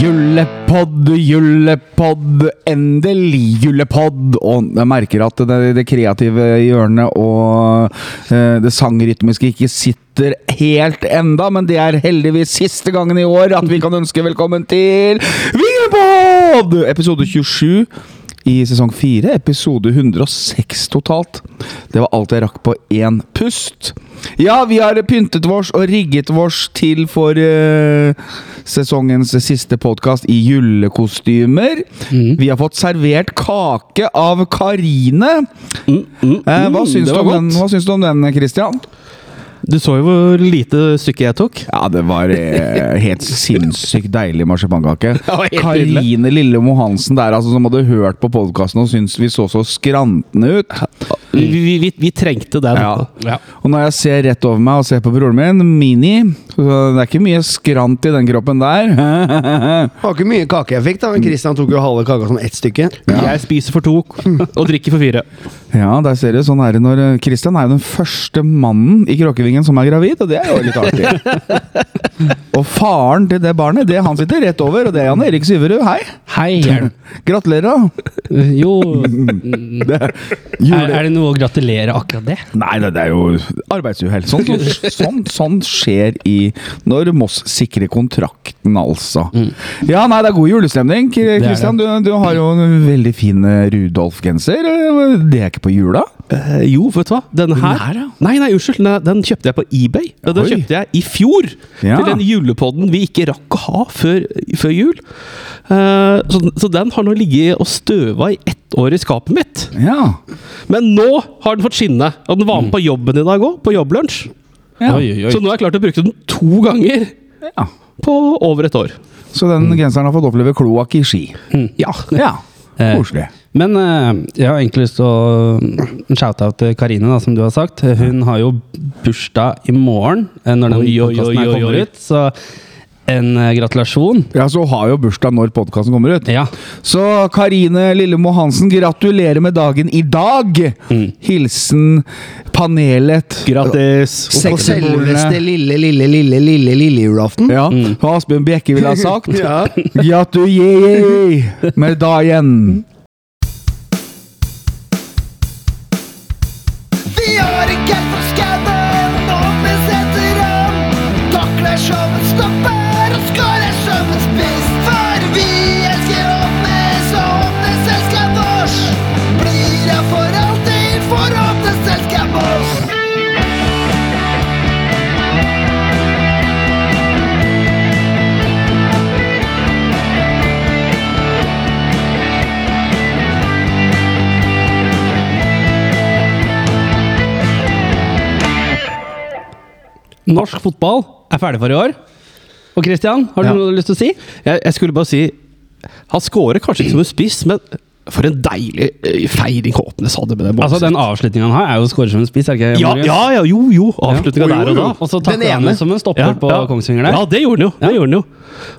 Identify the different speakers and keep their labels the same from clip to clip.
Speaker 1: Julepodd, julepodd, endelig julepodd! Og jeg merker at det, det kreative hjørnet og eh, det sangrytmiske ikke sitter helt enda, men det er heldigvis siste gangen i år at vi kan ønske velkommen til Vinglepodd! Episode 27 i sesong 4, episode 106 totalt. Det var alt jeg rakk på én pust. Ja, vi har pyntet vårs og rigget vårs til for eh, sesongens siste podkast i julekostymer.
Speaker 2: Mm.
Speaker 1: Vi har fått servert kake av Karine. Eh, hva,
Speaker 2: mm,
Speaker 1: syns
Speaker 2: det
Speaker 1: du om
Speaker 2: var
Speaker 1: den,
Speaker 2: godt.
Speaker 1: hva syns du om den, Christian?
Speaker 2: Du så jo hvor lite stykke jeg tok.
Speaker 1: Ja, det var eh, helt sinnssykt deilig marsipankake.
Speaker 2: var helt
Speaker 1: Karine Lillemo Hansen der, altså, som hadde hørt på podkasten og syntes vi så så skrantende ut.
Speaker 2: Vi, vi, vi, vi trengte den.
Speaker 1: Ja. Og når jeg ser rett over meg og ser på broren min, Mini så Det er ikke mye skrant i den kroppen der.
Speaker 3: Det var ikke mye kake jeg fikk, da, men Christian tok jo halve kaka som ett stykke.
Speaker 2: Jeg spiser for to og drikker for fire.
Speaker 1: Ja, der ser du. Sånn er det når eh, Christian er jo den første mannen i Kråkevingen som er gravid, og det er jo litt artig. og faren til det barnet, det han sitter rett over, og det er Jan Erik Syverud. Hei!
Speaker 4: Hei, Jern.
Speaker 1: Gratulerer, da.
Speaker 4: Jo,
Speaker 1: Det er,
Speaker 4: er,
Speaker 1: jule...
Speaker 4: er det noe å gratulere akkurat det?
Speaker 1: Nei, det det er jo arbeidsuhell. Sånn, sånn, sånn skjer i når Moss sikrer kontrakten, altså. Ja, nei, det er god julestemning.
Speaker 4: er Mm. det.
Speaker 1: Kristian, du, du har jo en veldig fin eh, Rudolf-genser. Eh, Det er ikke på jula?
Speaker 2: Eh, jo, vet du hva? Den her
Speaker 1: her, ja.
Speaker 2: Nei, nei, unnskyld. Den, den kjøpte jeg på eBay. Den,
Speaker 1: Oi.
Speaker 2: den kjøpte jeg i fjor!
Speaker 1: Ja.
Speaker 2: Til den julepodden vi ikke rakk å ha før, før jul. Eh, så, så den har nå ligget og støva i ett år i skapet mitt.
Speaker 1: Ja.
Speaker 2: Men nå har den fått skinne! Og den var med på jobben i dag òg, på jobblunsj.
Speaker 1: ja.
Speaker 4: Oi, Mm. oi,
Speaker 2: Så
Speaker 4: oi.
Speaker 2: nå har jeg klart å bruke den to ganger
Speaker 1: ja.
Speaker 2: på over et år.
Speaker 1: Så den
Speaker 4: Mm.
Speaker 1: genseren har fått oppleve kloakk i Ski.
Speaker 2: Ja.
Speaker 1: Ja,
Speaker 4: Eh,
Speaker 1: koselig.
Speaker 4: Men eh, jeg har egentlig lyst til å en shout-out til Karine, da, som du har sagt. Hun har jo bursdag i morgen eh, når den
Speaker 2: Oi, oi,
Speaker 4: podkasten her
Speaker 2: oi, oi,
Speaker 4: kommer
Speaker 2: oi.
Speaker 4: ut, så en eh, gratulasjon.
Speaker 1: Ja, så hun har jo bursdag når podkasten kommer ut.
Speaker 4: Ja.
Speaker 1: Så Karine Lillemo Hansen, gratulerer med dagen i dag!
Speaker 4: Mm.
Speaker 1: Hilsen panelet.
Speaker 2: Grattis!
Speaker 3: Og
Speaker 1: Sexy
Speaker 3: selveste
Speaker 1: bolene.
Speaker 3: lille, lille, lille, lille lille julaften.
Speaker 1: Ja, hva Asbjørn Bjekke ville ha sagt.
Speaker 3: Ja.
Speaker 1: Gratulerer med dagen!
Speaker 5: Vi har en kall for skauen, nå besetter han. Takler som en stopper og skårer som en spiss. For vi elsker Åpnes, og Åpnes elsker vårs. Blir det for alltid, for Åpnes elsker vårs.
Speaker 4: Norsk fotball er ferdig for i år. Og Christian, har du
Speaker 1: Ja.
Speaker 4: noe du har lyst til å si?
Speaker 2: Jeg, jeg skulle bare si Han scorer kanskje ikke som en spiss, men for en deilig eh, feiring Håpnes hadde med den
Speaker 4: Altså, Den avslutninga han har, er jo å score som en spiss, er det ikke?
Speaker 2: ja,
Speaker 4: Marius?
Speaker 2: ja, ja, jo, jo.
Speaker 3: Ja.
Speaker 2: Avslutninga der og da.
Speaker 4: Og så
Speaker 3: Den
Speaker 4: takker han
Speaker 3: ene.
Speaker 4: jo som en stopper
Speaker 2: Ja,
Speaker 4: på
Speaker 2: ja.
Speaker 4: Kongsvinger der.
Speaker 2: Ja, det gjorde han jo. Det gjorde han jo.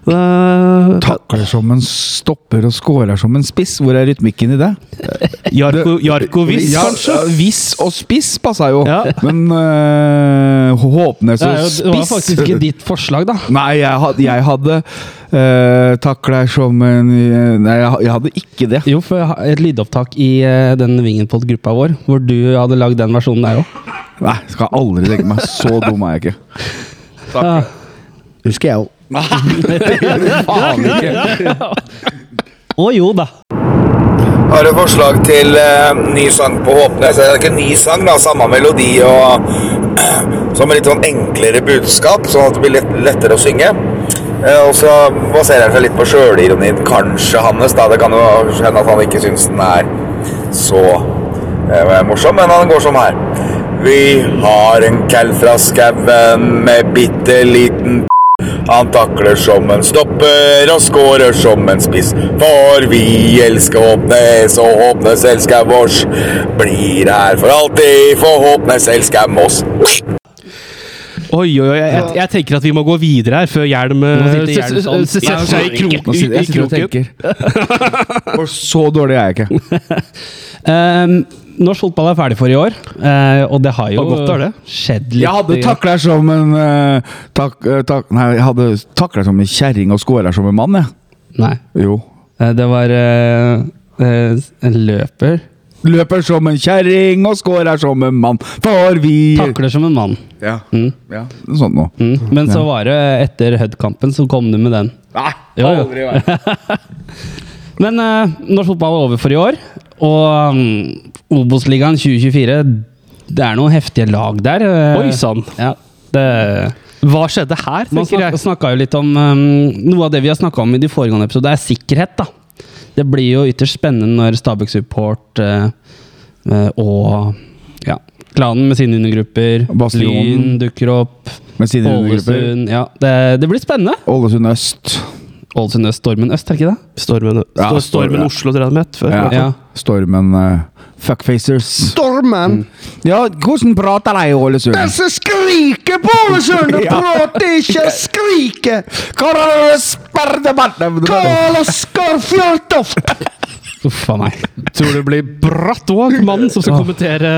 Speaker 2: Eh,
Speaker 1: Takler som en stopper og scorer som en spiss. Hvor er rytmikken i det?
Speaker 2: Jarko, Jarkovic,
Speaker 1: Ja,
Speaker 2: kanskje?
Speaker 1: Viss og spiss passa jo,
Speaker 2: Ja.
Speaker 1: men øh, Håpnes
Speaker 4: Det,
Speaker 1: og
Speaker 4: er jo, det var
Speaker 1: spiss
Speaker 4: faktisk ikke ditt forslag, da.
Speaker 1: Nei, jeg hadde, jeg hadde eh, takla som en eh, Nei, jeg, jeg hadde ikke det.
Speaker 4: Jo, for jeg har et lydopptak i eh, den Vingenpod-gruppa vår, hvor du hadde lagd den versjonen der òg.
Speaker 1: Nei, skal aldri legge meg. Så dum er jeg ikke.
Speaker 3: Husker jeg jo.
Speaker 1: Faen ikke.
Speaker 4: Å jo da.
Speaker 6: Har du forslag til eh, ny sang på Håpnes? Det er ikke en ny sang, da. Samme melodi og som med litt sånn enklere budskap, sånn at det blir lett, lettere å synge. Eh, og så baserer han seg litt på sjølironien, kanskje, Hannes. da. Det kan jo hende at han ikke syns den er så eh, morsom, men han går sånn her. Vi har en kall fra skauen med bitte liten han takler som en stopper og skårer som en spiss. For vi elsker Håpnes, og Håpnes elsker vårs. Blir her for alltid, for Håpnes elsker Moss.
Speaker 2: Oi, oi, oi. Jeg, jeg, jeg tenker at vi må gå videre her før Hjelm eh,
Speaker 4: Nå sitter
Speaker 2: se-
Speaker 4: Hjelm sånn.
Speaker 2: se- se-
Speaker 4: Ja,
Speaker 2: setter seg i
Speaker 1: Nå
Speaker 2: kroken.
Speaker 1: sitter jeg sitter og tenker. Og så dårlig er jeg ikke.
Speaker 4: Ehm, norsk fotball er ferdig for i år, eh, og det har jo
Speaker 2: Og godt er det.
Speaker 4: skjedd litt.
Speaker 1: Jeg hadde takla som en eh, tak, eh, tak, Nei, jeg hadde takla som en kjerring og skåra som en mann, jeg.
Speaker 4: Nei,
Speaker 1: Jo.
Speaker 4: eh, det var eh, eh, en løper.
Speaker 1: Løper som en kjerring og skårer som en mann, for vi
Speaker 4: Takler som en mann.
Speaker 1: Ja. ja. Noe sånt noe.
Speaker 4: Mm. Men så var det etter Hud-kampen, så kom du med den.
Speaker 1: Nei,
Speaker 4: Jo, jo.
Speaker 1: aldri vært
Speaker 4: Men eh, norsk fotball er over for i år, og mm, Obos-ligaen 2024 Det er noen heftige lag der. eh.
Speaker 2: Oi sann!
Speaker 4: Ja, det
Speaker 2: Hva skjedde her,
Speaker 4: Man
Speaker 2: tenker jeg.
Speaker 4: snakka jo litt om um, Noe av det vi har snakka om i de foregående episodene, er sikkerhet. da. Det blir jo ytterst spennende når Stabæk Support eh, eh, og ja, klanen med sine undergrupper, Lyn
Speaker 1: Bastionen.
Speaker 4: dukker opp,
Speaker 1: Med sine undergrupper.
Speaker 4: Ålesund ja, det, det blir spennende.
Speaker 1: Ålesund øst.
Speaker 4: Ålesund Øst, Stormen Øst, er ikke det?
Speaker 2: Stormen,
Speaker 1: Ja,
Speaker 2: Stor- stormen
Speaker 1: stormen.
Speaker 2: Oslo drev med før.
Speaker 1: Ja.
Speaker 4: Ja.
Speaker 1: Stormen eh, Fuckfacers.
Speaker 3: Stormen!
Speaker 1: Ja, hvordan prater de i Ålesund?
Speaker 3: Disse skriker på Ålesund! De prater ikke, skriker! Karl Oskar Fjørtoft!
Speaker 4: Uff a meg.
Speaker 2: Tror du det blir bratt òg, mannen som skal kommentere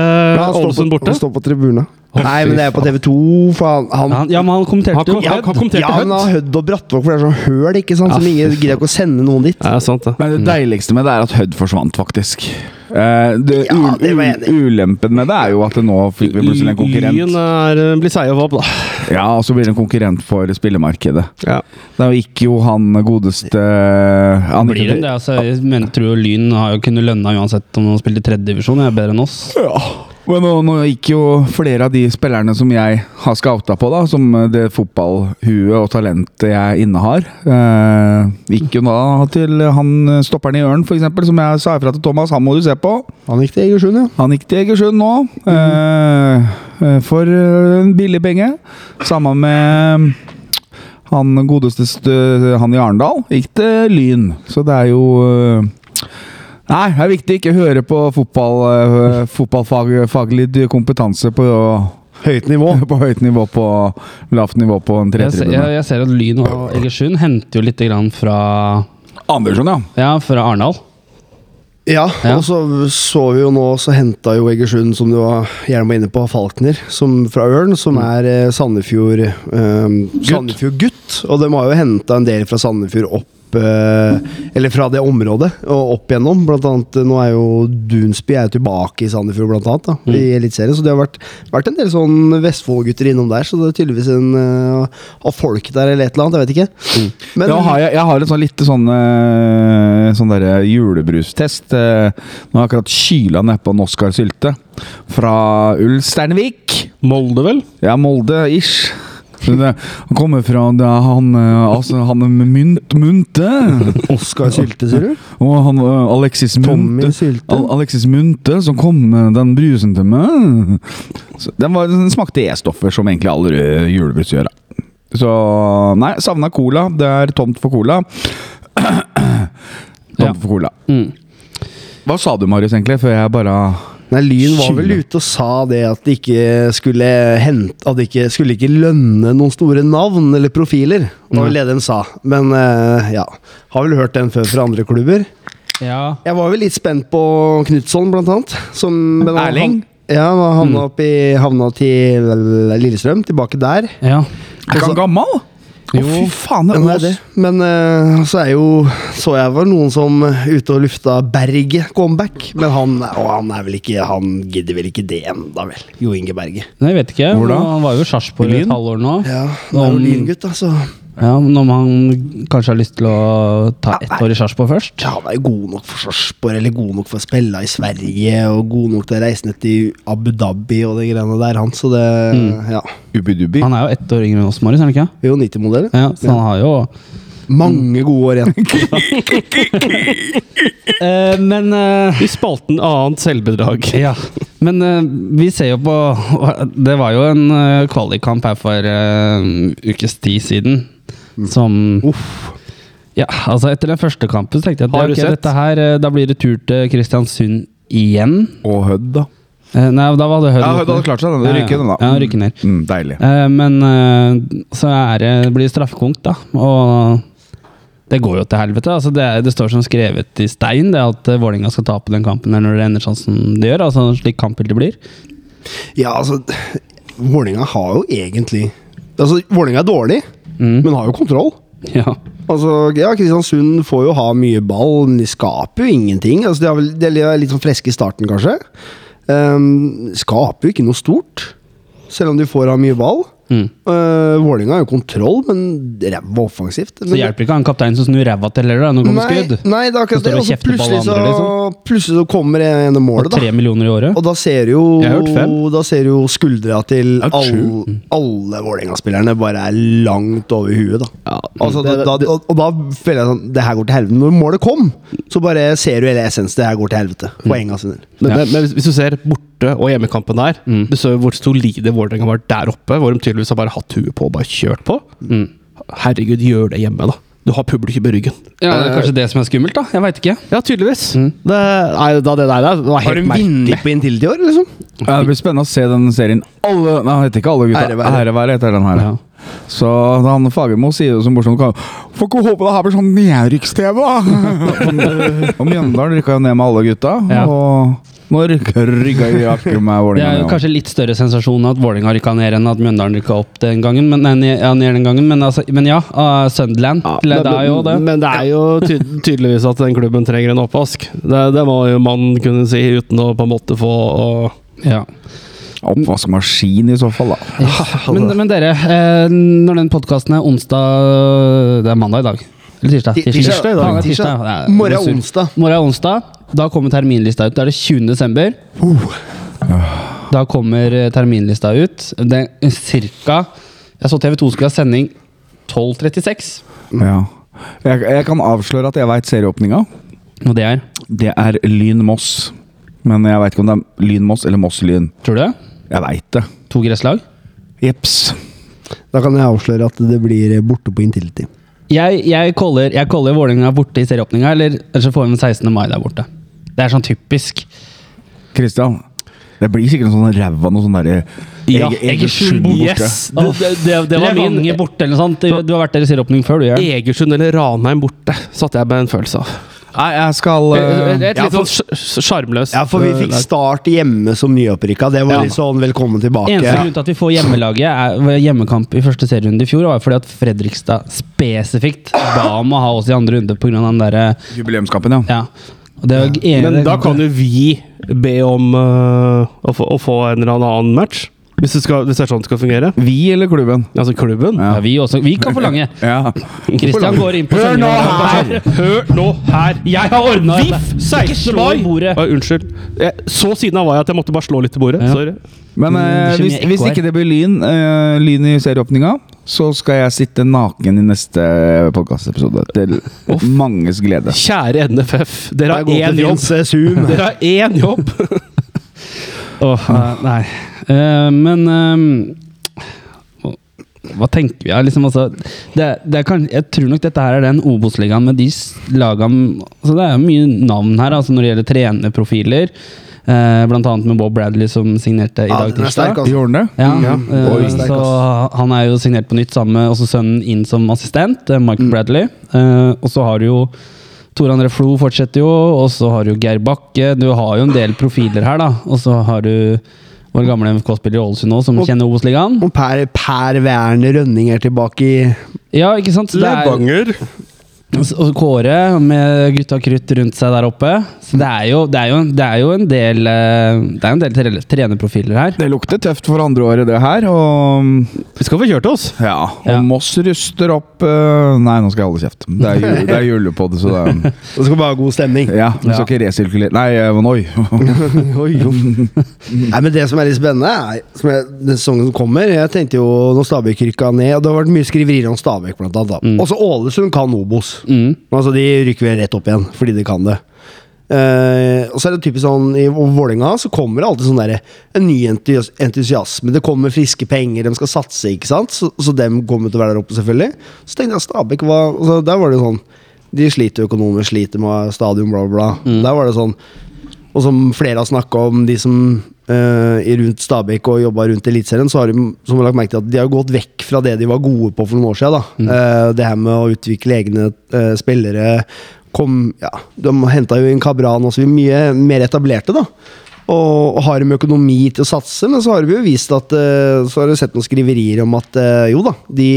Speaker 2: Ålesund borte?
Speaker 3: Han står på tribunen. Nei, men det er på TV2, faen. Han,
Speaker 4: Han, ja, men han
Speaker 2: Han,
Speaker 4: kommenterte
Speaker 2: kom,
Speaker 4: jo.
Speaker 2: han, han kommenterte
Speaker 3: ja, men
Speaker 2: Hødd.
Speaker 3: han Hødd og Brattvåg, for det er sånn høl, ikke sant? Som ingen gidder ikke å sende noen dit.
Speaker 2: Ja, sant det.
Speaker 1: Men det deiligste med det er at Hødd forsvant, faktisk. Eh, det,
Speaker 3: Ja,
Speaker 1: ul-
Speaker 3: det var
Speaker 1: ul-
Speaker 3: jeg enig
Speaker 1: ulempen med det er jo at det nå fikk vi plutselig en
Speaker 2: Lyn
Speaker 1: konkurrent.
Speaker 2: er, blir seig og vabb, da.
Speaker 1: Ja, Og så blir det en konkurrent for spillemarkedet.
Speaker 2: Ja.
Speaker 1: Da gikk jo han godeste eh, han
Speaker 4: Blir det, det, altså, jeg mener, tror jo Lyn har jo kunnet lønna uansett om de spilte tredjedivisjon. Er bedre enn oss.
Speaker 1: Ja. Men nå, nå gikk jo flere av de spillerne som jeg har scouta på, da, som det fotballhuet og talentet jeg innehar, eh, gikk jo da til han eh, stopperen i Ørn, f.eks., som jeg sa ifra til Thomas, han må du se på.
Speaker 3: Han gikk til Egersund, ja.
Speaker 1: Han gikk til Egersund nå, eh, eh, for eh, en billig penge. Sammen med han godeste stø- han i Arendal gikk til Lyn, så det er jo eh, Nei, det er viktig ikke høre på fotball, eh, fotballfaglig kompetanse på,
Speaker 3: Høyt nivå.
Speaker 1: på høyt nivå på lavt nivå på en
Speaker 4: Jeg, ser- jeg,
Speaker 1: tretribune.
Speaker 4: jeg ser at Lyn og Egersund henter jo litt grann fra,
Speaker 1: Andersson, ja.
Speaker 4: ja, fra Arendal.
Speaker 3: Ja,
Speaker 4: Ja.
Speaker 3: og så så vi jo nå, så henta jo Egersund, som du var gjerne var inne på, Falkner som, fra Ørn, som
Speaker 1: Mm.
Speaker 3: er eh, Sandefjord eh, Sandefjord-gutt. Og de har jo henta en del fra Sandefjord opp eh, Eller fra det området og opp igjennom. Blant annet, eh, nå er jo Dunsby er jo tilbake i Sandefjord, blant annet, da, i
Speaker 1: Mm.
Speaker 3: Eliteserien. Så det har vært, vært en del sånn Vestfold-gutter innom der, så det er tydeligvis en eh, Av folk der eller et eller annet, jeg vet ikke. Men
Speaker 1: Da Mm. har jeg, jeg har en sånn litt sånn, eh, sånn der julebrustest. eh, Nå har jeg akkurat kyla nedpå en Oskar Sylte fra Ulsteinvik.
Speaker 2: Molde, vel?
Speaker 1: Ja, Molde-ish. Så det- Han kommer fra det er han, eh, altså, han er Mynt Munte.
Speaker 3: Oskar Sylte, sier du?
Speaker 1: Og han eh, Alexis
Speaker 3: Tommy
Speaker 1: Munte.
Speaker 3: Sylte?
Speaker 1: Al Alexis Munte som kom med den brusen til meg. Så den, var, den smakte E-stoffer, som egentlig all rød julebrus gjør. da. Så nei, savna cola. Det er tomt for cola. tomt
Speaker 4: Ja. Mm.
Speaker 1: for cola. Hva sa du, Marius, egentlig, før jeg bare
Speaker 3: Nei, Lyn var vel
Speaker 1: Skylda.
Speaker 3: ute og sa det at det ikke skulle hente At det ikke skulle ikke lønne noen store navn eller profiler, var vel det de sa. Men eh, ja. Har vel hørt den før fra andre klubber.
Speaker 4: Ja.
Speaker 3: Jeg var vel litt spent på Knutson, blant annet. Som, men han-
Speaker 1: Erling?
Speaker 3: Ja, han havna, opp i, havna til Lillestrøm, tilbake der.
Speaker 4: ja.
Speaker 1: Er han gammel? Å, fy faen, det er
Speaker 3: Men, det er
Speaker 1: Ås.
Speaker 3: det. men eh, så er jo Så jeg var noen som ute og lufta Berget comeback. Men han, å, han er vel ikke Han gidder vel ikke det enda vel. Jo Inge Berge.
Speaker 4: Nei, jeg vet ikke.
Speaker 1: Hvor da?
Speaker 4: Han var jo i Sarpsborg i et halvår nå.
Speaker 3: Ja, han er jo lyngutt, altså.
Speaker 4: Ja, men om han kanskje har lyst til å ta ett år i Sarpsborg først?
Speaker 3: Ja, han er jo god nok for Sarpsborg, eller god nok for å spille i Sverige, og god nok til å reise ned til Abu Dhabi og de greiene der, han, så det Ja.
Speaker 1: Ubidubbi.
Speaker 4: Han er jo ett år yngre enn oss, Marius. er han ikke?
Speaker 3: Vi er jo 90-modell.
Speaker 4: Ja, så han har jo
Speaker 3: Mange gode år igjen.
Speaker 4: eh, Men eh,
Speaker 2: I spalten annet selvbedrag.
Speaker 4: Ja, men eh, vi ser jo på Det var jo en uh, kvalikkamp her for eh, en ukes tid siden
Speaker 2: Mm.
Speaker 4: som Ja, altså etter den første kampen så tenkte jeg at
Speaker 2: Har
Speaker 4: ok,
Speaker 2: du sett?
Speaker 4: dette her, eh, da blir det tur til Kristiansund igjen.
Speaker 1: Og Hødd, da.
Speaker 4: Eh, nei, da var det Hødd.
Speaker 1: Ja, Hødd hadde klart seg. Den.
Speaker 4: Ja, ja.
Speaker 1: Rykker den, da.
Speaker 4: Ja, rykker ned.
Speaker 1: Mm, deilig.
Speaker 4: Eh, men eh, så er det, blir det straffekonk, da. Og Det går jo til helvete. altså Det, det står som skrevet i stein det at eh, Vålinga skal tape den kampen her når det ender sånn som det gjør. altså Slik kampbildet blir.
Speaker 3: Ja, altså Vålerenga har jo egentlig Altså, Vålerenga er dårlig, men har jo kontroll.
Speaker 4: Ja.
Speaker 3: Altså, ja, Kristiansund får jo ha mye ball, men de skaper jo ingenting. Altså, de, har vel, de er litt sånn freske i starten, kanskje. Ehm, skaper jo ikke noe stort, selv om de får ha mye ball. Mm. Vålerenga har jo kontroll, men ræva offensivt.
Speaker 4: Så hjelper ikke han kapteinen som snur ræva til heller, da. Nå kommer
Speaker 3: Nei,
Speaker 4: skudd.
Speaker 3: nei, det er akkurat
Speaker 4: Så står du
Speaker 3: det.
Speaker 4: og
Speaker 3: Og så
Speaker 4: kjefter på alle
Speaker 3: plutselig, så,
Speaker 4: andre,
Speaker 3: plutselig så kommer det ene
Speaker 4: Og
Speaker 3: målet, da.
Speaker 4: tre millioner i året.
Speaker 3: Og da ser du
Speaker 2: Jeg har hørt fem.
Speaker 3: jo, da ser du jo skuldra til
Speaker 2: Ja, true.
Speaker 3: alle, alle Vålerenga-spillerne bare er langt over huet, da. altså, da,
Speaker 2: det-
Speaker 3: da og, og da føler jeg sånn Det her går til helvete. Når målet kom, så bare ser du hele essensen. Det her går til helvete. Poenga sine.
Speaker 2: Men, men, men hvis- hvis du ser borte- og hjemmekampen der, du så jo hvor solide Vålerenga var der oppe. Hvor de tydeligvis har bare hatt huet på og bare kjørt på. Herregud, gjør det hjemme, da. Du har publikum i ryggen. Mm.
Speaker 4: Ja, det er kanskje det som er skummelt, da. Jeg veit ikke.
Speaker 2: Ja, tydeligvis. Det, nei, da det der det
Speaker 3: Har
Speaker 2: var helt
Speaker 3: de
Speaker 2: merkelig.
Speaker 3: vunnet på inntil i år, liksom?
Speaker 1: Ja, det blir spennende å se den serien. Alle, nei, han heter ikke alle gutta.
Speaker 3: Ærevære.
Speaker 1: Ærevære heter den her.
Speaker 4: Ja.
Speaker 1: Så han Fagermo sier jo som morsomt kan- Får ikke håpe det her blir sånn nedrykks-TV, da! og Mjøndalen rykka jo ned med alle gutta.
Speaker 4: Ja.
Speaker 1: Og nå rykka de akkurat med
Speaker 4: Det er jo
Speaker 1: Vålerenga. ned.
Speaker 4: kanskje litt større sensasjon at Vålinga rykka ned enn at Mjøndalen rykka opp den gangen. Men, nei, ned- ja, ned den gangen, men, altså, men ja, uh, Sunderland.
Speaker 2: Ja,
Speaker 4: det er jo det.
Speaker 2: men det er jo ty tydeligvis at den klubben trenger en oppvask. Det, det må jo man kunne si uten å på en måte få og,
Speaker 4: Ja.
Speaker 1: Oppvaskmaskin, i så fall, da.
Speaker 4: Men, men dere, eh, når den podkasten er onsdag Det er mandag i dag. Eller tirsdag?
Speaker 3: Ti- tirsdag i dag.
Speaker 4: Faen, det er tirsdag.
Speaker 3: Tirsdag.
Speaker 4: Ja, jeg
Speaker 3: Morgen er
Speaker 4: blir sur.
Speaker 3: onsdag.
Speaker 4: Morgen er onsdag. Da kommer terminlista ut. Da er det 20. desember.
Speaker 3: Uh.
Speaker 4: Da kommer eh, terminlista ut. Det er cirka Jeg så TV2 skulle ha sending 12.36.
Speaker 1: Ja. Jeg, jeg kan avsløre at jeg veit serieåpninga.
Speaker 4: Og det er
Speaker 1: Det er Lyn Moss. Men jeg veit ikke om det er Lyn Moss eller Moss Lyn.
Speaker 4: Tror du det?
Speaker 1: Jeg veit det.
Speaker 4: To gresslag?
Speaker 1: Jeps.
Speaker 3: Da kan jeg avsløre at det blir borte på inntil-tid.
Speaker 4: Jeg, jeg caller, jeg caller Vålerenga borte i serieåpninga, eller, eller så får vi den 16. mai der borte. Det er sånn typisk.
Speaker 1: Kristian, det blir sikkert noe sånn ræva noe sånn derre
Speaker 4: Ja,
Speaker 1: Ege-
Speaker 4: Egersund
Speaker 1: borte.
Speaker 2: Yes! Det, det, det, det var min
Speaker 4: Levanger borte eller noe sånt. Du, du har vært der i serieåpning før, du, Jørn.
Speaker 2: Egersund eller Ranheim borte, satt jeg med en følelse av.
Speaker 1: Nei, jeg skal eh,
Speaker 2: Et
Speaker 4: Ja,
Speaker 2: litt sånn sj- sj- sjarmløst
Speaker 3: Ja, for vi fikk start hjemme som nyopprykka. Det var
Speaker 4: Ja.
Speaker 3: litt sånn velkommen tilbake.
Speaker 4: Eneste grunn til at vi får hjemmelaget er, var hjemmekamp i første serierunde i fjor, var fordi at Fredrikstad spesifikt ba om å ha oss i andre runde pga. den derre
Speaker 1: Jubileumskampen, ja.
Speaker 4: Ja. Og det var
Speaker 2: Men da kan jo vi be om øh, å, få, å få en eller annen match. Hvis det, skal, hvis det er sånn det skal fungere.
Speaker 1: Vi eller klubben?
Speaker 2: Altså klubben.
Speaker 4: ja, vi, også, vi kan forlange.
Speaker 1: Ja.
Speaker 4: Christian går inn på
Speaker 2: Hør nå her!
Speaker 4: sendingen.
Speaker 2: Hør nå her! Jeg har ordna
Speaker 4: Ikke
Speaker 2: VIF 16.
Speaker 4: slå
Speaker 2: mai!
Speaker 4: i bordet.
Speaker 2: Oi, unnskyld. Jeg, så siden av var jeg at jeg måtte bare slå litt i bordet.
Speaker 4: Ja.
Speaker 2: Sorry.
Speaker 1: Men
Speaker 4: Mm,
Speaker 1: eh,
Speaker 4: skjønner
Speaker 1: hvis,
Speaker 4: jeg ikke
Speaker 1: hvis
Speaker 4: hva er.
Speaker 1: ikke det blir lyn, eh, lyn i serieåpninga, så skal jeg sitte naken i neste podkastepisode. Til manges glede.
Speaker 2: Kjære NFF, dere har én jobb.
Speaker 3: eh, Zoom.
Speaker 2: Dere har én jobb!
Speaker 4: Åh, nei. Eh, men eh, hva tenker vi? Ja, liksom, altså, det, det er kan, jeg tror nok dette her er den Obos-ligaen med de s- laga altså, Det er mye navn her altså, når det gjelder trenerprofiler. eh, blant annet med Bob Bradley som signerte i
Speaker 3: Ja,
Speaker 4: dag
Speaker 3: den er sterk,
Speaker 4: tirsdag.
Speaker 3: altså.
Speaker 1: Gjorde den det?
Speaker 4: Ja,
Speaker 3: Ja,
Speaker 4: eh,
Speaker 3: Bob er sterk,
Speaker 4: så han er jo signert på nytt sammen med også sønnen inn som assistent, eh, Mike Bradley. Eh, og så har du jo Tor André Flo fortsetter jo, og så har du Geir Bakke. Du har jo en del profiler her, da. Og så har du vår gamle MFK-spiller i Ålesund nå, som
Speaker 3: Og-
Speaker 4: kjenner Obos-ligaen.
Speaker 3: Og Per, per Werner Rønning er tilbake i
Speaker 4: Ja, ikke sant? Så det er- Og Kåre med gutta krutt rundt seg der oppe. Så det er jo, det er jo, det er jo en del eh, Det er en del tre- trenerprofiler her.
Speaker 1: Det lukter tøft for andre året, det her. Og
Speaker 2: Vi skal få kjørt oss.
Speaker 1: ja, og
Speaker 4: Ja.
Speaker 1: Moss ruster opp eh, Nei, nå skal jeg holde kjeft. Det er, jul, det er julepod, så det er,
Speaker 3: Det skal bare ha god stemning.
Speaker 1: Ja, vi skal ikke resirkulere Nei, eh, men oi.
Speaker 3: Nei, men Det som er litt spennende, er som jeg, den sesongen som kommer Jeg tenkte jo når Stabæk rykka ned og Det har vært mye skriverier om Stabæk, blant annet. da. Også Ålesund kan Obos.
Speaker 4: Mm.
Speaker 3: Men Altså, De rykker vel rett opp igjen fordi de kan det. Eh, og så er det typisk sånn I Vålerenga så kommer det alltid sånn der, en ny entus entusiasme. Det kommer friske penger, de skal satse, ikke sant? Så, så dem kommer til å være der oppe, selvfølgelig. Så tenkte jeg Stabæk var altså, Der var det jo sånn De sliter økonomisk, sliter med stadion, bla, bla. bla. Der var det sånn Og som flere har snakka om, de som eh, i rundt Stabæk og jobba rundt Eliteserien, så har de, som har lagt merke til at de har gått vekk fra det de var gode på for noen år siden. Da. Eh, det her med å utvikle egne eh, spillere kom, ja, De henta jo inn Kabran og så videre, mye mer etablerte, da. Og, og har de økonomi til å satse, men så har vi jo vist at eh, Så har du sett noen skriverier om at eh, jo da, de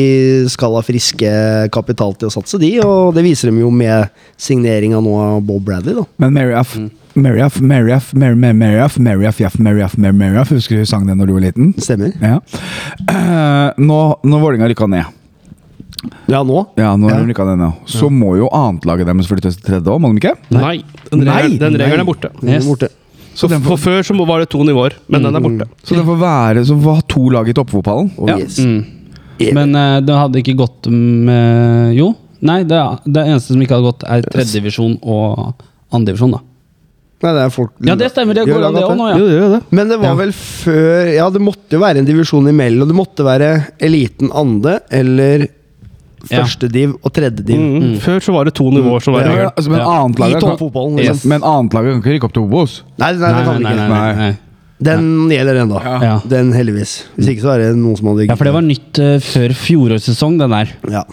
Speaker 3: skal ha friske kapital til å satse, de. Og det viser de jo med signeringa nå av Bob Bradley, da.
Speaker 1: Men Maryaf Maryaf, Maryaf, Mar- Mar- Maryaf, Maryaf, Jaff, Maryaf, Mar- Maryaf Husker du sangen den når du var liten?
Speaker 3: Stemmer.
Speaker 1: Ja. Eh, Nå, når Vålerenga rykka ned
Speaker 3: Ja, nå?
Speaker 1: Ja, nå har
Speaker 3: Ja.
Speaker 1: de rykka ned nå. Så må jo annetlaget deres flyttes til tredje òg, må de ikke?
Speaker 2: Nei, den,
Speaker 1: Nei,
Speaker 2: regelen- den regelen
Speaker 1: nei.
Speaker 2: er borte.
Speaker 3: Den er borte.
Speaker 2: Så
Speaker 1: den
Speaker 2: for før så var det to nivåer, men den er borte.
Speaker 1: Så det får være så får ha to lag i toppfotballen.
Speaker 3: Oh,
Speaker 1: Ja.
Speaker 3: yes.
Speaker 4: Men eh, det hadde ikke gått med Jo, nei, det, det eneste som ikke hadde gått, er tredjedivisjon og andredivisjon, da.
Speaker 3: Nei, det er folk
Speaker 4: Ja, det stemmer. Det
Speaker 3: Gjør
Speaker 4: går an, det
Speaker 3: at
Speaker 4: òg nå,
Speaker 2: Jo,
Speaker 4: ja.
Speaker 2: det gjør det.
Speaker 3: Men det var vel før Ja, det måtte jo være en divisjon imellom. Det måtte være eliten ande eller
Speaker 4: Ja.
Speaker 3: førstediv og tredjediv.
Speaker 2: Mm. Før så var det to nivåer som var
Speaker 1: Men,
Speaker 2: regelen.
Speaker 1: altså, men
Speaker 4: Ja.
Speaker 3: I
Speaker 1: annetlaget kan,
Speaker 3: toppfotballen, liksom.
Speaker 1: yes. Men annetlaget kan ikke rykke opp til Obos.
Speaker 3: Nei, nei, det
Speaker 4: Nei,
Speaker 3: kan vi
Speaker 4: nei,
Speaker 3: ikke.
Speaker 4: nei, nei, nei.
Speaker 3: Den gjelder ennå.
Speaker 4: Ja.
Speaker 3: Den, heldigvis. Hvis ikke så er det noen som hadde
Speaker 4: Ja, for det var nytt eh, før fjorårets sesong, den der.
Speaker 3: Ja.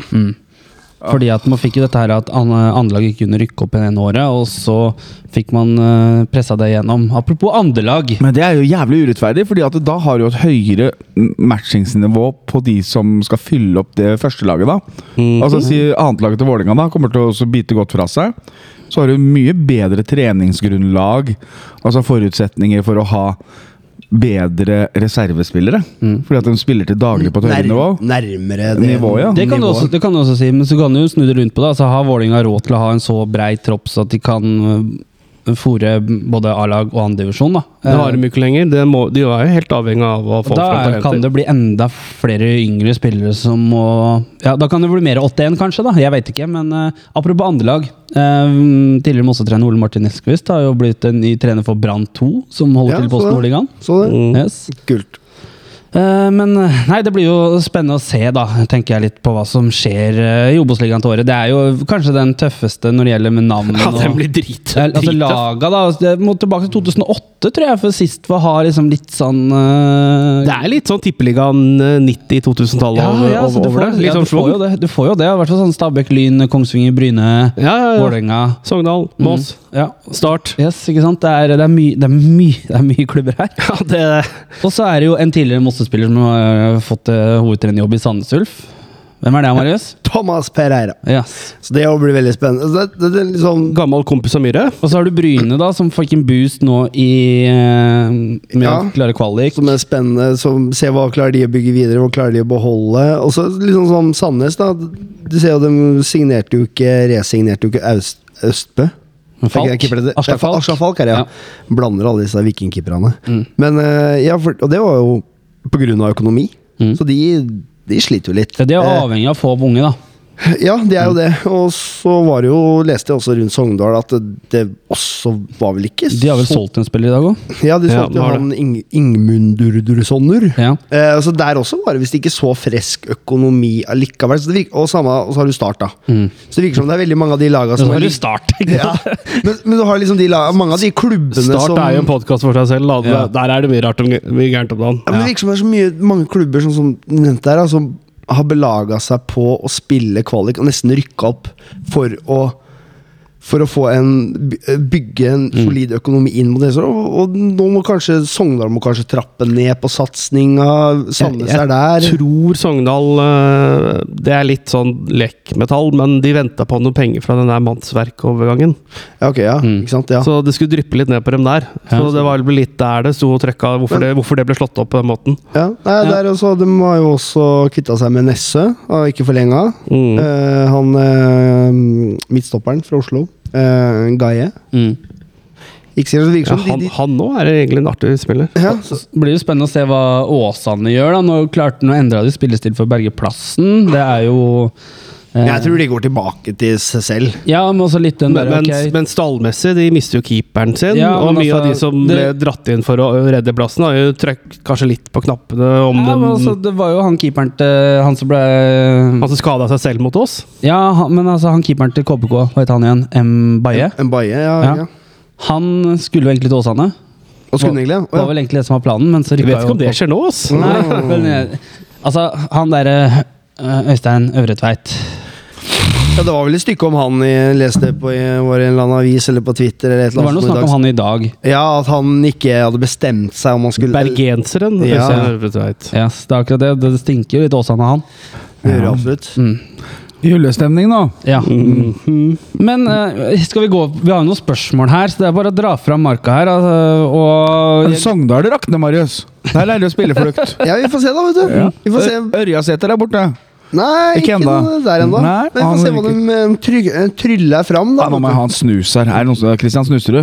Speaker 4: Fordi at man fikk jo dette her at an- eh, andrelaget ikke kunne rykke opp i det ene året, og så fikk man eh, pressa det igjennom. Apropos andrelag.
Speaker 1: Men det er jo jævlig urettferdig, Fordi at da har du jo et høyere mm, matchingsnivå på de som skal fylle opp det første laget, da. Altså si annetlaget til Vålerenga da kommer til å også bite godt fra seg. Så har du mye bedre treningsgrunnlag, altså forutsetninger for å ha bedre reservespillere. Fordi at de spiller til daglig på et høyere nivå.
Speaker 3: nærmere
Speaker 1: Nivå, ja.
Speaker 4: Det kan, du også, det kan du også si, men så kan du jo snu det rundt på det. Altså, har Vålerenga råd til å ha en så brei tropp så at de kan eh, fòre både A-lag og andredivisjon? da?
Speaker 2: Det har de ikke lenger. Det må, de er jo helt avhengig av å få
Speaker 4: Eh, Da
Speaker 2: fram
Speaker 4: er, kan
Speaker 2: talenter.
Speaker 4: det bli enda flere yngre spillere som må Ja, da kan det bli mer 8-1, kanskje. da, Jeg veit ikke. Men eh, apropos andrelag. Uh, tidligere Mosse-trener Ole Martin Eskvist har jo blitt en ny trener for Brann 2, som holder
Speaker 3: Ja,
Speaker 4: til
Speaker 3: så
Speaker 4: på
Speaker 3: det.
Speaker 4: Nordligaen.
Speaker 3: Så det.
Speaker 4: Yes.
Speaker 3: Kult.
Speaker 4: Eh, men eh, nei, det blir jo spennende å se, da, tenker jeg litt på hva som skjer eh, i Obos-ligaen til året. Det er jo kanskje den tøffeste når det gjelder med navn.
Speaker 2: Ja,
Speaker 4: og-
Speaker 2: den blir drit.
Speaker 4: Eh, Altså laga, da. altså, Jeg må tilbake til 2008, tror jeg, for sist var har liksom litt sånn eh,
Speaker 2: Det er litt sånn tippeligaen eh, 90-2000-tallet
Speaker 4: ja,
Speaker 2: over,
Speaker 4: ja, så du,
Speaker 2: over, over
Speaker 4: får, ja,
Speaker 2: det. Litt
Speaker 4: du
Speaker 2: sånn
Speaker 4: får jo
Speaker 2: slått.
Speaker 4: det. Du får jo det. I hvert fall sånn Stabæk, Lyn, Kongsvinger, Bryne,
Speaker 2: Ja, ja, ja.
Speaker 4: Vålerenga.
Speaker 2: Sogndal, Moss,
Speaker 4: Mm. Ja.
Speaker 2: Start.
Speaker 4: Yes, ikke sant? Det er, det, er mye- det, er mye- det er mye klubber her.
Speaker 2: Ja, det
Speaker 4: Og så er det jo en tidligere Mosse-spiller som har fått eh, hovedtrenerjobb i Sandnes Ulf. Hvem er det, Marius?
Speaker 3: Thomas Pereira.
Speaker 4: Yes.
Speaker 3: Så det blir veldig spennende. Så Det, det, det, er litt sånn-
Speaker 2: Gammel kompis av Myhre.
Speaker 4: Og så har du Bryne, da, som fikk en boost nå i eh, med
Speaker 3: Ja.
Speaker 4: å klare kvalik.
Speaker 3: som er spennende. Som, se hva klarer de å bygge videre, hva klarer de å beholde. Og så litt sånn som Sandnes, da. Du ser jo, de signerte jo ikke Resignerte jo ikke Aust, Østbø.
Speaker 4: Falk.
Speaker 3: Er ikke keeper det-
Speaker 4: Aslak
Speaker 3: Ja, Fa-
Speaker 4: Falk.
Speaker 3: Aslak Falk er det, ja.
Speaker 4: Ja. Mm.
Speaker 3: Blander alle disse vikingkeeperne. Men eh, ja, for, og det var jo på grunn av økonomi. Så de, de sliter jo litt.
Speaker 4: Mm. Ja, de er Mm.
Speaker 3: Eh,
Speaker 4: avhengig av å få opp unge, da.
Speaker 3: ja, det er jo det. Og så var det jo, leste jeg også rundt Sogndal at det, det også var vel ikke
Speaker 4: De har vel
Speaker 3: så-
Speaker 4: solgt en spiller i dag òg?
Speaker 3: Ja, de
Speaker 2: Ja,
Speaker 3: solgte jo
Speaker 2: var det.
Speaker 3: han Ing Ingmundurdurssonner.
Speaker 4: Ja.
Speaker 3: Eh, så Der også var det visst ikke så frisk økonomi allikevel. Så det virker, og, samme, og så har du Start, da.
Speaker 2: Mm.
Speaker 3: Så det virker som det er veldig mange av de laga
Speaker 4: Så
Speaker 3: som
Speaker 4: har
Speaker 3: er
Speaker 4: du
Speaker 3: litt-
Speaker 4: start. ikke
Speaker 3: ja.
Speaker 4: sant?
Speaker 3: men, men du har liksom de laga, mange av de klubbene
Speaker 2: Start
Speaker 3: som
Speaker 2: er jo en podkast for seg selv. Da.
Speaker 4: Ja.
Speaker 2: Der er det mye rart om, mye gærent om dagen.
Speaker 3: ja, men Det virker som det er så mye, mange klubber som, som du nevnte her, da, som har belaga seg på å spille kvalik og nesten rykke opp for å for å få en, by- eh, bygge en
Speaker 2: Mm.
Speaker 3: solid økonomi inn mot det. Så, og, og nå må kanskje Sogndal må kanskje trappe ned på satsinga. Sandnes er der.
Speaker 2: Jeg tror Sogndal eh, Det er litt sånn lekmetall, men de venta på noen penger fra den der mannsverkovergangen.
Speaker 3: Ja, ok, ja,
Speaker 2: Mm.
Speaker 3: ikke sant, ja.
Speaker 2: Så det skulle dryppe litt ned på dem der. Så det var vel litt der det sto og trøkka, hvorfor det, hvorfor det ble slått opp på den måten.
Speaker 3: Ja, nei, der også, De har jo også kvitta seg med Nesse, og ikke forlenga.
Speaker 2: Mm.
Speaker 3: Eh, han eh, midtstopperen fra Oslo, eh, Gaie.
Speaker 4: Mm.
Speaker 3: Ikke sikkert det virker
Speaker 2: Ja,
Speaker 3: som
Speaker 2: han,
Speaker 3: de, de,
Speaker 2: han nå er egentlig en artig spiller.
Speaker 3: ja, så,
Speaker 4: Det blir jo spennende å se hva Åsane gjør. da. Nå klarte Nå endra de spillestil for å berge plassen. Det er jo eh,
Speaker 3: Jeg tror de går tilbake til seg selv.
Speaker 4: Ja, men også litt den
Speaker 2: Men,
Speaker 4: der,
Speaker 2: men,
Speaker 4: ok.
Speaker 2: men stallmessig, de mister jo keeperen sin.
Speaker 4: Ja,
Speaker 2: og
Speaker 4: men altså,
Speaker 2: mye av de som ble
Speaker 4: det-
Speaker 2: dratt inn for å redde plassen, har jo trøkt kanskje litt på knappene om
Speaker 4: ja, men
Speaker 2: den
Speaker 4: altså, det var jo han keeperen til Han som ble
Speaker 2: Han som skada seg selv mot oss.
Speaker 4: Ja, han, men altså, han keeperen til KBK, hva het han igjen? M. Baye?
Speaker 3: En Baie, ja.
Speaker 4: Ja.
Speaker 3: ja.
Speaker 4: Han skulle jo egentlig til Åsane.
Speaker 3: Og skulle egentlig, ja.
Speaker 4: Det var vel egentlig det som var planen, men så
Speaker 2: Jeg
Speaker 4: rykka
Speaker 2: vet ikke om det skjer nå, ass.
Speaker 4: Nei, men jeg- altså, han derre øh, Øystein Øvretveit
Speaker 3: ja, det var vel et stykke om han jeg leste på i var i en eller annen avis eller på Twitter. eller et
Speaker 4: Det
Speaker 3: eller
Speaker 4: var noe
Speaker 3: annet sånt i
Speaker 4: snakk
Speaker 3: dag.
Speaker 4: om han i dag.
Speaker 3: Ja, At han ikke hadde bestemt seg om han skulle
Speaker 2: Bergenseren.
Speaker 3: Ja.
Speaker 2: Øystein Ørvetveit.
Speaker 4: Yes, det er akkurat det. Det stinker jo litt Åsane av han.
Speaker 3: gjøre absolutt.
Speaker 1: Julestemning, nå.
Speaker 4: Ja. Men eh, skal vi gå Vi har jo noen spørsmål her, så det er bare å dra fram marka her. Altså, og jeg,
Speaker 1: Sogndal rakner, Marius. Der lærer du spilleflukt.
Speaker 3: Ja, vi får se, da. vet du Vi får se.
Speaker 1: Ørjasæter er borte.
Speaker 3: Nei,
Speaker 1: Ikke
Speaker 3: ikke,
Speaker 1: enda.
Speaker 3: noe der ennå.
Speaker 1: Nei,
Speaker 3: Men vi får
Speaker 1: han
Speaker 3: se hva de
Speaker 1: virker-
Speaker 3: eh, tryg- eh, tryller fram. da
Speaker 1: Ja, nå må jeg ha en snus her. Er det noen som Christian, snuser du?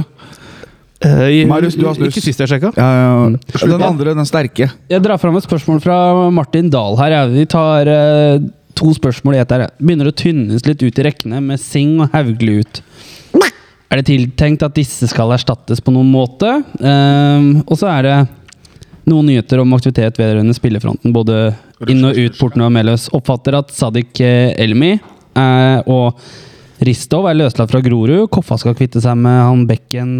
Speaker 1: Marius, du har snus.
Speaker 2: Ikke sist jeg sjekka.
Speaker 1: Ja, ja. Den andre, den sterke.
Speaker 4: jeg drar fram et spørsmål fra Martin Dahl her. Ja. Vi tar eh, to spørsmål i ett her. ja. Begynner å tynnes litt ut i rekkene med Sing og Hauglie ut. Er det tiltenkt at disse skal erstattes på noen måte? Ehm, og så er det noen nyheter om aktivitet vedrørende spillefronten, både inn og ut porten av Meløs. Oppfatter at Sadik eh, Elmi eh, og Ristov er løslatt fra Grorud. Koffa skal kvitte seg med han bekken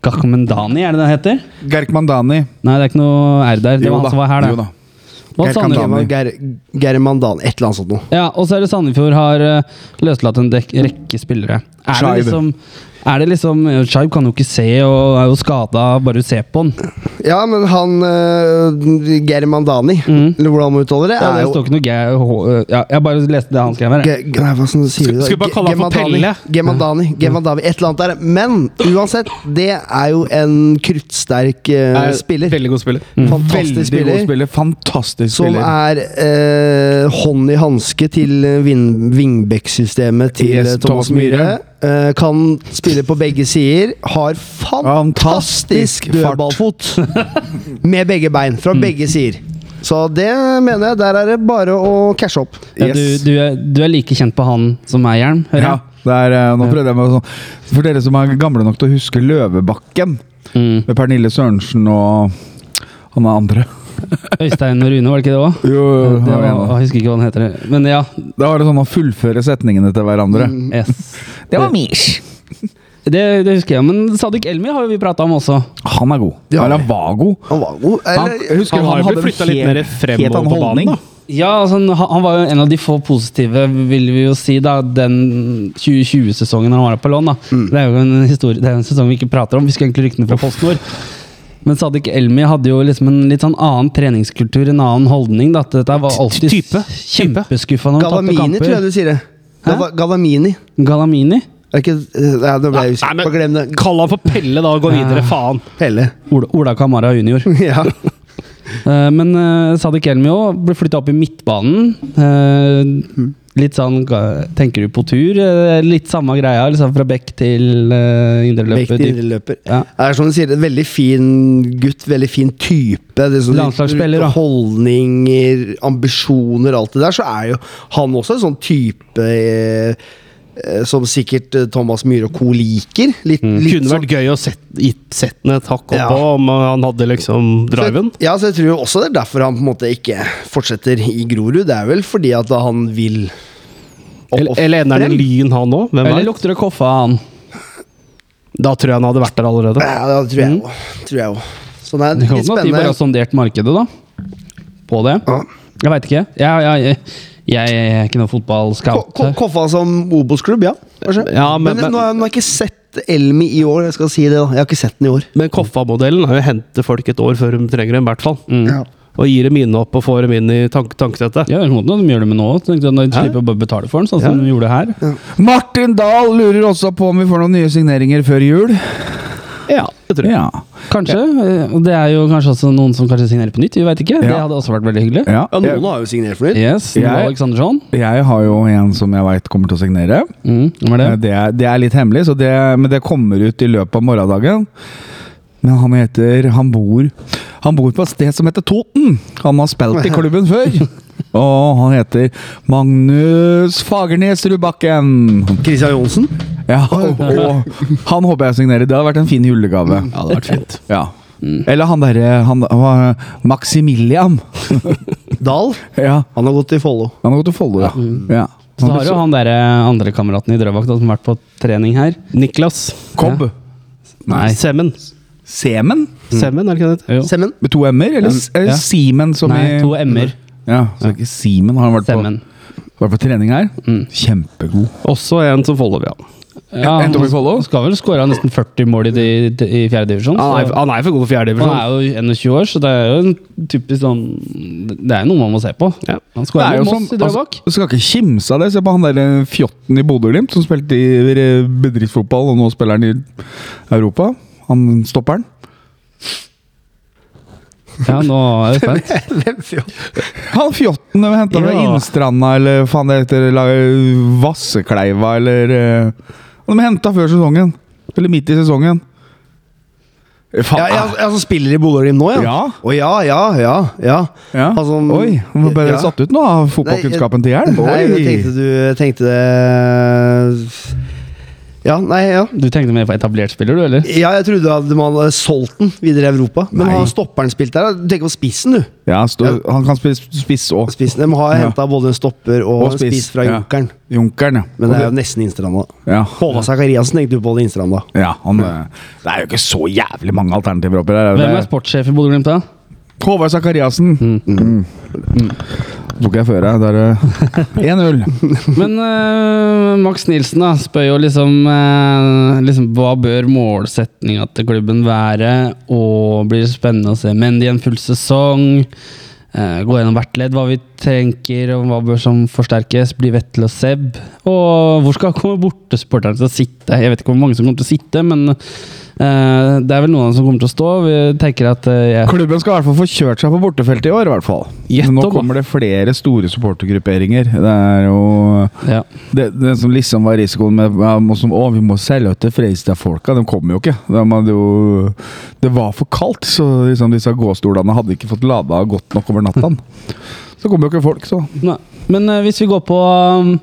Speaker 4: Gakmendani, er det den heter?
Speaker 1: Gerk Mandani.
Speaker 4: Nei, det er ikke noe R der. Det
Speaker 1: Jo
Speaker 4: var
Speaker 1: da,
Speaker 4: han som var her,
Speaker 1: jo
Speaker 4: da.
Speaker 1: da.
Speaker 4: Og
Speaker 3: Geir
Speaker 4: Sandefjord-
Speaker 3: Kandani. Geir- Geir Mandan, et eller annet sånt noe.
Speaker 4: ja, og så er det Sandefjord har eh, løslatt en dek rekke spillere. Er det
Speaker 1: Scheib.
Speaker 4: liksom er det liksom, Scheib kan jo ikke se og er jo skada, bare du ser på han.
Speaker 3: Ja, men han uh, Geir Mandani, eller hvordan man uttaler det,
Speaker 4: Ja, det
Speaker 3: er jo
Speaker 4: står ikke noe gæ... hå- eh, Ja, jeg bare leste det han skrev her. jeg.
Speaker 3: Ge- Ge- Nei, hva sånn sier du da?
Speaker 2: Skal vi bare kalle
Speaker 3: Ge-
Speaker 2: han for
Speaker 3: Gemandani.
Speaker 2: Pelle?
Speaker 3: Gemandani, Gemandani, et eller annet der. Men uansett, det er jo en kruttsterk eh, spiller.
Speaker 2: Veldig god spiller.
Speaker 3: Fantastisk
Speaker 1: Veldig god
Speaker 3: spiller.
Speaker 1: spiller. Fantastisk
Speaker 3: Som
Speaker 1: spiller.
Speaker 3: er eh, hånd i hanske til eh, vin- wingback-systemet til
Speaker 1: Yes,
Speaker 3: eh, Thomas
Speaker 1: Thomas
Speaker 3: Myhre.
Speaker 1: Myhre.
Speaker 3: Eh, kan spille på begge sider. Har
Speaker 1: Fantastisk
Speaker 3: fantastisk
Speaker 1: fart.
Speaker 3: dødballfot. Med begge bein, fra begge sider. Så det mener jeg. Der er det bare å cashe opp.
Speaker 4: Ja, du, du, er, du er like kjent på han som meg, Hjelm. hører
Speaker 1: Ja,
Speaker 4: jeg?
Speaker 1: det er, eh, nå prøvde jeg meg sånn. For dere som er gamle nok til å huske Løvebakken,
Speaker 4: Mm.
Speaker 1: med Pernille Sørensen og han er andre.
Speaker 4: Øystein og Rune, var det ikke det òg?
Speaker 1: Jo, jo,
Speaker 4: Jeg
Speaker 1: han ene.
Speaker 4: husker ikke hva han heter. Men ja.
Speaker 1: Da var det sånn å fullføre setningene til hverandre.
Speaker 4: Mm. Yes.
Speaker 1: Det var Mish.
Speaker 4: Det, det husker jeg. Men Sadik Elmi har jo vi prata om også.
Speaker 1: Han er god.
Speaker 3: Ja.
Speaker 1: Eller han var god.
Speaker 3: Han var god.
Speaker 1: Han,
Speaker 3: Eller,
Speaker 1: jeg husker
Speaker 2: han har
Speaker 1: han hadde
Speaker 2: jo blitt
Speaker 1: en
Speaker 2: flyttet litt
Speaker 1: helt-
Speaker 2: mer fremover
Speaker 1: helt annen
Speaker 2: på banen,
Speaker 1: holdning.
Speaker 2: da.
Speaker 4: Ja, altså, han, han var jo en av de få positive, vil vi jo si, da, den 2020-sesongen han var på lån. da.
Speaker 3: Mm.
Speaker 4: Det er jo en, historie, det er jo en sesong vi ikke prater om. Vi skulle egentlig rykke ned fra PostNord. Men Sadik Elmi hadde jo liksom en litt sånn annen treningskultur, en annen holdning. da. at Dette var alltid
Speaker 2: Type. Type.
Speaker 4: kjempeskuffa når han tapte
Speaker 3: Galamini, tror jeg
Speaker 4: kamper.
Speaker 3: du sier det.
Speaker 4: Hæ?
Speaker 3: Gala- Galamini.
Speaker 4: Galamini?
Speaker 3: Er ikke, nei, nå ble jeg
Speaker 2: Nei,
Speaker 3: usikker.
Speaker 2: men
Speaker 3: Bare glem det.
Speaker 2: Kall han for Pelle, da, og gå videre. Faen.
Speaker 3: Pelle.
Speaker 4: Ola, Ola Kamara junior.
Speaker 3: Ja.
Speaker 4: Eh, men eh, Sadik Elmi òg ble flytta opp i midtbanen. Eh, litt sånn ga- Tenker du på tur? Eh, litt samme greia, liksom fra bekk til uh, indreløper.
Speaker 3: Mektig
Speaker 4: dyp.
Speaker 3: indreløper.
Speaker 4: Ja.
Speaker 3: Det er som du sier, en veldig fin gutt, veldig fin type. Det er sånn-
Speaker 4: Landslagsspiller, da.
Speaker 3: Holdninger, ambisjoner, alt det der. Så er jo han også en sånn type eh, eh, som sikkert eh, Thomas Myhre og co. liker. Litt,
Speaker 4: Mm.
Speaker 3: litt
Speaker 2: Kunne
Speaker 3: sånn-
Speaker 2: vært gøy å sette sett den et hakk oppå
Speaker 3: Ja.
Speaker 2: om han hadde liksom driven.
Speaker 3: Så, ja, så jeg tror også det er derfor han på en måte ikke fortsetter i Grorud. Det er vel fordi at han vil opp og
Speaker 2: Eller, eller ender det i
Speaker 3: frem.
Speaker 2: Lyn, han òg? Hvem
Speaker 4: Eller
Speaker 2: vet?
Speaker 4: lukter det koffe av han?
Speaker 2: Da tror jeg han hadde vært der allerede.
Speaker 3: Ja, det tror jeg òg. Tror jeg også. Så det er
Speaker 4: Det kan
Speaker 3: litt
Speaker 4: hende Mm. at de bare har
Speaker 3: spennende.
Speaker 4: sondert markedet, da. På det.
Speaker 3: Ja.
Speaker 4: Jeg veit ikke. Jeg, jeg, jeg, jeg, er ikke noen
Speaker 3: Ko-
Speaker 4: fotballscout.
Speaker 3: ko- Koffa som Obos-klubb, ja. Kanskje?
Speaker 2: Ja, men-
Speaker 3: nå, har jeg, nå har jeg ikke sett Elmi i år. Jeg skal si det da, jeg har ikke sett den i år.
Speaker 2: Men Koffa-modellen er jo å hente folk et år før de trenger dem, i hvert fall.
Speaker 3: Ja.
Speaker 2: Og gir dem inne opp og får dem inn i tank tankesettet.
Speaker 4: Ja, det er sånn at de gjør det med nå òg. De slipper å bare betale for den, sånn som de gjorde her.
Speaker 1: Martin Dahl lurer også på om vi får noen nye signeringer før jul.
Speaker 2: Ja, det tror jeg.
Speaker 1: Ja.
Speaker 4: Kanskje. eh, Og det er jo kanskje også noen som kanskje signerer på nytt. Vi veit ikke. Det
Speaker 1: Ja.
Speaker 4: hadde også vært veldig hyggelig.
Speaker 1: ja.
Speaker 3: noen har jo signert for nytt.
Speaker 4: Yes,
Speaker 1: Jeg-
Speaker 4: Nicolai Aleksandersson.
Speaker 1: Jeg har jo en som jeg veit kommer til å signere.
Speaker 4: Mm, hvem er det?
Speaker 1: Eh, Det er, det er litt hemmelig, så det, men det kommer ut i løpet av morgendagen. Men han heter Han bor Han bor på et sted som heter Toten. Han har spilt i klubben før. Og han heter Magnus Fagernes Rubakken.
Speaker 3: Christian Johnsen.
Speaker 1: Ja, og han håper jeg signerer. Det hadde vært en fin julegave.
Speaker 2: Ja, det hadde vært fint. Mm.
Speaker 1: Ja. Eller han derre han- han- Maximilian.
Speaker 3: Dahl.
Speaker 1: Ja,
Speaker 3: Han har gått til Follo.
Speaker 1: han har gått til Follo, ja.
Speaker 2: Mm.
Speaker 1: ja.
Speaker 4: Så har jo han der eh, andre kameraten i Drøbak da, som har vært på trening her.
Speaker 2: Niklas.
Speaker 1: Kobb.
Speaker 4: Nei.
Speaker 2: Semmen.
Speaker 1: Semen?
Speaker 2: Semmen, er det ikke det? det heter?
Speaker 4: Jo.
Speaker 3: Semmen?
Speaker 1: Med to m-er? Eller s- eller
Speaker 4: Ja.
Speaker 1: Simen som
Speaker 4: Nei,
Speaker 1: i
Speaker 4: to m-er.
Speaker 1: Ja, så ikke Simen. Har han vært på,
Speaker 4: Semmen.
Speaker 1: vært på trening her?
Speaker 4: Mm.
Speaker 1: Kjempegod.
Speaker 2: Også en som Follo, ja.
Speaker 4: Ja,
Speaker 1: Endte opp i Follo?
Speaker 4: han skal vel skåre nesten 40 mål i, de, i fjerde divisjon.
Speaker 2: Han er,
Speaker 4: så-
Speaker 2: han er for god for
Speaker 4: Han
Speaker 2: fjerdedivisjon.
Speaker 4: er jo 21 år, så det er jo en typisk sånn Det er jo noe man må se på.
Speaker 2: Ja.
Speaker 4: Han
Speaker 1: Det er
Speaker 4: skårer
Speaker 1: jo
Speaker 4: jo Moss
Speaker 1: sånn,
Speaker 4: i
Speaker 1: altså,
Speaker 4: Drøbak.
Speaker 1: du skal ikke kimse av det. Se på han der eh, fjotten i Bodø-Glimt som spilte i eh, bedriftsfotball, og nå spiller han i Europa. Han stopper han.
Speaker 4: Ja, nå er jeg spent.
Speaker 1: Han fjotten de henta fra
Speaker 2: Ja.
Speaker 1: Innstranda eller faen det heter la- Vassekleiva eller eh, De henta før sesongen. Eller midt i sesongen. Eh, Faen,
Speaker 3: Ja, ja, altså, ja, som spiller i Bodø Glimt nå, ja?
Speaker 1: Ja.
Speaker 3: Å ja, ja, ja. ja.
Speaker 1: Ja.
Speaker 3: Altså,
Speaker 1: Oi, han ble bare
Speaker 3: ja.
Speaker 1: satt ut nå av fotballkunnskapen til Hjelm.
Speaker 3: Nei, jeg
Speaker 1: Oi.
Speaker 3: tenkte du jeg tenkte det Ja, nei, ja.
Speaker 4: Du tenkte mer på etablert spiller, du, eller?
Speaker 3: Ja, jeg trodde at man hadde solgt den videre i Europa. Men
Speaker 1: Nei.
Speaker 3: har stopperen spilt der? da? Du tenker på spissen, du.
Speaker 1: Ja, stå, han kan spille spiss òg.
Speaker 3: Spissen, De har
Speaker 1: Ja.
Speaker 3: henta både en stopper og,
Speaker 1: Og
Speaker 3: en
Speaker 1: spiss,
Speaker 3: spiss fra
Speaker 1: ja.
Speaker 3: Junkeren.
Speaker 1: Junkeren,
Speaker 3: Men det er jo nesten Innstranda.
Speaker 1: ja.
Speaker 3: Håvard Sakariassen tenkte du på det Innstranda.
Speaker 1: ja han, eh, det er jo ikke så jævlig mange alternativer oppi der.
Speaker 4: Hvem er sportssjef i Bodø-Glimt, da?
Speaker 1: Håvard Sakariassen. Mm. Tok jeg før, jeg. Der, eh, 1-0.
Speaker 4: Men eh, Max Nilsen da, spør jo liksom, eh, liksom Hva bør målsetninga til klubben være? Og blir det spennende å se Mendy en full sesong? Eh, gå gjennom hvert ledd, hva vi trenger og hva bør som forsterkes. Blir Vettel og Seb? Og hvor skal komme bortesupporterne til å sitte? Jeg vet ikke hvor mange som kommer til å sitte, men eh, det er vel noen som kommer til å stå. Vi tenker at eh, jeg
Speaker 1: Klubben skal i hvert fall få kjørt seg på bortefeltet i år, i hvert fall.
Speaker 2: Gjett
Speaker 1: Men nå
Speaker 2: om, da.
Speaker 1: kommer det flere store supportergrupperinger. Det er jo
Speaker 4: ja.
Speaker 1: det, det som liksom var risikoen med ja, må som, Å, vi må selge ut til Freistad-folka. De kommer jo ikke. De hadde jo, det var for kaldt, så liksom disse gåstolene hadde ikke fått lada godt nok over natta. Så kommer jo ikke folk, så.
Speaker 4: Nei. Men eh, hvis vi går på um,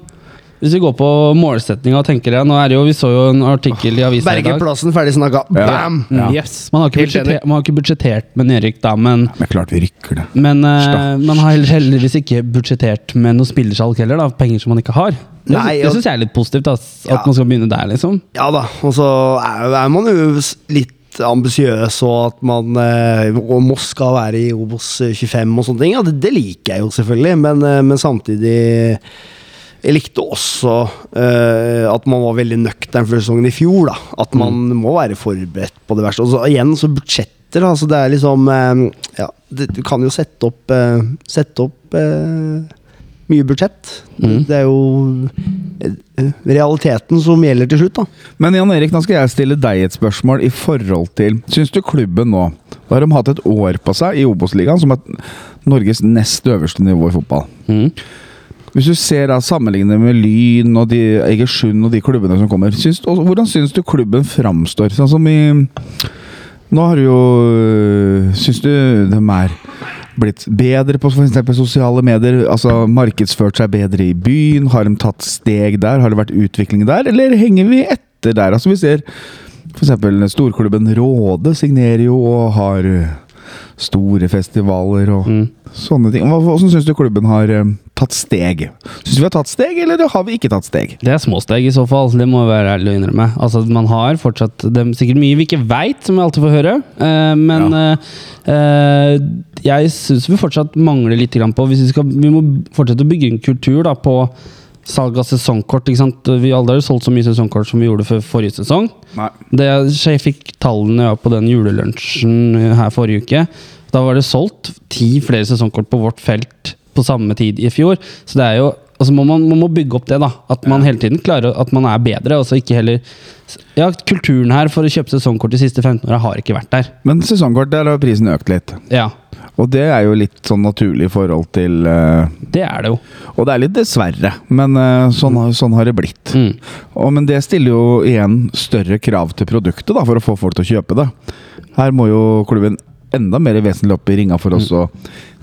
Speaker 4: Hvis vi går på målsettinga og tenker ja, nå er det jo, Vi så jo en artikkel i avisa i dag.
Speaker 3: Bergerplassen, ferdig snakka. Bam!
Speaker 1: Ja.
Speaker 2: Yes.
Speaker 4: Man har, ikke
Speaker 2: Helt enig.
Speaker 4: budsjettert, man har ikke budsjettert med nedrykk, da, men,
Speaker 1: Men klart vi rykker det.
Speaker 4: men eh, man har heller- heldigvis ikke budsjettert med noe spillersalg heller. da, Penger som man ikke har. Det,
Speaker 3: Nei,
Speaker 4: sy- det
Speaker 3: og-
Speaker 4: syns jeg er litt positivt, da, at
Speaker 3: Ja.
Speaker 4: man skal begynne der, liksom.
Speaker 3: Ja da. Og så er, er man jo s- litt ambisiøs, og at man eh, og Moss skal være i Obos eh, 25 og sånne ting. Ja, det, det liker jeg jo selvfølgelig, men, eh, men samtidig jeg likte også eh, at man var veldig nøktern før sesongen i fjor. da. At man må være forberedt på det verste. Og så igjen, så budsjetter. da, så det er liksom eh, Ja, det, du kan jo sette opp eh, Sette opp eh, mye budsjett. Det er jo eh, realiteten som gjelder til slutt, da.
Speaker 1: Men Jan Erik, nå skal jeg stille deg et spørsmål i forhold til Syns du klubben nå Da har de hatt et år på seg i Obos-ligaen, som er Norges nest øverste nivå i fotball. Hvis du ser da sammenlignet med Lyn og de, Egersund og de klubbene som kommer, syns, og hvordan syns du klubben framstår? Sånn som i Nå har du jo øh, Syns du de er blitt bedre på for eksempel sosiale medier? Altså markedsført seg bedre i byen? Har de tatt steg der? Har det vært utvikling der, eller henger vi etter der? Altså vi ser f.eks. storklubben Råde signerer jo og har øh, store festivaler og sånne ting. Hva, hvordan syns du klubben har eh, tatt steg? Syns vi har tatt steg, eller har vi ikke tatt steg?
Speaker 4: Det er småsteg i så fall, det må jeg være ærlig å innrømme. Altså, man har fortsatt det er sikkert mye vi ikke veit, som vi alltid får høre. eh, men eh, eh, jeg syns vi fortsatt mangler litt grann på hvis vi, skal, vi må fortsette å bygge en kultur da, på salg av sesongkort. Ikke sant? Vi aldri har solgt så mye sesongkort som vi gjorde for forrige sesong.
Speaker 1: Nei.
Speaker 4: Det jeg, så jeg fikk tallene ja, på den julelunsjen eh, her forrige uke. Da var det solgt ti flere sesongkort på vårt felt på samme tid i fjor. Så det er jo Altså må man, man må bygge opp det, da. At man hele tiden klarer at man er bedre. Altså ikke heller Ja, kulturen her for å kjøpe sesongkort de siste 15 åra har ikke vært der.
Speaker 1: Men sesongkort, der har prisen økt litt.
Speaker 4: Ja,
Speaker 1: Og det er jo litt sånn naturlig i forhold til eh,
Speaker 4: det er det jo.
Speaker 1: Og det er litt dessverre, men eh, sånn, har- sånn har det blitt.
Speaker 4: Mm.
Speaker 1: Og, men det stiller jo igjen større krav til produktet da, for å få folk til å kjøpe det. Her må jo klubben enda mer vesentlig opp i ringa for oss å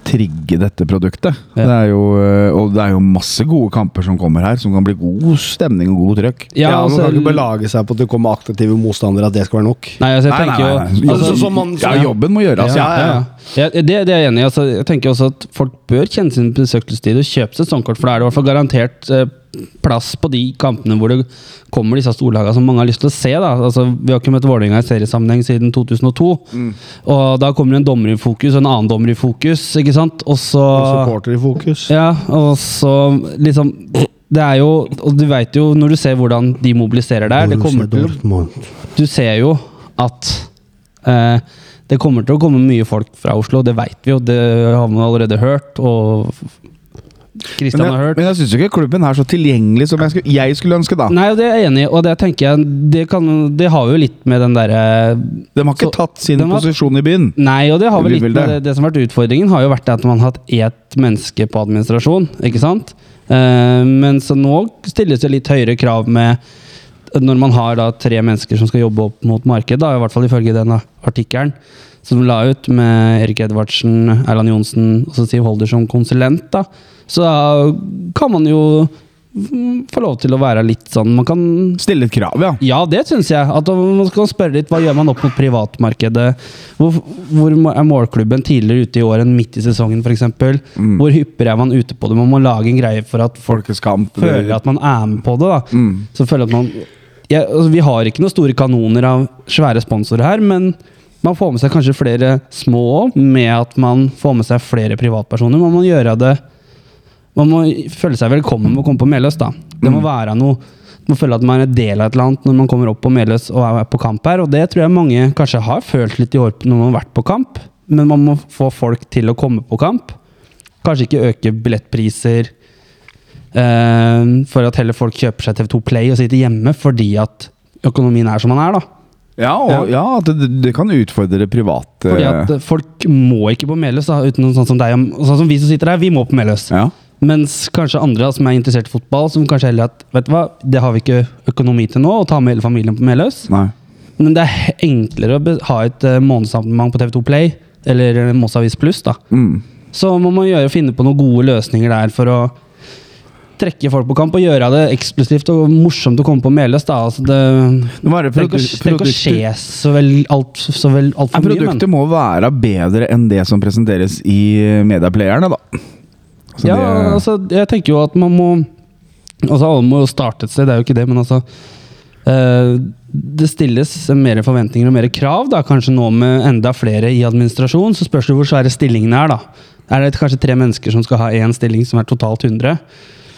Speaker 1: trigge dette produktet.
Speaker 4: Mm. Ja.
Speaker 1: Det er jo, eh, og det er jo masse gode kamper som kommer her, som kan bli god stemning og god trøkk.
Speaker 3: Ja,
Speaker 4: Ja,
Speaker 3: Man
Speaker 4: altså,
Speaker 3: kan ikke
Speaker 2: Mm.
Speaker 3: belage seg på at det kommer aktive motstandere, at det skal være nok.
Speaker 4: Nei, altså, jeg tenker jo
Speaker 3: Altså, så- så man-
Speaker 1: ja, jobben må gjøres, ja.
Speaker 3: Ja,
Speaker 4: ja, ja. ja det, det er jeg enig i. Altså, jeg tenker også at folk bør kjenne sin besøkelsestid og kjøpe sesongkort, for da er det i hvert fall garantert eh, plass på de kampene hvor det kommer disse storlagene som mange har lyst til å se. Da. Altså, vi har ikke møtt Vålerenga i seriesammenheng siden 2002. Og da kommer en dommer i fokus og en annen dommer i fokus, ikke sant? Og så
Speaker 3: Supporter i fokus.
Speaker 4: ja, og så liksom Det er jo Og du veit jo når du ser hvordan de mobiliserer der det kommer til, Du ser jo at eh, det kommer til å komme mye folk fra Oslo, det veit vi jo. Det har man allerede hørt, og Kristian
Speaker 1: Men
Speaker 4: har
Speaker 1: jeg,
Speaker 4: hørt.
Speaker 1: men jeg syns ikke klubben er så tilgjengelig som jeg skulle, jeg skulle ønske, da.
Speaker 4: Nei, og det er jeg enig i, og det tenker jeg Det, kan, det har jo litt med den eh, derre
Speaker 1: De har ikke
Speaker 4: Så-
Speaker 1: tatt sin
Speaker 4: den var-
Speaker 1: posisjon i byen.
Speaker 4: Nei, og det har vel
Speaker 1: Vi
Speaker 4: litt
Speaker 1: vil
Speaker 4: med
Speaker 1: det.
Speaker 4: det. det som har vært utfordringen, har jo vært at man har hatt ett menneske på administrasjon, ikke sant? Eh, men så nå stilles det litt høyere krav med når man har da tre mennesker som skal jobbe opp mot markedet, da, i hvert fall ifølge den artikkelen som la ut med Erik Edvardsen, Erland Johnsen og så Siv Holder som konsulent, da, så kan man jo mm, få lov til å være litt sånn Man kan
Speaker 1: Stille et krav, ja.
Speaker 4: ja, det syns jeg. At man skal spørre litt, Hva gjør man opp mot privatmarkedet? Hvor, hvor er målklubben tidligere ute i år enn midt i sesongen f.eks.? Hvor hyppigere er man ute på det? Man må lage en greie for at folk
Speaker 1: Folkets kamp.
Speaker 4: føler at man er med på det. da. Så føler at man... Ja, altså, vi har ikke noen store kanoner av svære sponsorer her, men man får med seg kanskje flere små òg, med at man får med seg flere privatpersoner. Man må gjøre det Man må føle seg velkommen med å komme på Meløs. da. Det må være noe man må føle at man er en del av et eller annet når man kommer opp på Meløs og er på kamp her. Og det tror jeg mange kanskje har følt litt i år når man har vært på kamp, men man må få folk til å komme på kamp. Kanskje ikke øke billettpriser, Eh, for at heller folk kjøper seg TV2 Play og sitter hjemme fordi at økonomien er som den er. da.
Speaker 1: Ja, og, ja at det, det kan utfordre private
Speaker 4: Fordi at eh, folk må ikke på Meløs, da, uten noen sånn som deg. og Sånn som vi som sitter her, vi må på Meløs.
Speaker 1: ja.
Speaker 4: Mens kanskje andre som er interessert i fotball, som kanskje heller at vet du hva, det har vi ikke økonomi til nå, å ta med hele familien på Meløs.
Speaker 1: Nei.
Speaker 4: Men det er he- enklere å be- ha et eh, månedsabonnement på TV2 Play eller Moss Avis Pluss. da.
Speaker 1: Mm.
Speaker 4: Så må man gjøre, finne på noen gode løsninger der for å trekke folk på kamp og gjøre det eksklusivt og morsomt å komme på Meløs. da. Altså det
Speaker 1: Det må være
Speaker 4: trenger ikke å-
Speaker 1: produ-
Speaker 4: trenger ikke å
Speaker 1: produkter-
Speaker 4: skje så vel alt, så vel alt
Speaker 1: Nei,
Speaker 4: for mye.
Speaker 1: Produktet
Speaker 4: Men.
Speaker 1: må være bedre enn det som presenteres i medieplayerne, da. Så
Speaker 4: Ja,
Speaker 1: det-
Speaker 4: altså, jeg tenker jo at man må altså Alle må jo starte et sted, det er jo ikke det, men altså eh, Det stilles mer forventninger og mer krav, da, kanskje nå med enda flere i administrasjon. Så spørs det hvor svære stillingene er. da. Er det kanskje tre mennesker som skal ha én stilling som er totalt 100?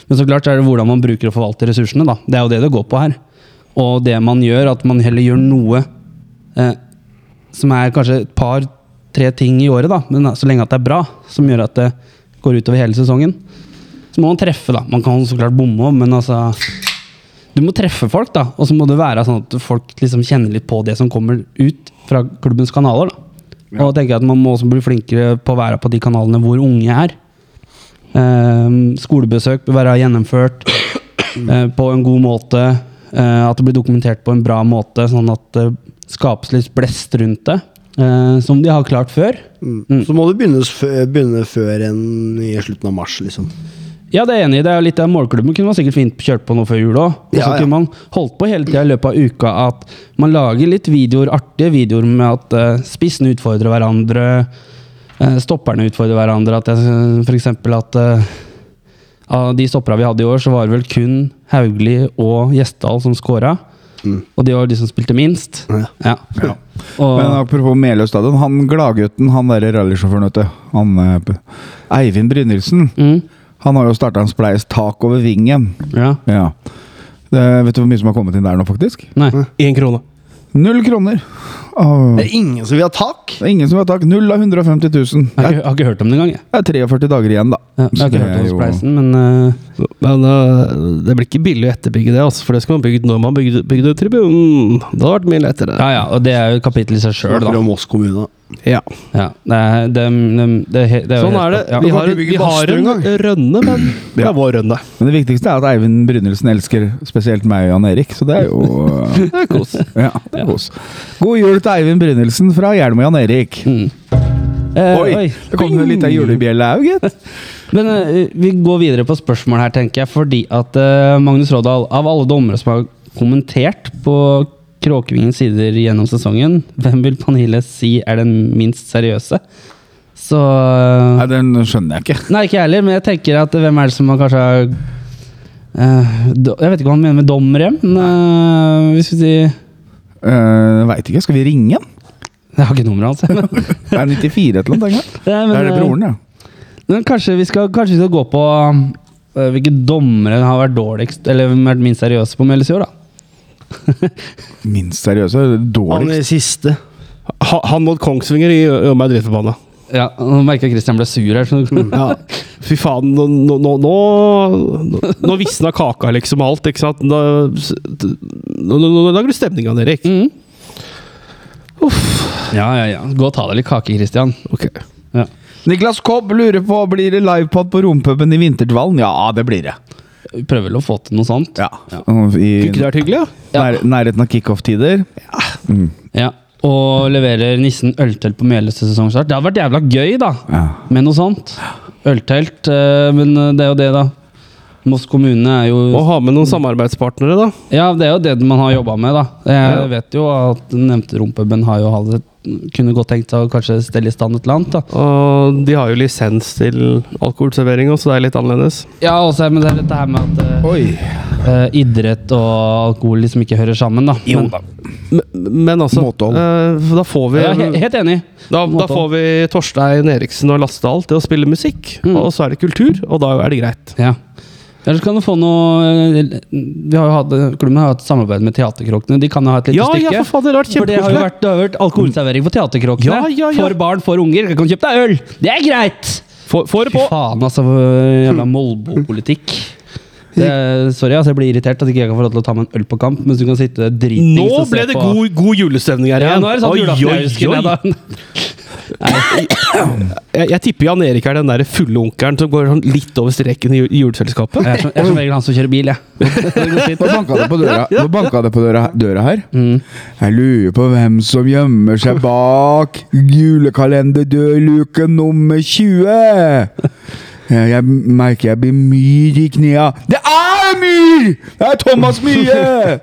Speaker 4: Men så klart er det hvordan man bruker og forvalter ressursene. da. Det er jo det det går på her. Og det man gjør, at man heller gjør noe eh, som er kanskje et par-tre ting i året, da, men så lenge at det er bra, som gjør at det går utover hele sesongen. Så må man treffe, da. Man kan så klart bomme òg, men altså Du må treffe folk, da. Og så må det være sånn at folk liksom kjenner litt på det som kommer ut fra klubbens kanaler. da. Og tenker jeg at man må også bli flinkere på å være på de kanalene hvor unge er. Ehm, skolebesøk bør være gjennomført eh, på en god måte. eh, at det blir dokumentert på en bra måte, sånn at det skapes litt blest rundt det. eh, som de har klart før.
Speaker 3: Mm.
Speaker 2: Mm.
Speaker 3: Så må du begynne, s- fø- begynne før enn i slutten av mars, liksom.
Speaker 4: Ja, det er jeg enig i. Det er jo litt av målklubben kunne man sikkert fint kjørt på nå før jul òg. Og så
Speaker 3: Ja, ja.
Speaker 4: kunne man holdt på hele tida i løpet av uka at man lager litt videoer, artige videoer med at eh, spissene utfordrer hverandre, eh, stopperne utfordrer hverandre. At jeg, for eksempel at eh, av de stopperne vi hadde i år, så var det vel kun Hauglie og Gjesdal som scora. Og de var de som spilte minst.
Speaker 3: Ja.
Speaker 4: Ja. Og,
Speaker 1: Men apropos Meløy stadion. Han gladgutten, han derre rallysjåføren, vet du. Han eh, P- Eivind Brynildsen.
Speaker 4: mm,
Speaker 1: Han har jo starta en spleis tak over vingen.
Speaker 4: ja.
Speaker 1: Ja. Det, vet du hvor mye som har kommet inn der nå, faktisk?
Speaker 4: Nei.
Speaker 2: Én krone.
Speaker 1: Null kroner. Åh.
Speaker 2: Mm.
Speaker 3: Det er ingen som vil ha tak!
Speaker 1: Det er ingen som har tak. Null av 150 000.
Speaker 4: Jeg har
Speaker 1: Det er,
Speaker 4: ikke, har ikke hørt om det engang, jeg.
Speaker 1: det er 43 dager igjen, da.
Speaker 4: Ja, jeg
Speaker 1: Så
Speaker 4: har ikke
Speaker 1: det
Speaker 4: hørt
Speaker 1: er
Speaker 4: om
Speaker 1: jo-
Speaker 4: Spleisen, men eh,
Speaker 2: Men øh, det blir ikke billig å etterbygge det, altså, for det skulle man bygd når man bygde, bygde tribunen. Det hadde vært mye lettere.
Speaker 4: Ja, ja, og det er jo et kapittel i seg sjøl, da.
Speaker 3: Snakker om Moss kommune.
Speaker 2: Ja.
Speaker 4: Ja, det er, det, det, det, er he- det er jo
Speaker 2: Sånn
Speaker 4: helt
Speaker 2: er det.
Speaker 4: klart,
Speaker 2: Vi
Speaker 4: Ja.
Speaker 2: har,
Speaker 3: kan ikke bygge
Speaker 2: vi har
Speaker 3: badstue
Speaker 2: en
Speaker 3: engang.
Speaker 2: rønne, men det
Speaker 1: Ja.
Speaker 2: er vår rønne.
Speaker 1: Men det viktigste er at Eivind Brynildsen elsker spesielt meg og Jan Erik, så det er jo
Speaker 2: Det er kos.
Speaker 1: Ja, det er kos. God jul til Eivind Brynildsen fra Hjelm og Jan Erik.
Speaker 4: Mm. Eh,
Speaker 1: Oi, det kom jo litt av julebjelle òg, gitt.
Speaker 4: Men eh, vi går videre på spørsmål her, tenker jeg, fordi at eh, Magnus Rådal, av alle dommere som har kommentert på Kråkevingens sider gjennom sesongen, hvem vil Pernille si er den minst seriøse? Så eh,
Speaker 1: Nei, den skjønner jeg ikke.
Speaker 4: Nei, ikke jeg heller, men jeg tenker at hvem er det som har kanskje har eh, do- Jeg vet ikke hva han mener med dommerhjem, men eh, hvis vi sier
Speaker 1: Uh, Veit ikke. Skal vi ringe han?
Speaker 4: Jeg har ikke nummeret hans. jeg.
Speaker 1: Det er 94 et eller annet. tenker jeg.
Speaker 4: Nei, men,
Speaker 1: Det er det
Speaker 4: eh,
Speaker 1: broren, ja.
Speaker 4: Men kanskje vi skal, kanskje vi skal gå på eh, hvilke dommere har vært dårligst, eller vært minst seriøse på Meldes i år, da.
Speaker 1: Minst seriøse.
Speaker 3: Han
Speaker 1: Dårligst.
Speaker 3: i siste.
Speaker 2: Ha, han mot Kongsvinger i- gjør meg dritforbanna.
Speaker 4: Ja, Nå merker jeg Christian ble sur her. Så
Speaker 1: Mm.
Speaker 2: Fy faen, nå, nå, nå, nå, nå visna kaka liksom alt, ikke sant? Da, nå, nå, nå lager du stemninga, Erik.
Speaker 1: Mm.
Speaker 4: Mhm. Ja, ja, ja. Gå og ta deg litt kake, Christian.
Speaker 2: Ok.
Speaker 1: Niklas Kobb lurer på blir det livepod på rompuben i Vintertvallen. Ja, det blir det.
Speaker 4: Vi prøver vel å få til noe sånt.
Speaker 1: Ja. I
Speaker 2: Kunne ikke det vært hyggelig? da?
Speaker 1: nær, nærheten av kickoff-tider.
Speaker 4: Ja. Og leverer nissen øltelt på Meldes til sesongstart. Det hadde vært jævla gøy, da.
Speaker 1: Ja.
Speaker 4: Med noe sånt. Øltelt. eh, Men eh, det er jo det, da. Moss kommune er jo
Speaker 1: Mm.
Speaker 2: Å ha med noen samarbeidspartnere, da.
Speaker 4: Ja, det er jo det man har jobba med, da. Jeg vet jo at den nevnte rumpuben har jo hatt et- kunne godt tenkt seg å kanskje stelle i stand et eller annet. da.
Speaker 2: Og de har jo lisens til alkoholservering også, så det er litt annerledes.
Speaker 4: Ja, også, men det er dette her med at eh,
Speaker 1: Oi.
Speaker 4: eh, idrett og alkohol liksom ikke hører sammen, da. Men,
Speaker 2: Men, men altså
Speaker 1: Måtehold.
Speaker 2: eh, for Da får vi
Speaker 4: ja, he helt enig.
Speaker 2: da, da får vi Torstein Eriksen og Lastdal til å spille musikk,
Speaker 4: Mm.
Speaker 2: og så er det kultur, og da er det greit.
Speaker 4: Ja. Ellers kan du få noe eh, Vi har jo hatt, Klubben har jo hatt samarbeid med Teaterkråkene. De kan jo ha et lite
Speaker 2: Ja, ja,
Speaker 4: stykke.
Speaker 2: for faen, det hadde vært
Speaker 4: For det har jo
Speaker 2: kjempekoselig!
Speaker 4: vært, det har jo vært alkoholservering for teaterkråkene.
Speaker 2: Ja, ja, ja.
Speaker 4: For barn, for unger. Du kan kjøpe deg øl! Det er greit!
Speaker 2: Få få det
Speaker 4: Fy
Speaker 2: på!
Speaker 4: faen, altså. Jævla Molbo-politikk. Det, sorry, altså, jeg blir irritert at ikke jeg kan få lov til å ta meg en øl på kamp, mens du kan sitte dritings
Speaker 2: Nå
Speaker 4: og se
Speaker 2: ble det
Speaker 4: på-
Speaker 2: god, god julestemning her
Speaker 4: ja,
Speaker 2: igjen.
Speaker 4: nå er det sånn
Speaker 2: Oi,
Speaker 4: julaften
Speaker 2: oi,
Speaker 4: jeg husker
Speaker 2: oi.
Speaker 4: det, da.
Speaker 2: Jeg, jeg tipper Jan Erik er den der fulle onkelen som går sånn litt over streken i ju- i juleselskapet.
Speaker 4: Jeg er som- jeg er som regel han som kjører bil, jeg.
Speaker 1: Nå banka det på døra, Nå banka det på døra, døra her.
Speaker 4: Mm.
Speaker 1: Jeg lurer på hvem som gjemmer seg bak julekalenderdørluke nummer 20. Jeg jeg merker jeg blir myr i knea. Det er myr! Det er Thomas Mye!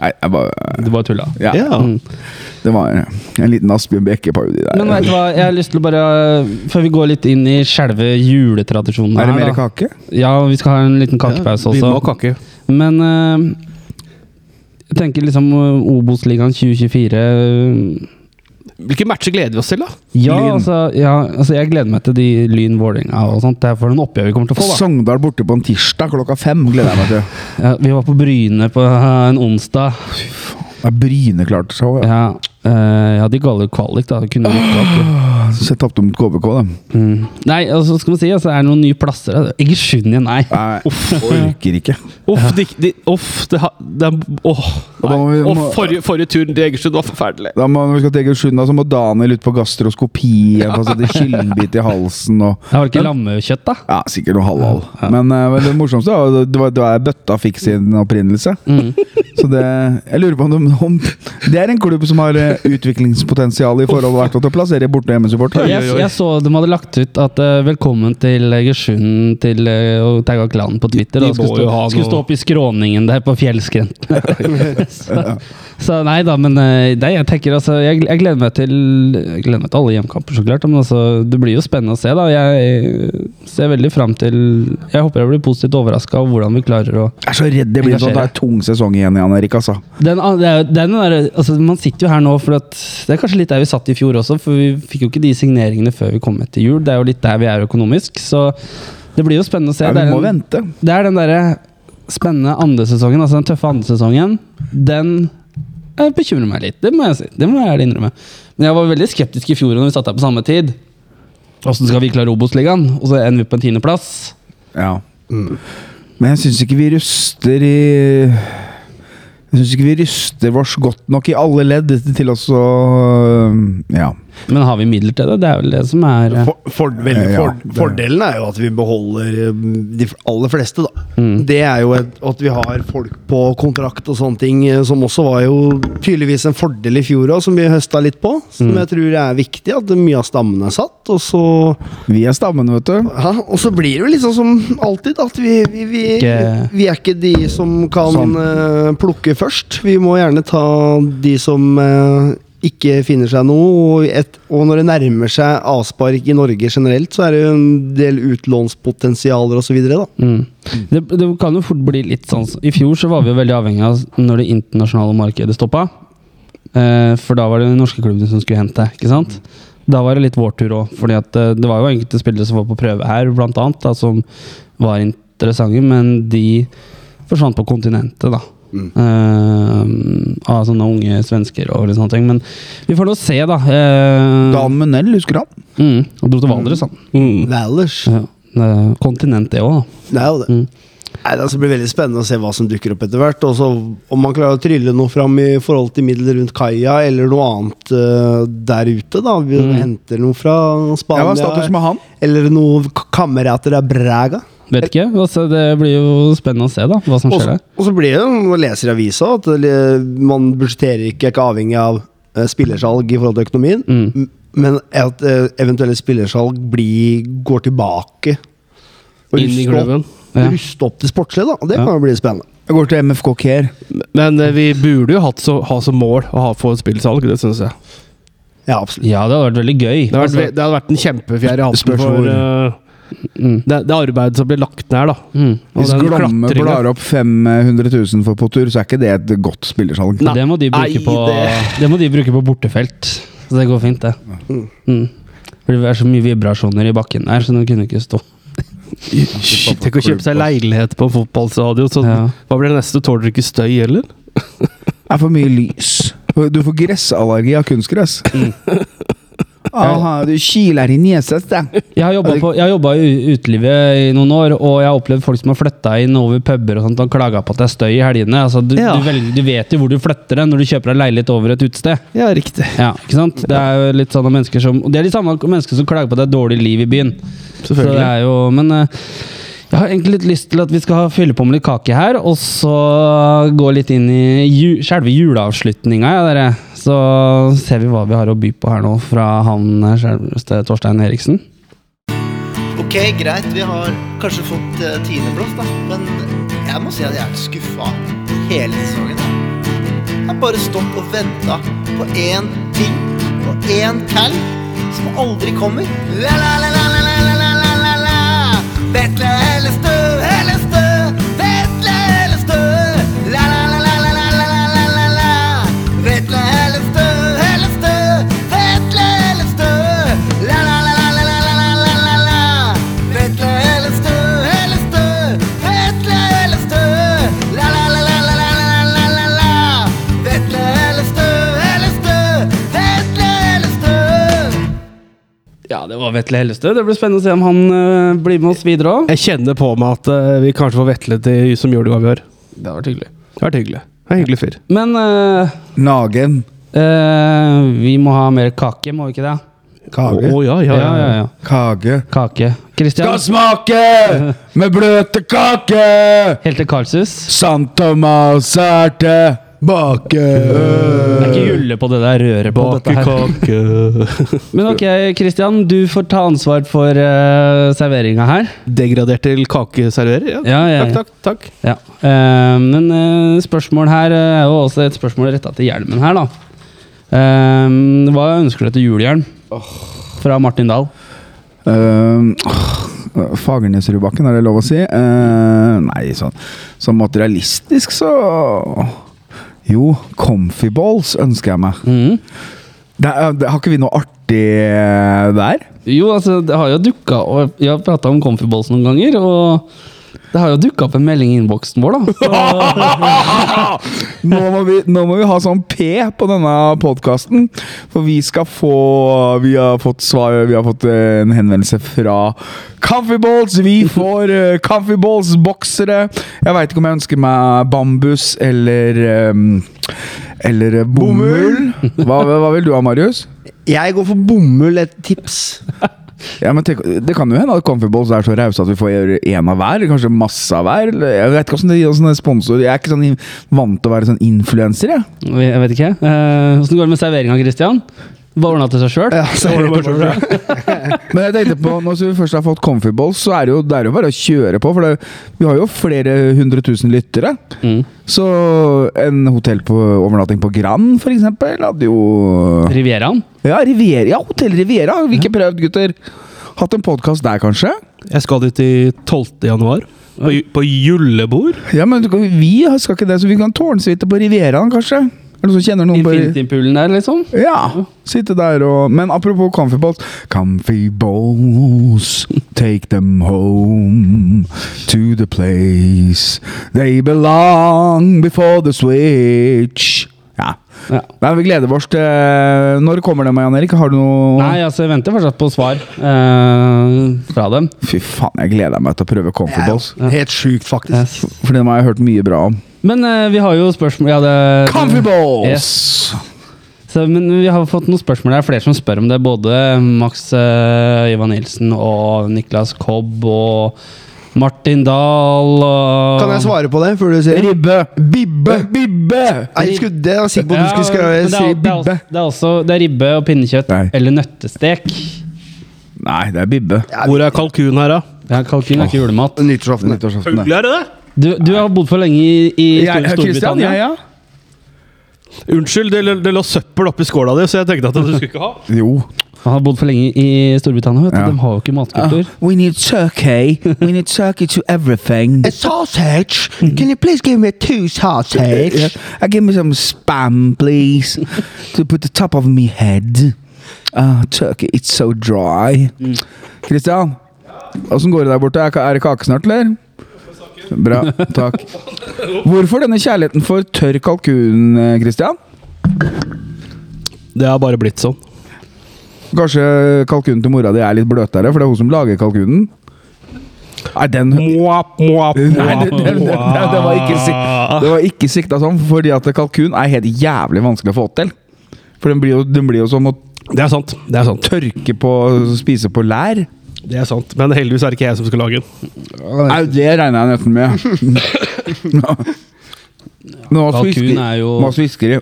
Speaker 1: Nei, jeg bare
Speaker 4: Det var tulla.
Speaker 1: Ja.
Speaker 2: Ja.
Speaker 1: Det var en liten Asbjørn Bekke-på de der.
Speaker 4: Men eh, vet du hva, jeg har lyst til å bare Før vi går litt inn i selve juletradisjonen
Speaker 1: er det
Speaker 4: her,
Speaker 1: mer
Speaker 4: da.
Speaker 1: kake?
Speaker 4: Ja, vi skal ha en liten kakepause også.
Speaker 2: Vi må kakke.
Speaker 4: Men eh, jeg tenker liksom eh, Obos-ligaen 2024 eh,
Speaker 2: Hvilke matcher gleder vi oss til, da?
Speaker 4: ja
Speaker 1: Lyn.
Speaker 4: altså, ja, altså jeg gleder meg til de Lyn Vålerenga og sånt. Det er for noen oppgjør vi kommer til å få, da.
Speaker 1: Sogndal borte på en tirsdag klokka fem, gleder jeg meg til.
Speaker 4: Ja, vi var på Bryne på eh, en onsdag.
Speaker 1: Det er Bryne klart show. Ja.
Speaker 4: Ja, eh, ja de gale kvalik, da. Kunne rykka opp. da.
Speaker 1: Så jeg tapte mot KBK, da.
Speaker 4: Mm. Nei, altså skal man si, altså, er det noen nye plasser? da? Egersund igjen, nei.
Speaker 1: Nei, orker ikke.
Speaker 2: Uff, de, de, uff det, ha- det er Åh.
Speaker 1: Og da må
Speaker 2: nei.
Speaker 1: vi-
Speaker 2: Åh,
Speaker 1: må-
Speaker 2: forrige, forrige turen til Egersund var forferdelig.
Speaker 1: Da må, når vi skal til Egersund, da, så må Daniel ut på gastroskopi igjen for å sette kyllenbit i halsen. og...
Speaker 4: Det var det ikke lammekjøtt, da?
Speaker 1: Ja, sikkert noe halal. Men, eh, men det morsomste var jo det var da bøtta fikk sin opprinnelse.
Speaker 4: Mm.
Speaker 1: Så det Jeg lurer på om, de- om Det er en klubb som har eh, utviklingspotensial i forhold hvert fall til å plassere borte- og hjemmesupporter.
Speaker 4: Jeg,
Speaker 2: oi.
Speaker 4: jeg så de hadde lagt ut at eh, 'velkommen til Egersund' til eh, og tagga klanen på Twitter.
Speaker 2: De
Speaker 4: og skulle
Speaker 2: må
Speaker 4: stå,
Speaker 2: jo ha
Speaker 4: skulle
Speaker 2: noe-
Speaker 4: stå opp i skråningen der på fjellskrenten. så, så nei da, men eh, nei, jeg tenker altså jeg, jeg gleder meg til jeg gleder meg til alle hjemkamper, så klart. Men altså, det blir jo spennende å se, da. Jeg ser veldig fram til Jeg håper jeg blir positivt overraska over hvordan vi klarer å
Speaker 1: Jeg er så redd det blir en sånn det er tung sesong igjen, Jan Erik. altså.
Speaker 4: den, an- det er jo- den der, altså Man sitter jo her nå for at Det er kanskje litt der vi satt i fjor også, for vi fikk jo ikke de signeringene før vi kom etter jul. Det er jo litt der vi er økonomisk, så det blir jo spennende å se.
Speaker 1: Ja,
Speaker 4: det,
Speaker 1: vi
Speaker 4: er
Speaker 1: må
Speaker 4: den,
Speaker 1: vente.
Speaker 4: det er den derre spennende andre sesongen, altså den tøffe andre sesongen, den eh, bekymrer meg litt. Det må jeg si. Det må jeg ærlig innrømme. Men jeg var veldig skeptisk i fjor når vi satt her på samme tid. Åssen skal vi klare Obos-ligaen? Og så ender vi på en tiendeplass.
Speaker 1: Ja. Men jeg syns ikke vi ruster i Jeg syns ikke vi ruster oss godt nok i alle ledd til oss å øh, Ja.
Speaker 4: Men har vi midler til det? Det er vel det som er eh,
Speaker 3: For, for, veldig,
Speaker 1: Ja,
Speaker 3: for,
Speaker 1: det-
Speaker 3: fordelen er jo at vi beholder eh, de aller fleste, da. Det er jo et, at vi har folk på kontrakt og sånne ting, eh, som også var jo tydeligvis en fordel i fjor òg, som vi høsta litt på. Som jeg tror er viktig, at mye av stammen er satt. Og så,
Speaker 1: Vi er stammen, vet du.
Speaker 3: ja, og så blir det jo liksom som alltid, at vi, vi, vi,
Speaker 4: Ikke-
Speaker 3: vi er ikke de som kan
Speaker 1: Sånn.
Speaker 3: eh, plukke først. Vi må gjerne ta de som eh, ikke finner seg noe. Og, et, og når det nærmer seg avspark i Norge generelt, så er det jo en del utlånspotensialer osv.
Speaker 4: Mm. Det, det kan jo fort bli litt sånn I fjor så var vi jo veldig avhengig av når det internasjonale markedet stoppa. Eh, for da var det den norske klubben som skulle hente. ikke sant? Da var det litt vår tur òg. For eh, det var jo enkelte spillere som var på prøve her, blant annet, da, som var interessante, men de forsvant på kontinentet, da. Eh, av sånne unge svensker og litt sånne ting. Men vi får nå se, da. Eh,
Speaker 1: Dan Munell, husker du han?
Speaker 4: Mm, og dro til Valdres, han. Mm.
Speaker 3: Valers.
Speaker 4: Ja, det- kontinent, det òg, da.
Speaker 3: Det er jo det.
Speaker 4: Mm.
Speaker 3: Nei, det altså blir veldig spennende å se hva som dukker opp etter hvert. Og så om man klarer å trylle noe fram i forhold til midler rundt kaia, eller noe annet eh, der ute. da Vi henter noe fra
Speaker 1: Mm. Ja, hva er status
Speaker 3: Spania,
Speaker 1: med han?
Speaker 3: eller noen k- kamerater av Braga.
Speaker 4: Vet ikke. Altså, det blir jo spennende å se da, hva som
Speaker 3: Og
Speaker 4: skjer
Speaker 3: så
Speaker 4: der.
Speaker 3: og så blir det jo, man leser i avisa, at eh, man budsjetterer ikke, er ikke avhengig av eh, spillersalg i forhold til økonomien.
Speaker 4: Mm.
Speaker 3: m- Men at eh, eventuelle spillersalg blir, går tilbake. Og
Speaker 2: Inn i
Speaker 3: ruster opp,
Speaker 2: klubben.
Speaker 4: Ja.
Speaker 3: ruster opp til sportslige, da. Og det
Speaker 4: Ja.
Speaker 3: kan jo bli spennende.
Speaker 1: Jeg går til MFK Care.
Speaker 2: Men eh, vi burde jo hatt så, ha som mål å ha få spillsalg, det syns jeg.
Speaker 3: Ja, absolutt.
Speaker 4: Ja, det hadde vært veldig gøy.
Speaker 2: Det hadde
Speaker 1: Altså-
Speaker 2: vært, ve- det hadde vært en kjempefjær i hatten
Speaker 1: Spørs
Speaker 2: for
Speaker 1: hvor.
Speaker 2: eh,
Speaker 4: Mm.
Speaker 2: det, det arbeidet som ble lagt ned, da.
Speaker 4: Mm.
Speaker 2: Og
Speaker 1: Hvis
Speaker 2: den
Speaker 1: Glomme
Speaker 2: klatringen.
Speaker 1: blar opp 500 000 for på tur, så er ikke det et godt spillersalg.
Speaker 2: Nei.
Speaker 4: Det må de bruke
Speaker 2: Nei,
Speaker 4: på Det må de bruke på bortefelt. Så det går fint, det. Mm. For det er så mye vibrasjoner i bakken der, så den kunne ikke stå.
Speaker 2: Tenk å kjøpe seg leilighet på fotballstadion, så
Speaker 4: Ja.
Speaker 2: hva blir det neste? Tåler du ikke støy heller?
Speaker 1: Det er for mye lys. Du får gressallergi av kunstgress. Aha, du kiler i nesa, da.
Speaker 4: Jeg har jobbet på- jeg har jobba i utelivet i noen år, og jeg har opplevd folk som har flytta inn over puber og sånt, og klaga på at det er støy i helgene. Altså, du,
Speaker 2: Ja.
Speaker 4: du, velger, du vet jo hvor du flytter den når du kjøper deg leilighet over et utested.
Speaker 2: Ja, riktig.
Speaker 4: Ja, ikke sant? Det er jo litt sånne mennesker som og Det er de samme mennesker som klager på at det er dårlig liv i byen. Så det
Speaker 2: Selvfølgelig.
Speaker 4: er jo, men eh, jeg har egentlig litt lyst til at vi skal fylle på med litt kake her, og så gå litt inn i ju selve juleavslutninga. Ja, dere. så ser vi hva vi har å by på her nå fra han eh, selveste Torstein Eriksen.
Speaker 5: Ok, greit, vi har kanskje fått eh, tiendeplass, da. Men jeg må si at jeg er skuffa hele sesongen. Jeg har bare stått og venta på én ting og én cal som aldri kommer. La, la, la, la, la, la, la, la, la, la. Vetle Hellestø, Hellestø, Vetle Hellestø. La, la, la, la, la, la, la, la, la, la, la. Vetle Hellestø, Hellestø, Vetle Hellestø. La, la, la, la, la, la, la, la, la, la. Vetle Hellestø, Hellestø, Vetle Hellestø. La, la, la, la, la, la, la, la, la, la. Vetle Hellestø, Hellestø, Vetle Hellestø.
Speaker 4: Ja, det var Vetle Hellestø. Det blir spennende å se om han eh, blir med oss videre òg.
Speaker 2: Jeg kjenner på meg at eh, vi kanskje får Vetle til som julegave i år.
Speaker 4: Det har vært hyggelig.
Speaker 2: Det har vært hyggelig. Det er en hyggelig fyr.
Speaker 4: Men eh,
Speaker 1: Nagen.
Speaker 4: eh, vi må ha mer kake, må vi ikke det?
Speaker 2: Å
Speaker 1: Kage.
Speaker 2: å, ja, ja, ja. ja, ja.
Speaker 1: Kage.
Speaker 4: Kake.
Speaker 1: Skal
Speaker 4: Kristian,
Speaker 1: smake med bløte kake!
Speaker 4: helt til Karlshus.
Speaker 1: Sant Thomas er tilbake.
Speaker 4: Det er ikke julle på det der røret på dette her.
Speaker 2: Bakekake
Speaker 4: Men ok, Kristian, du får ta ansvar for uh, serveringa her.
Speaker 2: Degradert til kakeserverer? Ja.
Speaker 4: Ja, ja, ja.
Speaker 2: Takk, takk. takk.
Speaker 4: Ja. Eh, men eh, spørsmål her eh, er jo også et spørsmål retta til hjelmen her, da. Eh, hva ønsker du til julehjelm? Fra Martin Dahl.
Speaker 1: Ehm, åh, Fagernesrudbakken, er det lov å si? Ehm, nei, sånn så materialistisk, så Jo, comfy balls ønsker jeg meg.
Speaker 4: Mhm.
Speaker 1: Det, er- det, har ikke vi noe artig der?
Speaker 4: Jo, altså, det har jo dukka og Jeg har prata om Comfyballs noen ganger, og det har jo dukka opp en melding i innboksen vår, da.
Speaker 1: Nå må vi, nå må vi ha sånn P på denne podkasten, for vi skal få Vi har fått svar Vi har fått eh, en henvendelse fra Comfyballs. Vi får uh, Comfyballs-boksere. Jeg veit ikke om jeg ønsker meg bambus eller ehm, Eller eh, bomull. Hva, hva vil du ha, Marius?
Speaker 3: Jeg går for bomull, et tips.
Speaker 1: Ja, men tenk, det kan jo hende at Comfyballs er så rause at vi får gjøre én av hver. Kanskje masse av hver. eller- Jeg vet ikke hvordan det gir oss en sponsor. Jeg er ikke sånn in- vant til å være sånn influenser, jeg.
Speaker 4: Øh, Jeg vet ikke. Eh, Åssen går det med serveringa, Kristian? Bare ordna til seg sjøl.
Speaker 3: Ja, så er det bare sånn.
Speaker 1: Men jeg tenkte på, når vi først har fått Comfy Balls, så er det jo, det er jo bare å kjøre på. For det, vi har jo flere hundre tusen lyttere.
Speaker 4: Mm.
Speaker 1: Så en hotell på overnatting på Grand, for eksempel, hadde jo
Speaker 4: Rivieraen.
Speaker 1: Ja, Riviera, ja Hotell Riviera har vi ikke prøvd, gutter. Hatt en podkast der, kanskje?
Speaker 2: Jeg skal dit i 12. januar. På, ju- på julebord.
Speaker 1: Ja, men du kan- vi har- skal ikke det, så vi kan tårnsuite på Rivieraen, kanskje? Er det noen som kjenner noen på
Speaker 4: Infinitypoolen der, liksom.
Speaker 1: Ja! Sitte der og Men apropos comfy balls Comfy balls, take them home to the place they belong before the switch. Ja.
Speaker 4: Ja.
Speaker 1: Nei, vi gleder oss til Når kommer det, Jan Erik? Har du noe
Speaker 4: Nei, altså, jeg venter fortsatt på svar eh, fra dem.
Speaker 1: Fy faen, jeg gleder meg til å prøve comfy balls.
Speaker 3: Helt sjukt, faktisk.
Speaker 4: Yes.
Speaker 1: For den har jeg hørt mye bra om.
Speaker 4: Men eh, vi har jo spørsmål ja, det,
Speaker 1: Comfy balls!
Speaker 4: Så, men vi har fått noen spørsmål. Det er flere som spør om det. Både Max eh, Ivan Nilsen og Niklas Kobb og Martin Dahl og
Speaker 3: Kan jeg svare på det før du sier det?
Speaker 1: Ribbe! Bibbe! Bibbe!
Speaker 3: Nei, jeg skulle- det er jeg sikker på at du skulle
Speaker 4: men
Speaker 3: skrive
Speaker 4: det,
Speaker 3: si
Speaker 4: er, det, er også,
Speaker 3: bibbe.
Speaker 4: det er også det er ribbe og pinnekjøtt
Speaker 1: Nei.
Speaker 4: eller nøttestek.
Speaker 1: Nei, det er bibbe.
Speaker 2: Hvor er kalkunen her, da?
Speaker 4: Ja, kalkun er ikke julemat.
Speaker 3: Nyttårsaften.
Speaker 1: Nyttårsaften.
Speaker 2: er det det?
Speaker 4: Du, du har bodd for lenge i, i
Speaker 1: Jeg-
Speaker 4: Stor-
Speaker 1: Christian,
Speaker 4: Storbritannia.
Speaker 1: jeg, ja.
Speaker 2: Unnskyld, det, det lå søppel oppi skåla di, så jeg tenkte at du skulle ikke ha.
Speaker 1: Jo.
Speaker 4: Han har bodd for lenge i Storbritannia. Vet du.
Speaker 1: Ja.
Speaker 4: De har jo ikke matkultur.
Speaker 1: Ah, we need turkey. We need turkey to everything. Mm.
Speaker 5: A sausage? Can you please give me two sausage?
Speaker 1: Uh, Yeah. I give me some spam, please, to put the top of me head. Ah, turkey, it's so dry. Kristian, åssen går det der borte? Er ka- Er det kake snart, eller? Bra. Takk. Hvorfor denne kjærligheten for tørr kalkun, eh, Kristian?
Speaker 2: Det har bare blitt sånn.
Speaker 1: Kanskje kalkunen til mora di er litt bløtere, for det er hun som lager kalkunen? Nei, den
Speaker 2: Mwap, mwap,
Speaker 1: Nei, det, det, det, det, det var ikke si- Det var ikke sikta sånn, fordi at kalkun er helt jævlig vanskelig å få til. For den blir jo, den blir jo som å
Speaker 2: Det er sant. Det er sant.
Speaker 1: tørke på Spise på lær.
Speaker 2: Det er sant. Men heldigvis er det ikke jeg som skal lage den.
Speaker 1: Au, det regner jeg nesten med. Nå,
Speaker 4: Kalkun er jo Mm.
Speaker 1: Mas hvisker i.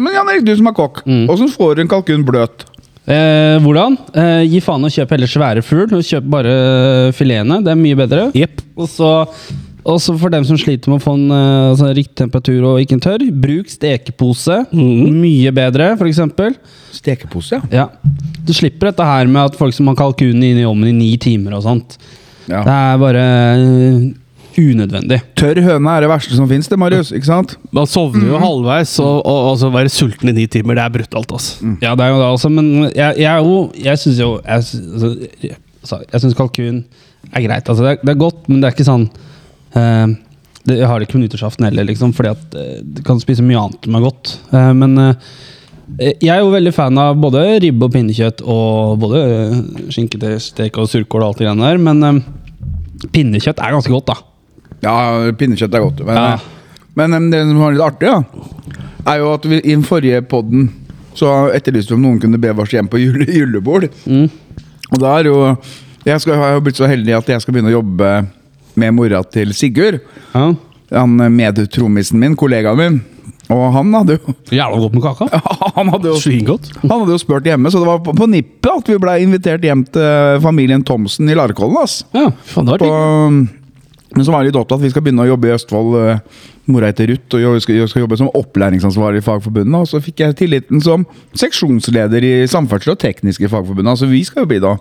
Speaker 1: Men Jan Erik, du som er kokk, åssen får du en kalkun bløt?
Speaker 4: eh, Hvordan? Eh, gi faen og kjøp heller svære fugl. og Kjøp bare filetene. Det er mye bedre.
Speaker 2: Jepp.
Speaker 4: Og så og så for dem som sliter med å få en eh, altså, riktig temperatur og ikke en tørr, bruk stekepose.
Speaker 1: Mm.
Speaker 4: Mye bedre, f.eks.
Speaker 1: Stekepose,
Speaker 4: Ja. Du slipper dette her med at folk som har kalkunen inne i ovnen i ni timer og sånt.
Speaker 1: ja.
Speaker 4: Det er bare eh, unødvendig.
Speaker 1: Tørr høne er det verste som fins, det, Marius. ikke sant?
Speaker 2: Man sovner jo halvveis, og, og, og så være sulten i ni timer, det er brutalt, altså.
Speaker 4: Ja, det er jo det også, men jeg, jeg er jo Jeg syns jo Jeg, sy- altså, jeg- altså, jeg syns kalkun er greit. Altså, det, er, det er godt, men det er ikke sånn eh, det, Jeg har det ikke på nyttårsaften heller, liksom, fordi at eh, du kan spise mye annet som er godt. Eh, men eh, jeg er jo veldig fan av både ribbe og pinnekjøtt og både eh, skinke til stek og surkål og alt det greiene der, men eh, pinnekjøtt er ganske godt, da.
Speaker 1: Ja, pinnekjøtt er godt. Men,
Speaker 4: Ja.
Speaker 1: men em, det som var litt artig, ja, er jo at vi, i den forrige podden så etterlyste vi om noen kunne be oss hjem på jule, julebord.
Speaker 4: Mm.
Speaker 1: Og da er jo Jeg skal, har jo blitt så heldig at jeg skal begynne å jobbe med mora til Sigurd.
Speaker 4: Ja.
Speaker 1: Han eh, medtrommisen min, kollegaen min. Og han hadde jo
Speaker 4: Jævla godt med kaka.
Speaker 1: Han hadde jo
Speaker 2: Svingodt.
Speaker 1: han hadde jo spurt hjemme, så det var på, på nippet at vi blei invitert hjem til eh, familien Thomsen i Larkollen. ass.
Speaker 4: Ja.
Speaker 2: Faen, det var
Speaker 1: På,
Speaker 2: digg.
Speaker 1: men så var jeg litt opptatt. Vi skal begynne å jobbe i Østfold. eh, Mora heter Ruth, og jeg skal, jeg skal jobbe som opplæringsansvarlig i Fagforbundet. Og så fikk jeg tilliten som seksjonsleder i Samferdsel og Tekniske Fagforbundet. Altså, vi skal jo bli da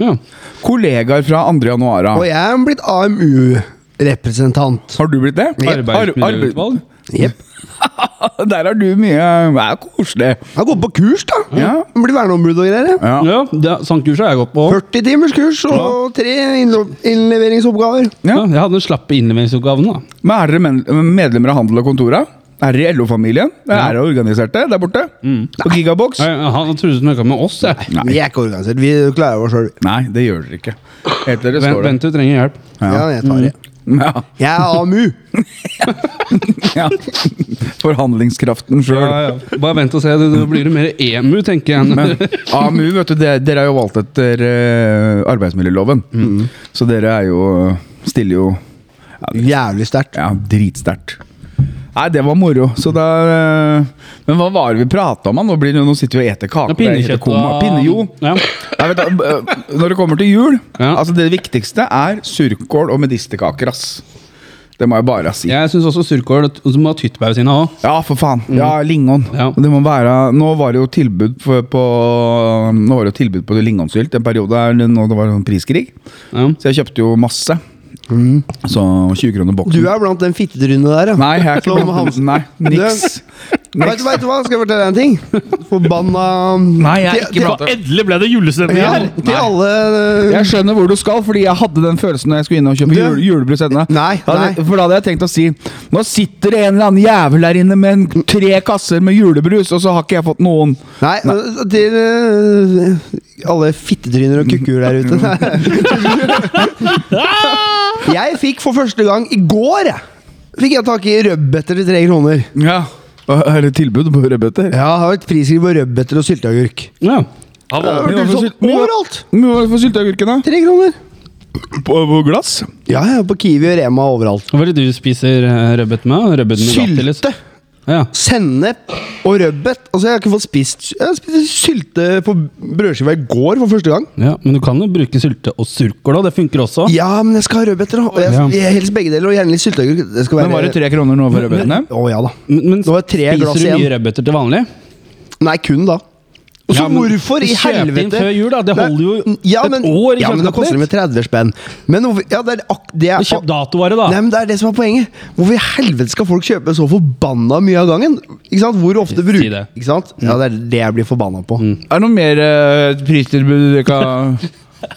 Speaker 4: Ja.
Speaker 1: kollegaer fra 2. januar. av.
Speaker 3: Og jeg er blitt AMU-representant.
Speaker 1: Har du blitt det? Ar-
Speaker 4: Arbeidsmiljøutvalg.
Speaker 3: Jepp.
Speaker 1: arbeid- Der har du mye Det er koselig.
Speaker 3: Jeg går på kurs, da.
Speaker 1: Ja.
Speaker 3: Blir verneombud og greier. jeg.
Speaker 1: Ja.
Speaker 4: Ja, det, sånt kurs har jeg gått på.
Speaker 3: 40 timers kurs og tre innlo- innleveringsoppgaver.
Speaker 4: Ja. jeg hadde den slappe innleveringsoppgaven, da.
Speaker 1: Men er dere men- medlemmer av Handel og Kontora? Er dere i LO-familien? Er dere organiserte der borte? På Gigabox?
Speaker 4: Mm. Nei, Han trodde du snakka med oss, jeg.
Speaker 1: Nei.
Speaker 3: Vi er ikke organisert. Vi klarer oss sjøl.
Speaker 1: Nei, det gjør dere ikke. Heter dere
Speaker 4: Vent,
Speaker 1: står det.
Speaker 4: vent, du trenger hjelp.
Speaker 3: Ja, jeg tar det.
Speaker 1: Mm. Ja.
Speaker 3: Jeg er AMU.
Speaker 1: Ja. Forhandlingskraften sjøl.
Speaker 4: Bare vent og se, det- det blir det mer EMU, tenker jeg.
Speaker 1: Men AMU, vet du, dere, dere er jo valgt etter eh, arbeidsmiljøloven. Så dere er jo Stiller jo
Speaker 3: Jævlig sterkt.
Speaker 1: ja, dritsterkt. Nei, det var moro. Så da eh, Men hva var det vi prata om? da? Nå, blir det, nå sitter vi og eter kake. Det er helt koma. Pinne, jo.
Speaker 4: Ja.
Speaker 1: Nei, vet du, eh, når det kommer til jul
Speaker 4: Ja.
Speaker 1: altså Det viktigste er surkål og medisterkaker. ass. Det må jeg bare si. Ja,
Speaker 4: Jeg syns også surkål og så må ha tyttebær ved siden av òg.
Speaker 1: for faen. Ja, Lingon.
Speaker 4: Ja.
Speaker 1: Det må være, nå var det jo tilbud på, på Nå var det jo tilbud på lingonsylt en periode her, nå det var det priskrig.
Speaker 4: Ja.
Speaker 1: Så jeg kjøpte jo masse. Så 20 kroner
Speaker 3: Du
Speaker 1: boksen.
Speaker 3: er blant den fittetrynet der, ja.
Speaker 1: Nei, jeg er ikke
Speaker 3: Som
Speaker 1: blant
Speaker 3: Hansen.
Speaker 1: Nei, niks.
Speaker 3: Vet, du- vet du hva, skal jeg fortelle deg en ting? Forbanna
Speaker 1: Nei, jeg er
Speaker 3: Til-
Speaker 1: ikke blant
Speaker 2: Endelig ble det julestemning!
Speaker 3: Ja,
Speaker 2: igjen.
Speaker 3: til alle
Speaker 1: Jeg skjønner hvor du skal, fordi jeg hadde den følelsen når jeg skulle inn og kjøpe
Speaker 3: Du-
Speaker 1: jule, julepresentene.
Speaker 3: Nei,
Speaker 1: Da hadde-
Speaker 3: nei.
Speaker 1: For da hadde jeg tenkt å si Nå sitter det en eller annen jævel der inne med en, tre kasser med julebrus, og så har ikke jeg fått noen.
Speaker 3: Nei, altså, til eh, alle fittetryner og kukkuer der ute. jeg fikk for første gang i går jeg, Fikk jeg tak i rødbeter til tre kroner.
Speaker 1: Ja. Er det tilbud på rødbeter?
Speaker 3: Ja, Har vært priskrig på rødbeter og sylteagurk.
Speaker 4: Ja.
Speaker 3: Det
Speaker 2: Han var-
Speaker 3: har vært
Speaker 1: hvorfor
Speaker 3: utsolgt
Speaker 1: sylt- men hva-
Speaker 3: Overalt!
Speaker 1: Men Hva for sylteagurkene?
Speaker 3: Tre kroner.
Speaker 1: På, på glass?
Speaker 3: Ja, ja, på Kiwi og Rema overalt.
Speaker 4: Hva er det du spiser eh, rødbet med? Rødbet med Nugatti, liksom?
Speaker 3: Sylte,
Speaker 4: Ja.
Speaker 3: sennep og rødbet. Altså, jeg har ikke fått spist Jeg spiste sylte på brødskiva i går for første gang.
Speaker 4: ja. Men du kan jo bruke sylte og surkål, da. Det funker også.
Speaker 3: Ja, men jeg skal ha rødbeter, da. Og jeg,
Speaker 4: Ja.
Speaker 3: jeg helst begge deler, og gjerne litt sylteagurk. Det skal være
Speaker 1: Men var det tre kroner nå for rødbetene?
Speaker 3: Å ja da.
Speaker 4: Men, men
Speaker 3: Det var tre
Speaker 4: spiser
Speaker 3: glass
Speaker 4: du mye
Speaker 3: igjen.
Speaker 4: rødbeter til vanlig?
Speaker 3: Nei, kun da. Og så
Speaker 4: Ja, men
Speaker 3: hvorfor i
Speaker 4: kjøp inn
Speaker 3: helvete
Speaker 4: før jul, da. Det
Speaker 3: Nei,
Speaker 4: holder jo
Speaker 3: ja,
Speaker 4: et
Speaker 3: men,
Speaker 4: år i
Speaker 3: Ja, men da
Speaker 4: kjøleskapet
Speaker 3: koster det med 30 spenn. Men hvorfor Ja, det er ak... Det er,
Speaker 4: Kjøp datovare, da.
Speaker 3: Nei, men det er det som er poenget. Hvorfor i helvete skal folk kjøpe så forbanna mye av gangen? Ikke sant? Hvor ofte bruker
Speaker 4: Si det. Mm.
Speaker 3: Ikke sant? Ja, det er det jeg blir forbanna på.
Speaker 1: Er det noe mer eh, pristilbud dere kan-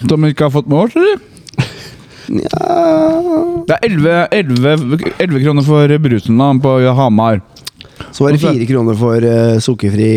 Speaker 1: som dere ikke har fått med oss, eller? Det er 11, 11, 11 kroner for brusen da, på Hamar.
Speaker 3: Så var det
Speaker 1: Hvorfor?
Speaker 3: fire kroner for eh, sukkerfri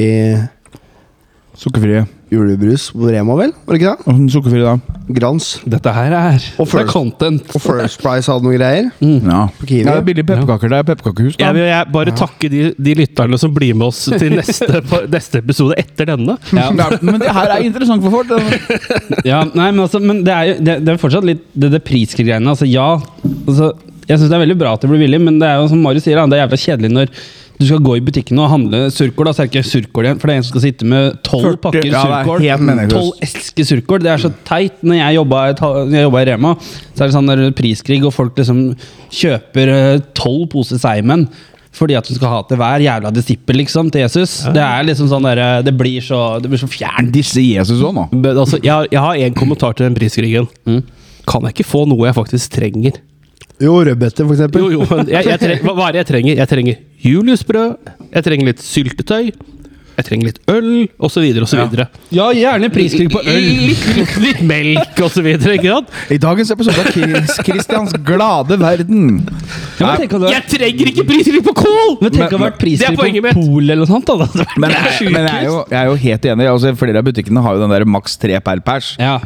Speaker 1: Sukkerfrie.
Speaker 3: julebrus på Rema, vel? Var det ikke det?
Speaker 1: Hva slags Sukkerfri, da?
Speaker 3: Grans.
Speaker 4: Dette her er,
Speaker 3: Og
Speaker 4: dette er
Speaker 3: first-
Speaker 4: content.
Speaker 3: Og First Price hadde noen greier.
Speaker 1: Ja.
Speaker 3: På Kiwi.
Speaker 1: Ja, det er billige pepperkaker. Det er pepperkakehus, da.
Speaker 2: Jeg vil jeg bare takke de, de lytterne som blir med oss til neste, på, neste episode etter denne.
Speaker 1: Ja, men det her er interessant for folk. Det-
Speaker 4: Ja, nei, men, altså, men det er jo det, det er fortsatt litt det, det priskrig-greiene. Altså, ja, altså, jeg syns det er veldig bra at det blir billig, men det er jo som Marius sier, da, det er jævla kjedelig når du skal gå i butikken og handle surkål, da, så er det ikke surkål igjen. For det er en som skal sitte med tolv
Speaker 1: 40,
Speaker 4: pakker
Speaker 1: ja, det er
Speaker 4: surkål.
Speaker 1: helt meningsløst.
Speaker 4: Tolv esker surkål. Det er så teit. Når jeg jobba i, ta- når jeg jobba i Rema, så er det sånn der priskrig, og folk liksom kjøper eh, tolv poser Seimen. Fordi at du skal ha til hver jævla disippel liksom, til Jesus. Det er liksom sånn der, eh, det blir så, det blir så fjernt.
Speaker 1: Disse Jesus òg, nå.
Speaker 2: Men altså, jeg, har- jeg har én kommentar til den priskrigen. Kan jeg ikke få noe jeg faktisk trenger?
Speaker 3: Jo, rødbeter, for eksempel.
Speaker 2: Jo, jo, men jeg, jeg treng, hva, hva er det jeg trenger? Jeg trenger juliusbrød, jeg trenger litt syltetøy, jeg trenger litt øl, osv., osv.
Speaker 4: Ja, gjerne priskrig på øl.
Speaker 2: Litt, litt, litt melk, osv.
Speaker 1: I dagens episode av Chris Christians glade verden.
Speaker 4: Ja, men tenk om det
Speaker 2: Jeg trenger ikke priskrig på kål!
Speaker 4: men tenk om det
Speaker 1: Men-
Speaker 4: har vært priser
Speaker 2: Det er
Speaker 4: på
Speaker 2: poenget mitt.
Speaker 4: Polet eller noe sånt. da. Det hadde vært
Speaker 1: Men, jeg, men jeg, er jo, jeg er jo helt enig. Altså, flere av butikkene har jo den der maks tre per pers.
Speaker 4: Ja.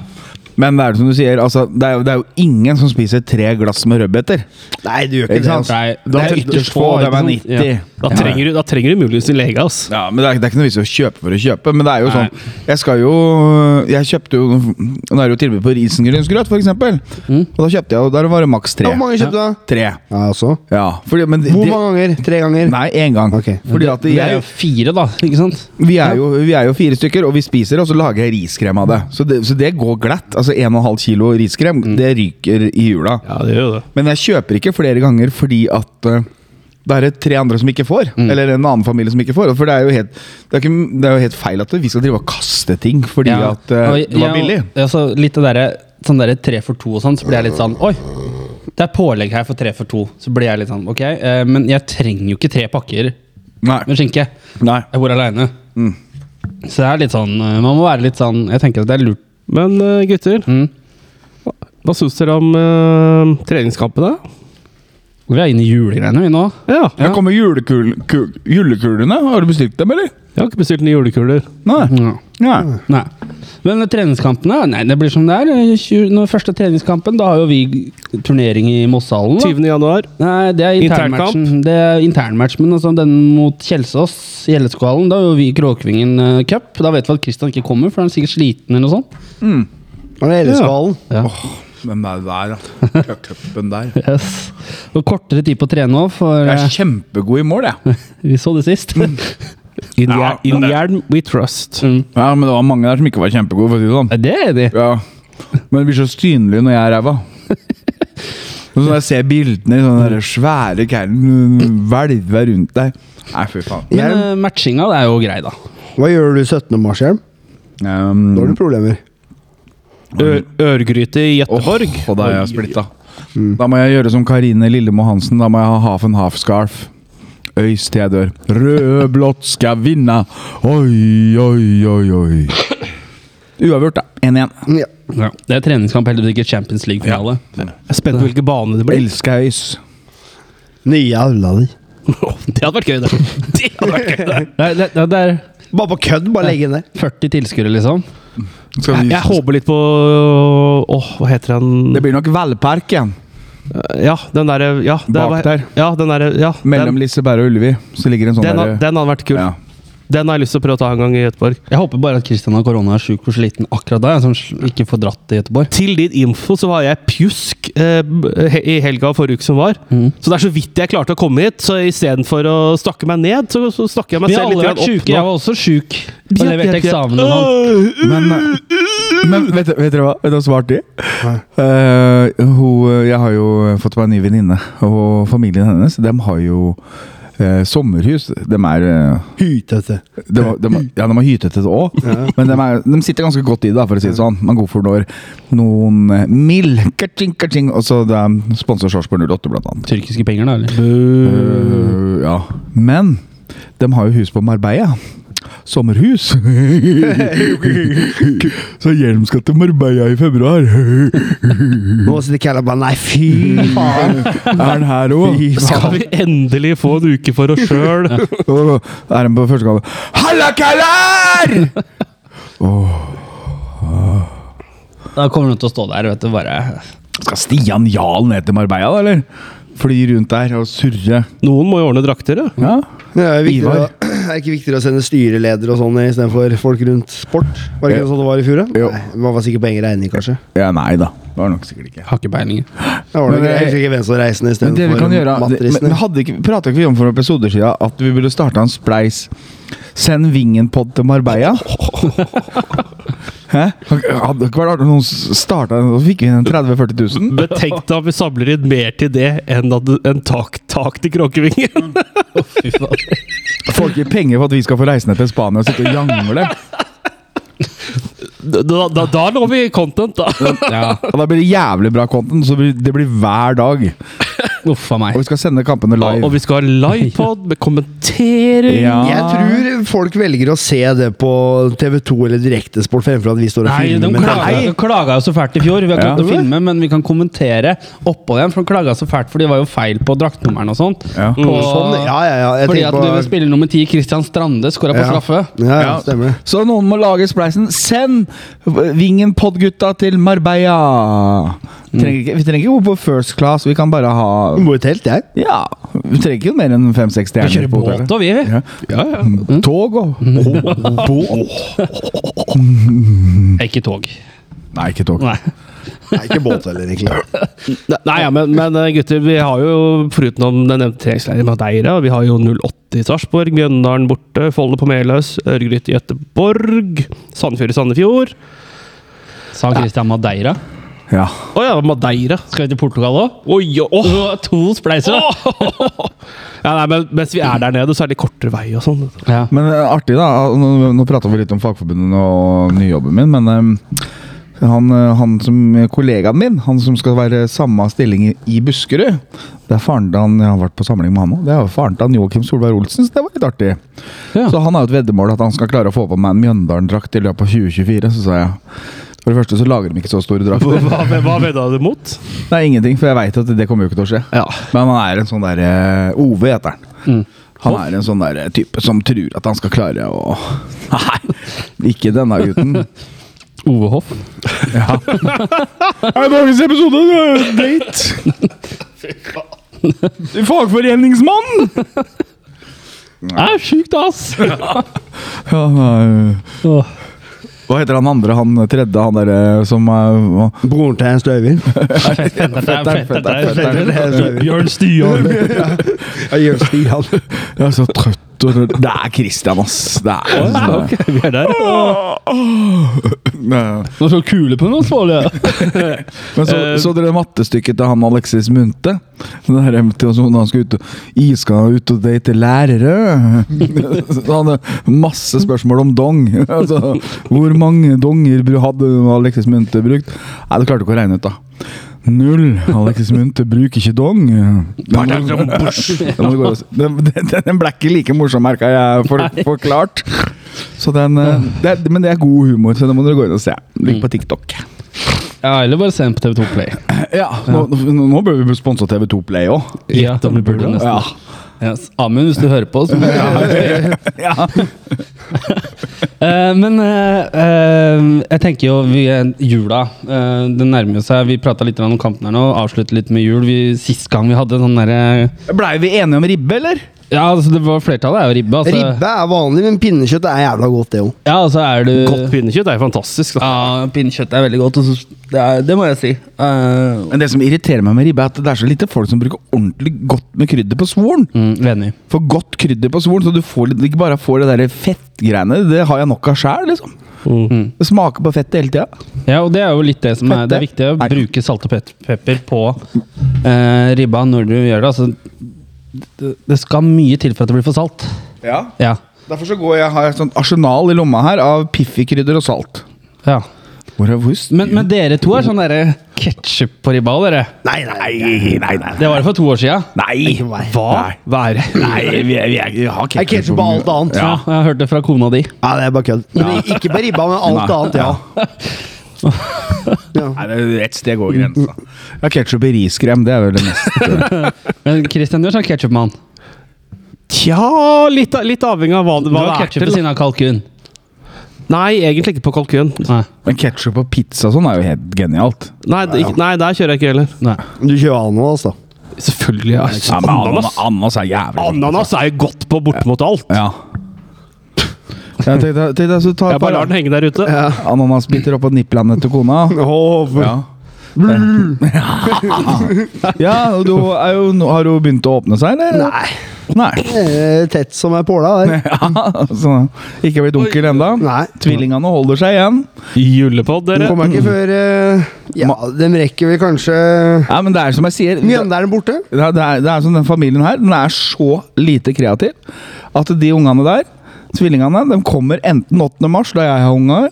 Speaker 1: Men det er jo som du sier, altså, det, er jo, det er jo ingen som spiser tre glass med rødbeter.
Speaker 3: Nei, du gjør ikke,
Speaker 1: Ikke sant?
Speaker 3: det.
Speaker 4: Nei,
Speaker 1: Det er
Speaker 4: det er
Speaker 1: ytterst få. De er 90.
Speaker 4: Ja.
Speaker 2: Da trenger, du, da trenger du muligens en lege, ass.
Speaker 1: Ja, men det er, det er ikke noe vits i å kjøpe for å kjøpe. Men det er jo
Speaker 4: Nei.
Speaker 1: sånn Jeg skal jo Jeg kjøpte jo Nå er det jo tilbud på risengrynsgrøt, for eksempel.
Speaker 4: Mm.
Speaker 1: Og da kjøpte jeg, og der var det maks tre.
Speaker 3: Hvor mange kjøpte du, da?
Speaker 1: Tre.
Speaker 3: Ja, altså.
Speaker 1: Ja, fordi, men de-
Speaker 3: Hvor
Speaker 1: de-
Speaker 3: mange ganger? Tre ganger?
Speaker 1: Nei, én gang.
Speaker 3: Ok.
Speaker 1: Fordi at
Speaker 4: Det er
Speaker 1: jeg,
Speaker 4: jo fire, da. ikke sant?
Speaker 1: vi, er jo, vi er jo fire stykker, og vi spiser, og så lager jeg riskrem av det. Så det, så det går glatt. Altså 1,5 kilo riskrem,
Speaker 4: Mm.
Speaker 1: det ryker i jula.
Speaker 2: Ja, det gjør jo det.
Speaker 1: Men jeg kjøper ikke flere ganger fordi at eh, det er tre andre som ikke får.
Speaker 4: Mm.
Speaker 1: Eller en annen familie som ikke får. For det er jo helt, det er ikke, det er jo helt feil at vi skal drive og kaste ting fordi
Speaker 4: Ja.
Speaker 1: at eh,
Speaker 4: Og jeg-
Speaker 1: det var
Speaker 4: jeg-
Speaker 1: billig.
Speaker 4: Ja, så litt det derre sånn derre tre for to og sånn, så blir jeg litt sånn Oi! Det er pålegg her for tre for to. Så blir jeg litt sånn Ok, eh, men jeg trenger jo ikke tre pakker med
Speaker 1: Nei.
Speaker 4: skinke.
Speaker 1: Nei.
Speaker 4: Jeg bor aleine.
Speaker 1: Mm.
Speaker 4: Så det er litt sånn eh, Man må være litt sånn Jeg tenker at det er lurt.
Speaker 2: Men eh, gutter,
Speaker 4: Mm.
Speaker 2: hva syns dere om eh, treningskampene?
Speaker 4: Vi er inne i julegreiene, vi nå.
Speaker 2: Ja,
Speaker 1: Jeg kommer julekul, kul, julekulene. Har du bestilt dem, eller?
Speaker 2: jeg har ikke bestilt nye julekuler.
Speaker 1: Nei.
Speaker 4: Ja.
Speaker 1: Nei.
Speaker 4: Nei. Men treningskampene nei, det blir som det er. Tju- Når første treningskampen, da har jo vi turnering i Mosshallen. da.
Speaker 2: 20. januar.
Speaker 4: Nei, det er
Speaker 2: Internkamp?
Speaker 4: internmatchen. Det er internmatch, men altså, den mot Kjelsås i Elleskålen, da har jo vi Kråkvingen eh, cup. Da vet vi at Kristian ikke kommer, for han er sikkert sliten eller noe sånt.
Speaker 3: Var det Elleskålen?
Speaker 4: Ja.
Speaker 1: Den der, der ja. Cupen der.
Speaker 4: Yes. Og kortere tid på å trene òg, for
Speaker 1: Jeg
Speaker 4: eh,
Speaker 1: er kjempegod i mål, jeg.
Speaker 4: vi så det sist.
Speaker 2: Mm. In,
Speaker 1: Ja,
Speaker 2: ja, in Jern we trust.
Speaker 1: Ja, men det var mange der som ikke var kjempegode, for å si det sånn.
Speaker 4: Ja, det er de.
Speaker 1: Ja, men det blir så synlig når jeg er ræva. Og så når jeg ser bildene i sånne der svære kæren hvelve rundt deg Nei, fy faen.
Speaker 4: Men
Speaker 3: Hjelm.
Speaker 4: eh, matchinga det er jo grei, da.
Speaker 3: Hva gjør du Mm. 17. mars, Hjelm?
Speaker 1: Um,
Speaker 3: Da har du problemer.
Speaker 2: Ø- Ørgryte i Gøteborg.
Speaker 1: åh, og da er jeg splitta.
Speaker 3: Mm.
Speaker 1: Da må jeg gjøre som Karine Lillemo Hansen. Da må jeg ha half and half-scarf. Øys til jeg dør. Rød, blått skal vinne. Oi, oi, oi, oi. Uavgjort, da. 1-1.
Speaker 3: Ja.
Speaker 4: Det er treningskamp, heldigvis ikke Champions League-finale.
Speaker 2: Jeg er spent på hvilken bane det blir.
Speaker 1: Elsker Øys.
Speaker 3: Nye aula di.
Speaker 2: Det hadde vært gøy, det. det, hadde vært gøy, det.
Speaker 4: Det, det, det, det er
Speaker 3: Bare på kødd, bare legge inn der.
Speaker 4: 40 tilskuere, liksom.
Speaker 1: Skal
Speaker 2: Jeg,
Speaker 1: vi-
Speaker 2: jeg håper litt på Åh, hva heter
Speaker 1: Det
Speaker 2: den
Speaker 1: blir nok Valpark igjen.
Speaker 2: Ja, den derre ja, det er-
Speaker 1: Bak der.
Speaker 2: Ja, den derre ja,
Speaker 1: Mellom
Speaker 2: den,
Speaker 1: Liseberg og Ullevi. Så ligger en sånn
Speaker 2: den, har-
Speaker 1: derre-
Speaker 2: den hadde vært kul.
Speaker 1: Ja.
Speaker 2: Den har jeg lyst til å prøve å ta en gang i Gøteborg.
Speaker 4: Jeg håper bare at Kristian har korona og er sjuk og sliten akkurat da, som ikke får dratt til Göteborg.
Speaker 2: Til din info så var jeg pjusk eh, he- i helga forrige uke som var. Så det er så vidt jeg klarte å komme hit. Så istedenfor å snakke meg ned, så, så snakker jeg meg
Speaker 4: Vi har
Speaker 2: selv
Speaker 4: alle
Speaker 2: litt grann
Speaker 4: vært sjuke. Jeg
Speaker 2: opp. nå.
Speaker 4: var også sjuk. Og
Speaker 2: Bjepp,
Speaker 4: leverte
Speaker 2: bjepp, bjepp.
Speaker 4: eksamen og sånn.
Speaker 2: Øh,
Speaker 1: Men, men vet, du- vet dere hva? Vet dere hva svarte de? Eh, hun, jeg har jo fått meg en ny venninne, og familien hennes de har jo eh, sommerhus. De er eh,
Speaker 3: Hytete.
Speaker 1: de, de, Ja, de har hytete òg, men de, er, de sitter ganske godt i det, for å si det sånn. Man går for når noen eh, mil kaching, kaching, Og så det er sponser Sarpsborg 08, blant annet.
Speaker 4: Tyrkiske penger, da, eller?
Speaker 1: Eh, ja. Men de har jo hus på Marbella. Sommerhus. Så Hjelm skal til Marbella i februar.
Speaker 3: Nå sitter Kalle bare Nei, fy faen!
Speaker 1: Er han her òg?
Speaker 3: Fy
Speaker 2: Skal vi endelig få en uke for oss sjøl?
Speaker 1: Er han på første gave? Halla, Kallar!
Speaker 4: Da kommer du til å stå der, vet du, bare
Speaker 1: Skal Stian Jarl ned til Marbella, da, eller? Fly rundt der og surre.
Speaker 2: Noen må jo ordne drakter, ja.
Speaker 1: Ja.
Speaker 3: Det er, viktigere,
Speaker 1: Ivar.
Speaker 3: å- er det ikke viktigere å sende styreleder og sånn istedenfor folk rundt sport? Var det ikke sånn det var i fjor? da?
Speaker 1: Jo.
Speaker 3: Nei, Man var sikkert på egen regning, kanskje.
Speaker 1: ja, nei da. Det var nok sikkert ikke.
Speaker 4: Har ikke peiling.
Speaker 3: Da var det
Speaker 1: Men
Speaker 3: ikke,
Speaker 1: det-
Speaker 3: jeg husker ikke hvem som reiste ned
Speaker 1: Men det vi kan
Speaker 3: istedenfor
Speaker 1: gjøre det-
Speaker 3: matrisene.
Speaker 1: Men hadde ikke, pratet ikke vi om for noen episoder siden at vi burde starte en spleis Send Vingen-pod til Marbella? Hæ? Hadde det ikke vært artig om noen starta en, og så fikk vi inn en 30 000-40 000?
Speaker 2: Men tenk deg at vi samler inn mer til det enn at en tak, tak til Kråkevingen.
Speaker 1: Folk gir penger for at vi skal få reise ned til Spania og sitte og jangle.
Speaker 2: Da, da, da når vi content, da.
Speaker 4: Ja,
Speaker 1: Og da blir det jævlig bra content, så blir- det blir hver dag.
Speaker 4: uff a meg.
Speaker 1: Og vi skal sende kampene
Speaker 2: Og
Speaker 1: live.
Speaker 2: vi skal ha livepod med kommentering.
Speaker 3: Jeg tror folk velger å se det på TV2 eller Direktesport fremfor at vi står og
Speaker 4: Nei, de
Speaker 3: filmer. med
Speaker 4: klaga, de klaga jo så fælt i fjor. Vi har ikke
Speaker 1: Ja.
Speaker 4: klart å filme, men vi kan kommentere oppå igjen. For de klaga så fælt, for de var jo feil på draktnummeren og sånt.
Speaker 1: Ja.
Speaker 4: På,
Speaker 3: Sånn, ja, ja, ja. Jeg
Speaker 4: fordi
Speaker 3: tenker
Speaker 4: at
Speaker 3: på-
Speaker 4: vi spiller nummer ti, Christian Strande, skåra på
Speaker 3: Ja.
Speaker 4: straffe.
Speaker 3: Ja, ja, stemmer det.
Speaker 1: Så noen må lage spleisen. Send Vingen-pod-gutta til Marbella!
Speaker 3: Mm.
Speaker 1: Trenger ikke, vi trenger ikke gå på first class, vi kan bare ha
Speaker 3: Bor i telt, jeg.
Speaker 1: Ja, vi trenger ikke mer enn fem-seks stjerner på hotellet.
Speaker 4: Båt og vi.
Speaker 1: Ja. Mm. Tog og
Speaker 4: Ikke tog.
Speaker 1: Nei, ikke tog.
Speaker 4: Nei.
Speaker 3: Nei, ikke båt heller, egentlig.
Speaker 2: Nei, ja, men, men eh, gutter, vi har jo foruten om den nevnte treningsleiren i Madeira, vi har jo 08 i Sarpsborg, Mjøndalen borte, Folde på Meløs, Ørgryte i Gøteborg, Sandefjord i Sandefjord.
Speaker 4: Sa Christian Madeira.
Speaker 1: Ja.
Speaker 2: Å ja, Madeira.
Speaker 4: Skal vi til Portugal òg?
Speaker 2: Oi, ja, åh.
Speaker 4: To spleiser, da.
Speaker 2: Ja, nei, men mens vi er der nede, så er det litt kortere vei og sånn.
Speaker 4: Ja.
Speaker 1: Men eh, artig, da. Nå, nå prata vi litt om Fagforbundet og nyjobben min, men eh, han, eh, han som kollegaen min, han som skal være samme stilling i, i Buskerud Det er faren til han Jeg har vært på samling med han òg. Det er jo faren til han Joakim Solberg Olsen, så det var litt artig.
Speaker 4: Ja.
Speaker 1: Så han har jo et veddemål at han skal klare å få på meg en Mjøndalen-drakt i løpet av 2024, så sa jeg. For det første så lager de ikke så store drakter.
Speaker 2: Hva, hva vedda du mot?
Speaker 1: Det er ingenting, for jeg veit at det kommer jo ikke til å skje.
Speaker 2: Ja. Mm.
Speaker 1: Men han er en sånn derre Ove heter han. Han er en sånn der type som tror at han skal klare å Nei, ikke denne gutten.
Speaker 4: Ove Hoff.
Speaker 1: Er dagens episode date? Fagforeningsmann!
Speaker 4: Det er sjukt, ass!
Speaker 1: Ja, nei.
Speaker 4: Åh.
Speaker 1: Hva heter han andre, han tredje, han derre som eh,
Speaker 3: Broren til Ernst Øyvind.
Speaker 1: fetteren, fetteren, fetteren.
Speaker 2: Bjørn Stian!
Speaker 3: Ja, Jørn Stian.
Speaker 1: Jeg er så trøtt og Det er Christian, ass. Det er
Speaker 2: Ok, vi er der.
Speaker 1: Nei.
Speaker 2: Nå så kule på noen svarlige.
Speaker 1: Men så,
Speaker 2: Eh,
Speaker 1: så dere mattestykket til han Alexis Munthe? Den der MT og sånn, han skulle ut og «Jeg skal ut og date lærere. Så han hadde masse spørsmål om dong. Altså, hvor mange donger bru- hadde Alexis Munthe brukt? Nei, det klarte ikke å regne ut, da. Null. Alexis Munthe bruker ikke dong. Den, den, den, den ble ikke like morsom, merka jeg, for, forklart. Så den, eh, det, er- men det er god humor, så det må dere gå inn og se. Ligger på TikTok.
Speaker 4: Ja, eller bare se den på TV2 Play.
Speaker 1: Ja, nå, nå, nå bør vi sponse TV2 Play òg.
Speaker 4: Ja, vi burde nesten.
Speaker 1: Ja.
Speaker 4: Yes. Amund, hvis du hører på, så Eh, men eh, eh, jeg tenker jo vi, eh, jula. eh, det nærmer seg. Vi prata litt om kampen her nå, avslutter litt med jul. Vi, sist gang vi hadde sånn derre
Speaker 1: Blei vi enige om ribbe, eller?
Speaker 4: Ja, altså, det var flertallet er jo ribbe. Altså,
Speaker 3: Ribbe er vanlig, men pinnekjøtt er jævla godt, det òg.
Speaker 4: Ja, og så er du
Speaker 2: Godt pinnekjøtt er jo fantastisk. da.
Speaker 4: Ja, pinnekjøtt er veldig godt. Og så, det, er, det må jeg si. Eh,
Speaker 1: Men det som irriterer meg med ribbe, er at det er så lite folk som bruker ordentlig godt med krydder på svoren.
Speaker 4: mm, Enig.
Speaker 1: For godt krydder på svoren, så du får litt, ikke bare får det der fettgreiene. Det har jeg nok av sjæl, liksom. Det smaker på fettet hele tida.
Speaker 4: Ja, og det er jo litt det som er Det er viktig å
Speaker 1: Nei.
Speaker 4: bruke salt og pet- pepper på eh, ribba når du gjør det. Altså, det, det skal mye til for at det blir for salt.
Speaker 1: Ja.
Speaker 4: Ja.
Speaker 1: Derfor så går jeg, har jeg et sånt arsenal i lomma her av piffikrydder og salt.
Speaker 4: ja.
Speaker 1: Hvor er hvor st-
Speaker 4: Men, men dere to er sånn derre ketsjup på ribba, dere.
Speaker 1: Nei, nei, nei. nei, nei.
Speaker 4: Det var det for to år sia.
Speaker 1: nei. Hva?
Speaker 2: Hva er det?
Speaker 1: Nei, vi, vi, er- vi har
Speaker 3: Jeg ketsjup
Speaker 1: på-
Speaker 3: på alt annet.
Speaker 1: Ja.
Speaker 4: Ja. Jeg hørte det fra kona di.
Speaker 3: Nei, det er bare kødd. Ikke på ribba, men alt
Speaker 1: Nei.
Speaker 3: annet, ja.
Speaker 1: Nei, det er Ett sted går grensa. Ja, Ketsjup i riskrem, det er vel det meste.
Speaker 4: Men Christian, du er sånn ketsjupmann.
Speaker 2: Tja, litt, litt avhengig av hva,
Speaker 4: Du
Speaker 2: hva
Speaker 4: har
Speaker 2: det er
Speaker 4: ketsjup ved
Speaker 2: til.
Speaker 4: siden av kalkun.
Speaker 2: Nei, egentlig ikke på kalkun.
Speaker 4: Nei.
Speaker 1: Men ketsjup og pizza og sånn er jo helt genialt.
Speaker 2: Nei, det- ikke- nei, der kjører jeg ikke heller.
Speaker 4: Nei.
Speaker 3: Du kjører altså. ananas, da.
Speaker 2: Selvfølgelig. Ja,
Speaker 1: Ja, men ananas,
Speaker 2: ananas.
Speaker 1: ananas er jævlig godt.
Speaker 2: Ananas er jo godt på bortimot alt.
Speaker 1: Ja. Jeg tenkte, tenkte jeg skulle ta
Speaker 2: Jeg
Speaker 1: et
Speaker 2: bare lar
Speaker 1: par
Speaker 2: den henge der ute.
Speaker 1: ananasbiter oppå nipplene til kona.
Speaker 3: Åh, for-
Speaker 1: Ja. ja, og du er jo, nå har hun begynt å åpne seg, eller?
Speaker 3: Nei.
Speaker 1: Nei.
Speaker 3: Eh, Tett som ei påla der.
Speaker 1: Ja, så ikke blitt onkel ennå.
Speaker 3: Nei.
Speaker 1: Tvillingene holder seg igjen.
Speaker 2: Julepod,
Speaker 3: Den
Speaker 2: dere.
Speaker 3: kommer ikke før eh, Ja, de rekker vel kanskje
Speaker 1: Ja, men det er som jeg sier
Speaker 3: Mjøndalen borte.
Speaker 1: Det er, det, er, det er som den familien her, den er så lite kreativ at de ungene der, tvillingene, de kommer enten 8. mars, da jeg har unger,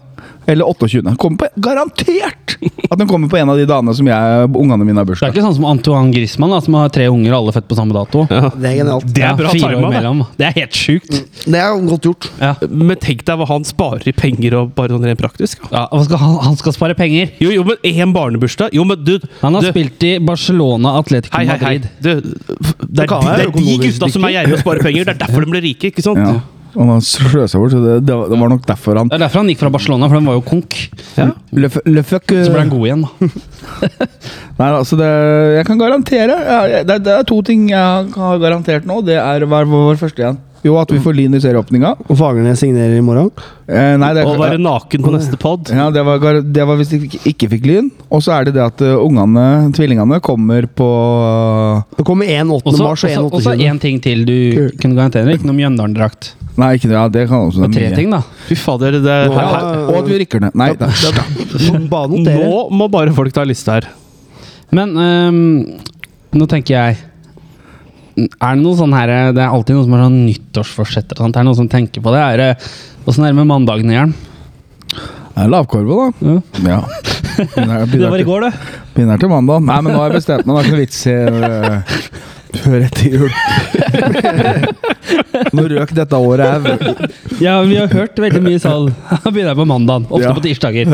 Speaker 1: eller 28. Kommer på, garantert at de kommer på en av de dagene som jeg, ungene mine har
Speaker 4: Det er
Speaker 1: bursdag.
Speaker 4: ikke sånn som Antoine Griezmann, da, som har tre unger alle født på samme dato.
Speaker 3: Det er genialt.
Speaker 2: Det er bra
Speaker 4: fire
Speaker 2: timet,
Speaker 4: år
Speaker 2: det.
Speaker 4: mellom. Det er helt sjukt.
Speaker 3: Det er godt gjort.
Speaker 4: Ja.
Speaker 2: Men tenk deg hva han sparer i penger og bare sånn rent praktisk. da.
Speaker 4: Ja, hva skal han, han skal spare penger.
Speaker 2: Jo, jo, men én barnebursdag Jo, men du
Speaker 4: Han har
Speaker 2: du-
Speaker 4: spilt i Barcelona, Atletico
Speaker 2: Hei, hei, hei.
Speaker 4: Madrid.
Speaker 2: Du, det er,
Speaker 3: kan være
Speaker 2: de- det er de
Speaker 3: økonomisk
Speaker 2: gutta som er gjerrige og sparer penger. Det er derfor de blir rike, ikke sant?
Speaker 1: Ja. Og han sløsa bort, så det, det, var- det var nok derfor han
Speaker 4: Det er derfor han gikk fra Barcelona, for den var jo konk.
Speaker 1: Le, f- le fuck
Speaker 4: Så ble
Speaker 1: eh,
Speaker 4: han god igjen, da.
Speaker 1: Nei, altså det, jeg kan garantere ja, jeg- det, det er to ting jeg har garantert nå. Det er hva hva var det første igjen? Jo, at vi får Lyn i serieåpninga.
Speaker 3: Og Fagernes signerer i morgen.
Speaker 1: Eh, nei, det
Speaker 2: Å være naken på neste pod.
Speaker 1: Ja, det var, gar- det var hvis de ikke, ikke fikk lyn. Og så er det det at eh, ungene, tvillingene, kommer på eh,
Speaker 3: Det kommer en 8.
Speaker 4: Og så-
Speaker 3: mars og en
Speaker 4: Og så
Speaker 3: 28.
Speaker 4: én ting til du kunne garantere. Ikke noe Mjøndalen-drakt.
Speaker 1: Nei, ikke det. Ja, det kan også
Speaker 4: Det var tre ting, da.
Speaker 2: Fy fader, det
Speaker 3: Nå-
Speaker 1: Ja, og at vi rykker ned. Nei, da.
Speaker 3: Bare notere.
Speaker 2: Nå må bare folk ta liste her.
Speaker 4: Men ehm, nå tenker jeg Er det noe sånn her Det er alltid noen som har sånn nyttårsforsetter. og sånt. Er det noen som tenker på det? Er det Åssen er det med mandagene, Jern?
Speaker 1: Det er Lavkorve, da. Ja. Begynner, begynner, til,
Speaker 4: går, det.
Speaker 1: begynner til mandag. Nei, men nå har jeg bestemt meg. Det er ikke noe vits i eh, før etter jul. Nå røk dette året her.
Speaker 4: Ja, vi har hørt veldig mye salg. Da begynner jeg på mandagen. Ofte
Speaker 1: Ja.
Speaker 4: på tirsdager.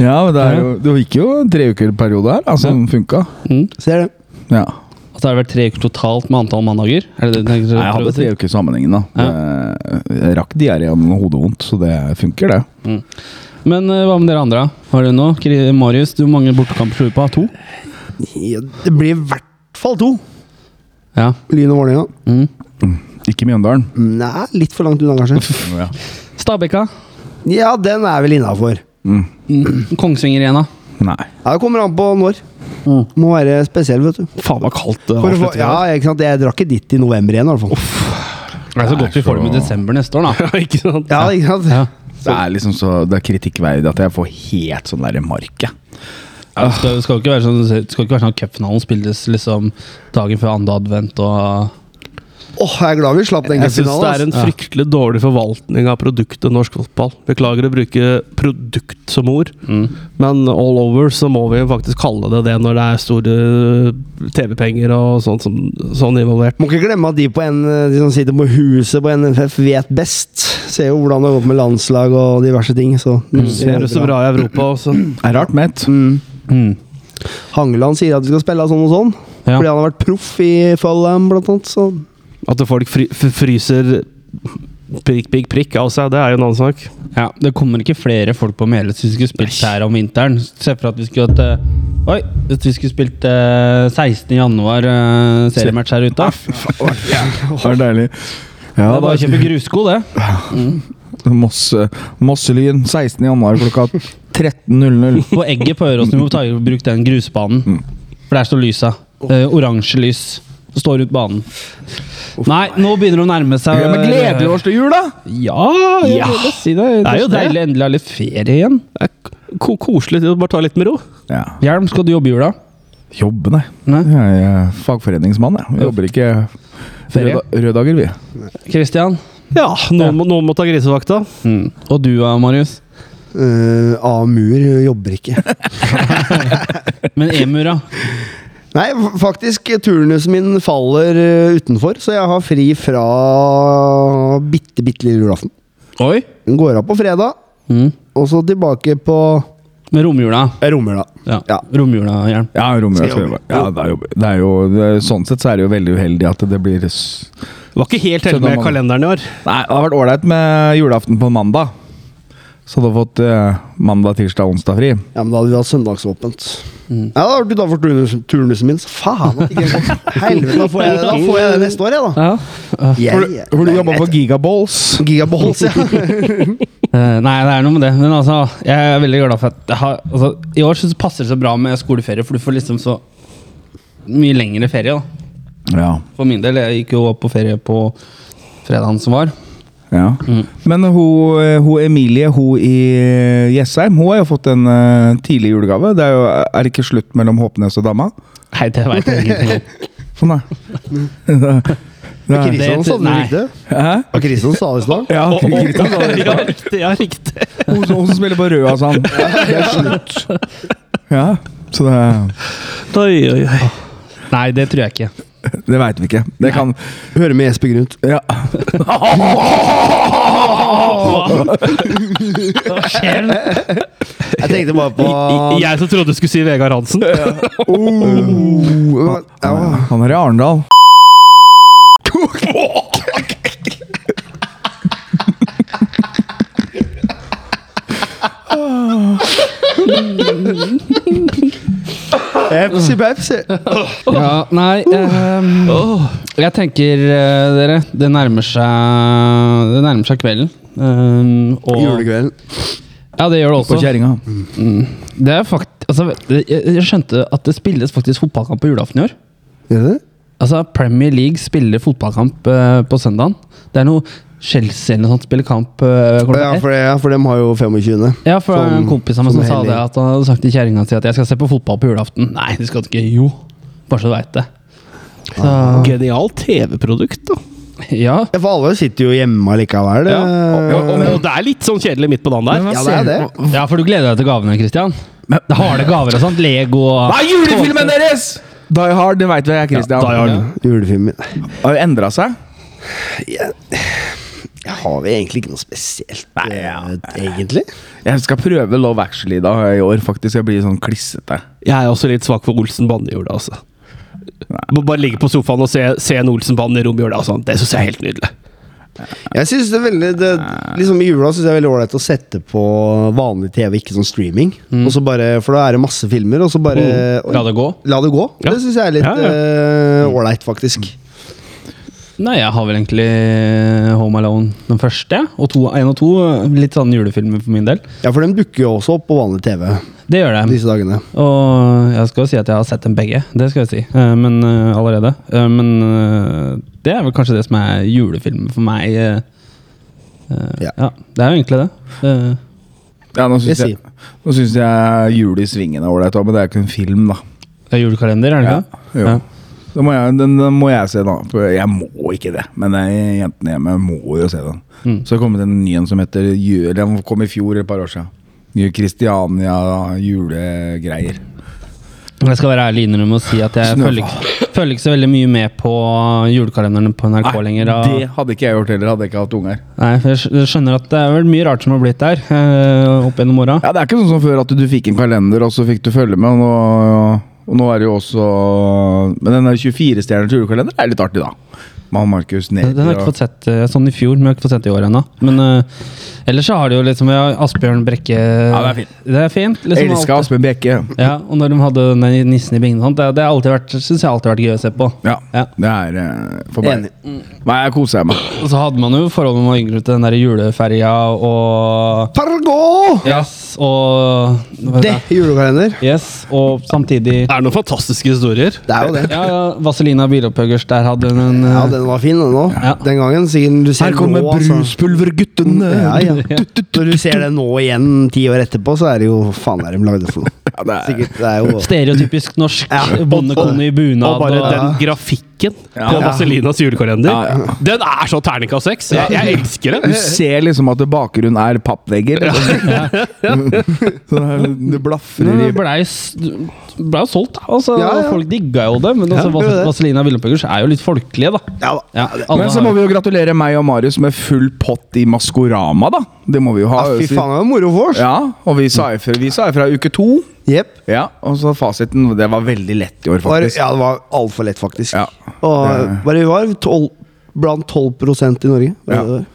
Speaker 1: Ja, men det, er jo, det gikk jo en tre uker periode her, altså. Den funka.
Speaker 4: Mm.
Speaker 3: Ser det.
Speaker 1: Ja.
Speaker 4: Og så har det vært tre uker totalt med antall mandager? Er det det du tenker?
Speaker 1: Nei, jeg hadde tre uker sammenhengende. da. Eh, Jeg rakk diareen og hodevondt, så det funker, det.
Speaker 4: Men eh, hva med dere andre? Har dere noe? Kri- Marius, du hvor mange bortekamper tror du på? To?
Speaker 3: Ja, Det blir i hvert fall to.
Speaker 4: Ja.
Speaker 3: Lyn og Vålerenga.
Speaker 4: Mm.
Speaker 1: Ikke Mjøndalen.
Speaker 3: Nei, litt for langt unna, kanskje.
Speaker 1: Ja.
Speaker 4: Stabekka?
Speaker 3: Ja, den er vel innafor.
Speaker 4: Kongsvinger igjen, da.
Speaker 1: Nei.
Speaker 3: Det kommer an på når. Må være spesiell, vet du.
Speaker 2: Faen, hva kaldt Mm. det altså.
Speaker 3: For å få,
Speaker 2: avslutningen
Speaker 3: ja,
Speaker 2: var.
Speaker 3: ikke sant? Jeg drakk ikke dit i november igjen, i hvert fall.
Speaker 2: Det er så godt vi får det
Speaker 4: I
Speaker 2: med det.
Speaker 4: desember neste år, da.
Speaker 2: Ikke sant?
Speaker 3: Ja, ikke sant?
Speaker 4: Ja.
Speaker 1: Det er liksom så Det er kritikkverdig at jeg får helt sånn derre mark, jeg.
Speaker 4: Det skal, skal ikke være sånn det skal ikke være sånn at cupfinalen spilles liksom dagen før andre advent og
Speaker 3: Åh, jeg er glad vi slapp den
Speaker 2: Jeg syns det
Speaker 3: cupfinalen. altså.
Speaker 2: er en
Speaker 3: ass.
Speaker 2: fryktelig dårlig forvaltning av produktet norsk fotball. Beklager å bruke 'produkt' som ord,
Speaker 4: mm.
Speaker 2: men all over så må vi jo faktisk kalle det det når det er store eh, TV-penger og sånt som, sånn involvert.
Speaker 3: Må ikke glemme at de, på N, de som sitter på huset på NFF, vet best. Ser jo hvordan det har gått med landslag og diverse ting. Så
Speaker 2: Mm. Ser det så bra i Europa også.
Speaker 1: Det er rart mett.
Speaker 3: Mm. Hangeland sier at vi skal spille av sånn og sånn.
Speaker 4: Ja.
Speaker 3: Fordi han har vært proff i Fulham, blant annet. Så
Speaker 2: At folk fry, f- fryser prikk, prikk, prikk av seg, det er jo en annen sak.
Speaker 4: Ja, Det kommer ikke flere folk på Meløy hvis vi skulle spilt her om vinteren. Se for at vi skulle hatt eh, Oi, hvis vi skulle spilt eh, 16. januar eh, seriematch her ute.
Speaker 1: Det er deilig. Ja,
Speaker 4: Det er bare å
Speaker 1: da,
Speaker 4: kjøpe grussko, det.
Speaker 1: Mosse, Mosselyn 16. januar klokka 13.00.
Speaker 4: På egget på Øråsen. Vi må ta i bruk den grusbanen. For der står lysa. Eh, Oransje lys. som Står rundt banen. Nei, nå begynner det å nærme seg eh,
Speaker 1: Ja, men gleder vi oss til jul, da?
Speaker 4: Ja, jeg vil si det. Det er jo deilig endelig å ha litt ferie igjen.
Speaker 2: Det er ko koselig å bare ta litt med ro.
Speaker 1: Ja.
Speaker 4: Hjelm, skal du jobbe jula?
Speaker 1: Jobbe, nei.
Speaker 4: Nei.
Speaker 1: Jeg er fagforeningsmann, jeg. Vi jobber ikke
Speaker 4: Ferie.
Speaker 1: røde, røde dager, vi.
Speaker 4: Kristian?
Speaker 2: Ja, noen, må, noen må ta grisevakta.
Speaker 4: Mm. Og du da, Marius?
Speaker 3: eh, Amur jobber ikke.
Speaker 4: Men Emur, da?
Speaker 3: Nei, f- faktisk. Turnusen min faller eh, utenfor, så jeg har fri fra bitte, bitte lille julaften.
Speaker 4: Oi?
Speaker 3: Den går av på fredag,
Speaker 4: Mm.
Speaker 3: og så tilbake på
Speaker 4: Med romjula?
Speaker 3: romjula.
Speaker 4: Ja.
Speaker 3: Ja.
Speaker 4: Romjulahjelm.
Speaker 1: Ja, Romeo
Speaker 3: Skal
Speaker 1: skal
Speaker 3: jobbe.
Speaker 1: jobbe. Ja, det er jo, det er jo det, er- Sånn sett så er det jo veldig uheldig at det blir s-
Speaker 2: Det var ikke helt heldig med
Speaker 1: Søndag morgen.
Speaker 2: kalenderen i år.
Speaker 1: Nei, det har vært ålreit med julaften på mandag. Så hadde vi fått eh, mandag, tirsdag, onsdag fri.
Speaker 3: Ja, men da hadde vi hatt søndagsåpent.
Speaker 4: Mm.
Speaker 3: Ja, da har du da for turnusen, turnusen min. Så faen at ikke jeg kom. Helvete, da får jeg det da får jeg det neste år, jeg, da.
Speaker 4: Ja.
Speaker 1: Hvor du, hvor du jobba for Gigaballs.
Speaker 3: Gigaballs, ja.
Speaker 4: Eh, nei, det er noe med det. Men altså, jeg er veldig glad for at jeg har, altså, I år synes det passer det så bra med skoleferie, for du får liksom så mye lengre ferie. da
Speaker 1: Ja.
Speaker 4: For min del. Jeg gikk jo på ferie på fredagen som var.
Speaker 1: Ja. Men hun, eh, hun Emilie hun i eh, Jessheim hun har jo fått en eh, tidlig julegave. Det er jo er det ikke slutt mellom Håpnes og dama.
Speaker 4: Nei, det veit jeg ingenting om.
Speaker 1: Sånn, da.
Speaker 3: Og Kristian
Speaker 4: Det-
Speaker 3: sa det
Speaker 4: nei.
Speaker 3: riktig.
Speaker 1: Hæ?
Speaker 3: Og Kristian sa det i stad.
Speaker 1: Ja, Kristian sa det.
Speaker 2: Ja, riktig. ja, riktig.
Speaker 1: Hun, som- hun som spiller på rød, altså. Det er slutt. Ja, så det,
Speaker 2: Oi, oi, oi.
Speaker 4: Nei, det tror jeg ikke.
Speaker 1: det veit vi ikke. Det kan
Speaker 3: Hører med Jesper Grunt.
Speaker 1: Ja.
Speaker 3: Jeg tenkte bare på
Speaker 2: I- Jeg som trodde du skulle si Vegard Hansen.
Speaker 3: oh, ja.
Speaker 1: Han er i Arendal.
Speaker 3: Pepsi, Pepsi.
Speaker 4: Ja, nei ehm, Jeg tenker, eh, dere, det nærmer seg Det nærmer seg kvelden. Ehm, og,
Speaker 3: Julekvelden.
Speaker 4: Ja, det gjør det
Speaker 1: På
Speaker 4: også.
Speaker 1: kjerringa.
Speaker 4: Det er fakt altså, jeg, jeg skjønte at det spilles faktisk fotballkamp på julaften i år.
Speaker 3: Gjør det?
Speaker 4: Altså, Premier League spiller fotballkamp eh, på søndagen. Det er noe Chelsea eller noe sånt spiller kamp eh, klokka
Speaker 3: Ja,
Speaker 4: ett.
Speaker 3: for, det, ja, for dem har jo 25.
Speaker 4: Ja, for det er en
Speaker 3: Som-
Speaker 4: kompis av meg
Speaker 3: som
Speaker 4: som sa
Speaker 3: hellig.
Speaker 4: det, at han hadde sagt til kjerringa si at jeg skal se på fotball på julaften. Nei, det skal du ikke. Jo. Bare så du veit det. Så,
Speaker 2: Genialt TV-produkt, da.
Speaker 4: ja.
Speaker 3: Ja, For alle sitter jo hjemme allikevel.
Speaker 2: Ja.
Speaker 3: eh,
Speaker 2: Og, og, og det er litt sånn kjedelig midt på dagen der.
Speaker 3: Ja, det er det.
Speaker 4: ja, for du gleder deg til gavene, Christian. Det harde gaver og sånt. Lego og
Speaker 1: Hva er julefilmen deres?! Die Hard, det veit vi, Christian.
Speaker 2: Die Hard.
Speaker 3: Julefilmen
Speaker 1: Har jo endra seg.
Speaker 3: Jeg har vi egentlig ikke noe spesielt, eh, egentlig.
Speaker 1: Jeg skal prøve Love Actually da i år, faktisk. Jeg blir sånn klissete.
Speaker 2: Jeg er også litt svak for Olsen Bande-jula, altså. Må bare ligge på sofaen og se, se en Olsen-bande i romjula. og sånn. Det syns jeg er helt nydelig.
Speaker 3: Jeg synes det er veldig det, Liksom I jula syns jeg det er veldig ålreit å sette på vanlig TV, ikke sånn streaming. Og så bare, For da er det masse filmer, og så bare
Speaker 4: Mm. La det gå.
Speaker 3: la det gå.
Speaker 2: Ja.
Speaker 3: Det syns jeg er litt
Speaker 2: Ja, ja.
Speaker 3: eh, ålreit, faktisk.
Speaker 4: Nei, jeg har vel egentlig eh, Home Alone den første, og to, en og to. Litt sånn julefilmer for min del.
Speaker 3: Ja, for den dukker jo også opp på vanlig TV
Speaker 4: Det gjør det.
Speaker 3: disse dagene.
Speaker 4: Og jeg skal jo si at jeg har sett dem begge, det skal jeg si. Eh, Men eh, allerede. Eh, Men eh, det er vel kanskje det som er julefilmen for meg. eh. Eh,
Speaker 3: Ja.
Speaker 4: ja. Det er jo egentlig det. Eh,
Speaker 1: Ja, nå syns
Speaker 3: Jeg
Speaker 1: jeg, nå synes jeg Jul i svingen er ålreit, men det er ikke en film, da.
Speaker 4: Det er julekalender, er det ikke? det?
Speaker 1: jo.
Speaker 4: Ja.
Speaker 1: Da må jeg, den, den må jeg se, da. For jeg må ikke det, men jeg, jentene hjemme må jo se den.
Speaker 4: Mm.
Speaker 1: Så det kom det en ny en som heter Ju- eller Den kom i fjor, et par år siden. Nye Kristiania julegreier.
Speaker 4: Men Jeg skal være ærlig innrømme og si at jeg
Speaker 1: Snøfall.
Speaker 4: følger ikke, følger ikke så veldig mye med på julekalenderne på NRK lenger. da.
Speaker 1: det hadde ikke jeg gjort heller, hadde jeg ikke hatt unger.
Speaker 4: Nei, for jeg skj- skjønner at det er vel mye rart som har blitt der eh, opp gjennom åra.
Speaker 1: Ja, Det er ikke sånn som før at du fikk en kalender, og så fikk du følge med. Og nå, og nå er det jo også Men den 24-stjerners julekalender er litt artig, da. Med han Markus Neby
Speaker 4: Den har jeg ikke
Speaker 1: og-
Speaker 4: fått sett eh, sånn i fjor, men jeg har ikke fått sett i år ennå. Men eh, ellers så har det jo liksom ja, Asbjørn Brekke
Speaker 1: Ja, det er fint.
Speaker 4: Det er fint
Speaker 1: Jeg
Speaker 4: liksom,
Speaker 1: Elska
Speaker 4: alltid-
Speaker 1: Aspen Bekke.
Speaker 4: Ja, og når de hadde den der nissen i bingen, og sånt, det, det har alltid vært, synes jeg alltid har vært gøy å se på.
Speaker 1: Ja,
Speaker 4: Ja.
Speaker 1: det er eh, for meg. Nei, jeg koser meg.
Speaker 4: Og så hadde man jo forholdet når man var yngre til den der juleferja og
Speaker 3: Fargo!
Speaker 4: Yes, og hva
Speaker 3: Det
Speaker 4: heter
Speaker 3: er julekalender.
Speaker 4: Yes, og samtidig
Speaker 2: Det er noen fantastiske historier.
Speaker 3: Det er jo det.
Speaker 4: Ja, ja, Vaselina Bilopphøggers, der hadde hun en
Speaker 3: Ja,
Speaker 4: eh,
Speaker 3: den var fin, den òg.
Speaker 4: Ja.
Speaker 3: Den gangen. Siden du ser nå, altså.
Speaker 1: bruspulverguttene!
Speaker 3: Ja, ja. Når du ser det nå igjen, ti år etterpå, så er det jo faen er det de lagde for noe.
Speaker 1: det er-
Speaker 3: Sikkert, det er jo
Speaker 4: stereotypisk norsk
Speaker 3: Ja.
Speaker 4: bondekone i bunad.
Speaker 2: Og bare
Speaker 4: og-
Speaker 2: den grafikken på Vaselinas julekalender, den er så terningkast seks! Jeg, jeg elsker
Speaker 1: Du
Speaker 2: det!
Speaker 1: ser liksom at bakgrunnen er pappvegger. Så det er- det blafrer i
Speaker 4: Det blei s- blei jo solgt, da. Altså,
Speaker 3: Ja, ja.
Speaker 4: Folk digga jo det. Men altså,
Speaker 3: det er det.
Speaker 4: Vaselina Villopphøggers er jo litt folkelige, da.
Speaker 3: Ja da.
Speaker 4: Ja,
Speaker 1: Men så må vi jo gratulere meg og Marius med full pott i Maskorama, da. Det må vi jo ha.
Speaker 3: Ja, Ah, Fy faen, det var moro vors.
Speaker 1: Ah, Ja, og vi sa ifra, vi sa ifra uke to.
Speaker 3: Jepp.
Speaker 1: Ja, og så fasiten. Det var veldig lett i år,
Speaker 3: Var,
Speaker 1: faktisk.
Speaker 3: ja, det var altfor lett, faktisk.
Speaker 1: Ja.
Speaker 3: Og eh, bare vi var 12, blant 12 i Norge. Var det
Speaker 1: Ja.
Speaker 3: det var?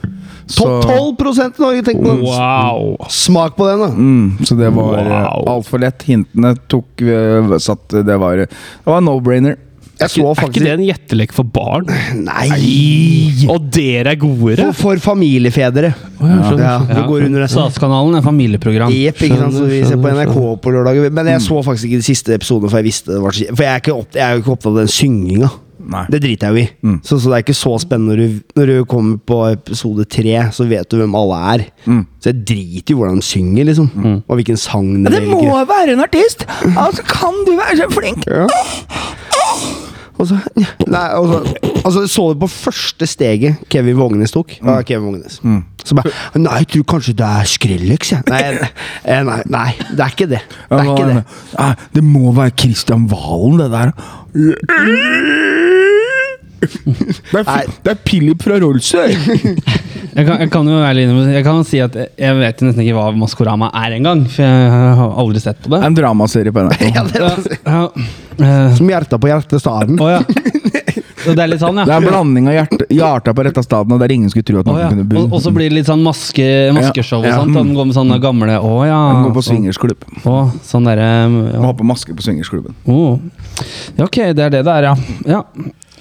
Speaker 3: Topp 12 i Norge, tenk på den!
Speaker 2: Wow!
Speaker 3: Smak på den, da!
Speaker 1: Mm, så det var eh,
Speaker 2: Wow.
Speaker 1: alt altfor lett. Hintene tok eh, satt Det var, det var no-brainer.
Speaker 3: Jeg så
Speaker 2: Er ikke
Speaker 3: faktisk
Speaker 2: det en gjettelek for barn?
Speaker 3: Nei!
Speaker 2: Og dere er godere!
Speaker 3: For, for familiefedre. Ja, det går under den
Speaker 4: Statskanalen er familieprogram.
Speaker 3: Jepp, ikke sant, så vi ser på
Speaker 4: Skjønner,
Speaker 3: NRK
Speaker 4: skjønner. Mm.
Speaker 3: på lørdager. Men jeg så faktisk ikke de siste episodene, for jeg visste det var så For jeg er, ikke opp, jeg er jo ikke opptatt av den synginga.
Speaker 1: Nei.
Speaker 3: Det driter jeg jo i. Så, så det er ikke så spennende når du, når du kommer på episode tre, så vet du hvem alle er. Så jeg driter i hvordan de synger, liksom. Og hvilken sang de velger.
Speaker 1: være en artist! Altså, kan du være så flink?
Speaker 3: Ja. Og så, nei, og så, altså, så du på første steget Kevin Vågenes tok? Ja, Kevin Vågenes. Så bare Nei, jeg tror kanskje det er Skrillex, jeg. Nei, eh, nei, nei, det er ikke det. Det er ikke det.
Speaker 1: Nei, det må være Christian Valen, det der. Det er,
Speaker 3: Nei.
Speaker 1: fi- det er Philip fra Rolsøy!
Speaker 4: Jeg kan, jeg kan jo være litt, jeg kan si at jeg- jeg vet jo nesten ikke hva Maskorama er engang. For jeg har aldri sett på det.
Speaker 1: En dramaserie på NRK.
Speaker 3: Ja, det er,
Speaker 4: Ja. eh,
Speaker 3: som hjerta på hjertestaden.
Speaker 4: Å ja. Så det er litt sånn, ja.
Speaker 1: Det er en blanding av hjerte, hjarta på retta staden, og der ingen skulle tro at
Speaker 4: Å
Speaker 1: noen
Speaker 4: ja.
Speaker 1: kunne
Speaker 4: Og, og så blir det litt sånn maske, maskeshow og
Speaker 1: Ja, ja.
Speaker 4: sånt. Han går med sånne gamle Å ja.
Speaker 1: Han går på
Speaker 4: sånn-
Speaker 1: swingersklubb.
Speaker 4: Å, sånn derre
Speaker 1: Må ha på maske på swingersklubben.
Speaker 4: Oh. Ja, ok, det er det det er, ja. ja.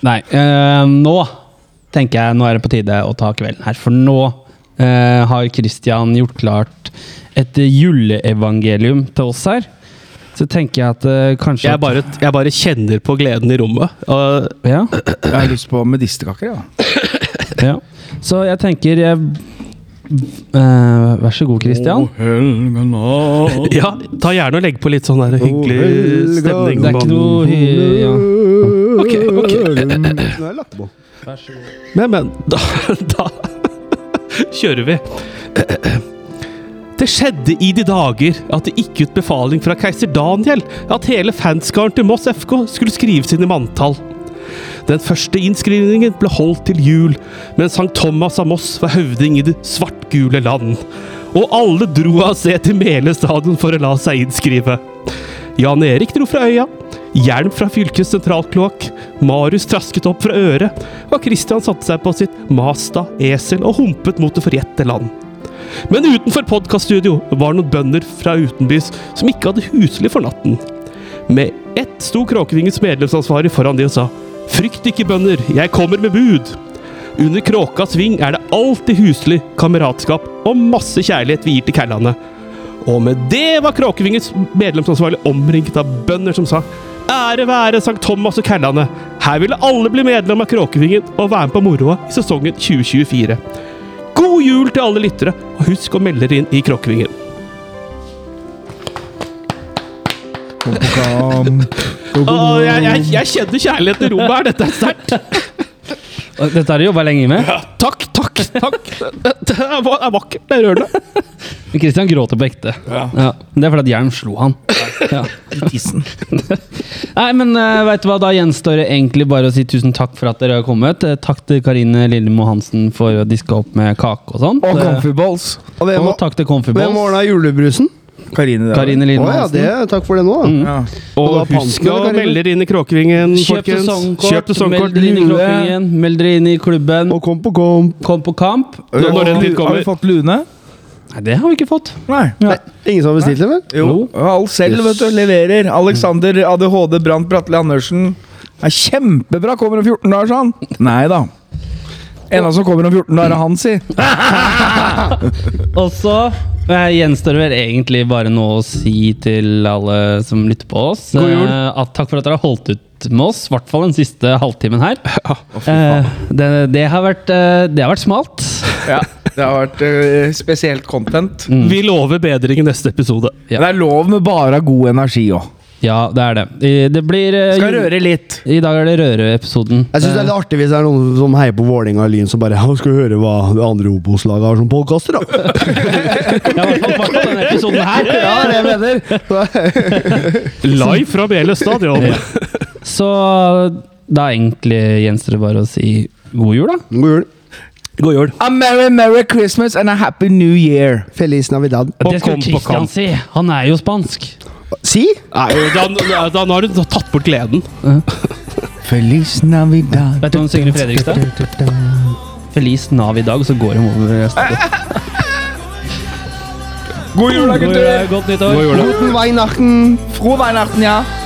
Speaker 4: Nei, eh, nå tenker jeg nå er det på tide å ta kvelden her, for nå eh, har Christian gjort klart et juleevangelium til oss her. Så tenker jeg at eh, kanskje
Speaker 2: Jeg bare, jeg bare kjenner på gleden i rommet. Og
Speaker 4: at, ja,
Speaker 1: Jeg har lyst på medisterkaker, ja.
Speaker 4: ja. Så jeg tenker jeg, eh, Vær så god, Christian.
Speaker 2: ja, ta gjerne og legg på litt sånn der hyggelig stemning.
Speaker 4: Det er ikke noe hy- ja.
Speaker 2: Ok, ok.
Speaker 3: Nå er jeg lagt på.
Speaker 2: Men, men, da, da kjører vi. Det skjedde i de dager at det gikk ut befaling fra keiser Daniel at hele fanskaren til Moss FK skulle skrive sine manntall. Den første innskrivningen ble holdt til jul, mens Sankt Thomas av Moss var høvding i det svartgule land. Og alle dro av sted til Mele stadion for å la seg innskrive. Jan Erik dro fra øya, hjelm fra fylkets sentralkloakk, Marius trasket opp fra øret, og Christian satte seg på sitt Mazda esel og humpet mot det forjette land. Men utenfor podkaststudio var noen bønder fra utenbys som ikke hadde husly for natten. Med ett sto Kråkevingens medlemsansvarlig foran de og sa Frykt ikke, bønder, jeg kommer med bud. Under Kråka sving er det alltid huslig, kameratskap og masse kjærlighet vi gir til kærlandet. Og med det var Kråkevingets medlemsansvarlig omringet av bønder som sa Ære være Sankt Thomas og Kærlandet. Her ville alle bli medlem av Kråkevingen og være med på moroa i sesongen 2024. God jul til alle lyttere, og husk å melde dere inn i Kråkevingen. Åh, jeg, jeg, jeg kjenner kjærligheten i rommet her. Dette er sterkt.
Speaker 4: Og Dette har du jobba lenge med.
Speaker 2: Takk, takk, takk. Det er va- er vakkert, det rørende.
Speaker 4: Men Christian gråter på ekte. Ja. Men Det er fordi at hjelm slo han. Ja. Nei, men eh, vet du hva, da gjenstår det egentlig bare å si tusen takk for at dere har kommet. Eh, Takk til Karine Lillemo Hansen for å diske opp med kake og sånt.
Speaker 1: Og
Speaker 4: Eh,
Speaker 1: comfy balls.
Speaker 3: Og hvem,
Speaker 4: og takk til
Speaker 3: hvem
Speaker 4: Comfyballs.
Speaker 3: ordna julebrusen?
Speaker 1: Karine. det er-
Speaker 4: Karine
Speaker 3: Å
Speaker 4: Lillemo
Speaker 3: ja,
Speaker 4: Hansen.
Speaker 3: det, takk for det nå. da.
Speaker 1: Ja.
Speaker 2: Og
Speaker 3: Mm. Og da
Speaker 2: husk
Speaker 3: panten,
Speaker 2: å
Speaker 3: Karine.
Speaker 2: melde dere inn i Kråkevingen,
Speaker 4: Kjøp
Speaker 2: folkens.
Speaker 4: sesongkort,
Speaker 2: Kjøp
Speaker 4: meld
Speaker 2: sesongkort.
Speaker 4: dere inn i
Speaker 1: lue.
Speaker 4: Kråkevingen, meld dere inn i klubben.
Speaker 3: Og kom på kom.
Speaker 4: Kom på kamp.
Speaker 2: Nå- Når den
Speaker 1: Har
Speaker 2: tid
Speaker 1: vi
Speaker 2: kommer.
Speaker 1: fått lune?
Speaker 4: Nei, det har vi ikke fått.
Speaker 1: Nei.
Speaker 3: Nei, ingen som har bestilt det, vel?
Speaker 1: Jo. Alt selv, vet du. Leverer. Alexander ADHD Brandt Bratteli Andersen. Er kjempebra! Kommer om 14 dager, sa han. Nei da. En av som kommer om 14 dager, er han, si.
Speaker 4: Og så eh, gjenstår det vel egentlig bare noe å si til alle som lytter på oss.
Speaker 2: God jul.
Speaker 4: Eh, at takk for at dere har holdt ut med oss, i hvert fall den siste halvtimen her. Eh, det, det, har vært, eh, det har vært smalt.
Speaker 1: Ja, det har vært eh, spesielt content.
Speaker 2: Mm. Vi lover bedring i neste episode.
Speaker 4: Ja.
Speaker 1: Men Det er lov med bare god energi òg.
Speaker 4: Ja, det er det. I- Det blir eh,
Speaker 1: Skal
Speaker 4: jul-
Speaker 1: røre litt.
Speaker 4: I dag er det Røre-episoden.
Speaker 3: Jeg synes det er litt artig hvis det er noen som heier på Vålerenga og Lyn som bare «Ja, Skal vi høre hva det andre Obos-laget har som podkaster, da?
Speaker 4: Ja, i hvert fall- i hvert fall denne episoden her.
Speaker 3: Ja, det er det jeg mener.
Speaker 2: Live fra Bjelø stadion.
Speaker 4: Så da egentlig gjenstår det bare å si god jul, da.
Speaker 3: God jul.
Speaker 2: God jul.
Speaker 1: A merry, merry Christmas and a happy new year.
Speaker 3: Feliz Navidad.
Speaker 2: Og
Speaker 4: Det skulle
Speaker 2: kom på
Speaker 4: Christian
Speaker 2: kamp.
Speaker 4: si. Han er jo spansk.
Speaker 3: Si?
Speaker 2: Nei, da, da, da har du tatt bort gleden.
Speaker 1: Feliz Navidad.
Speaker 4: Vet du hva han synger i Fredrikstad? Feliz Nav i dag, så går de over resten.
Speaker 1: God jul, da, gutter!
Speaker 4: Godt nyttår.
Speaker 3: Guten Weihnachten.
Speaker 1: Frohe Weihnachten, ja.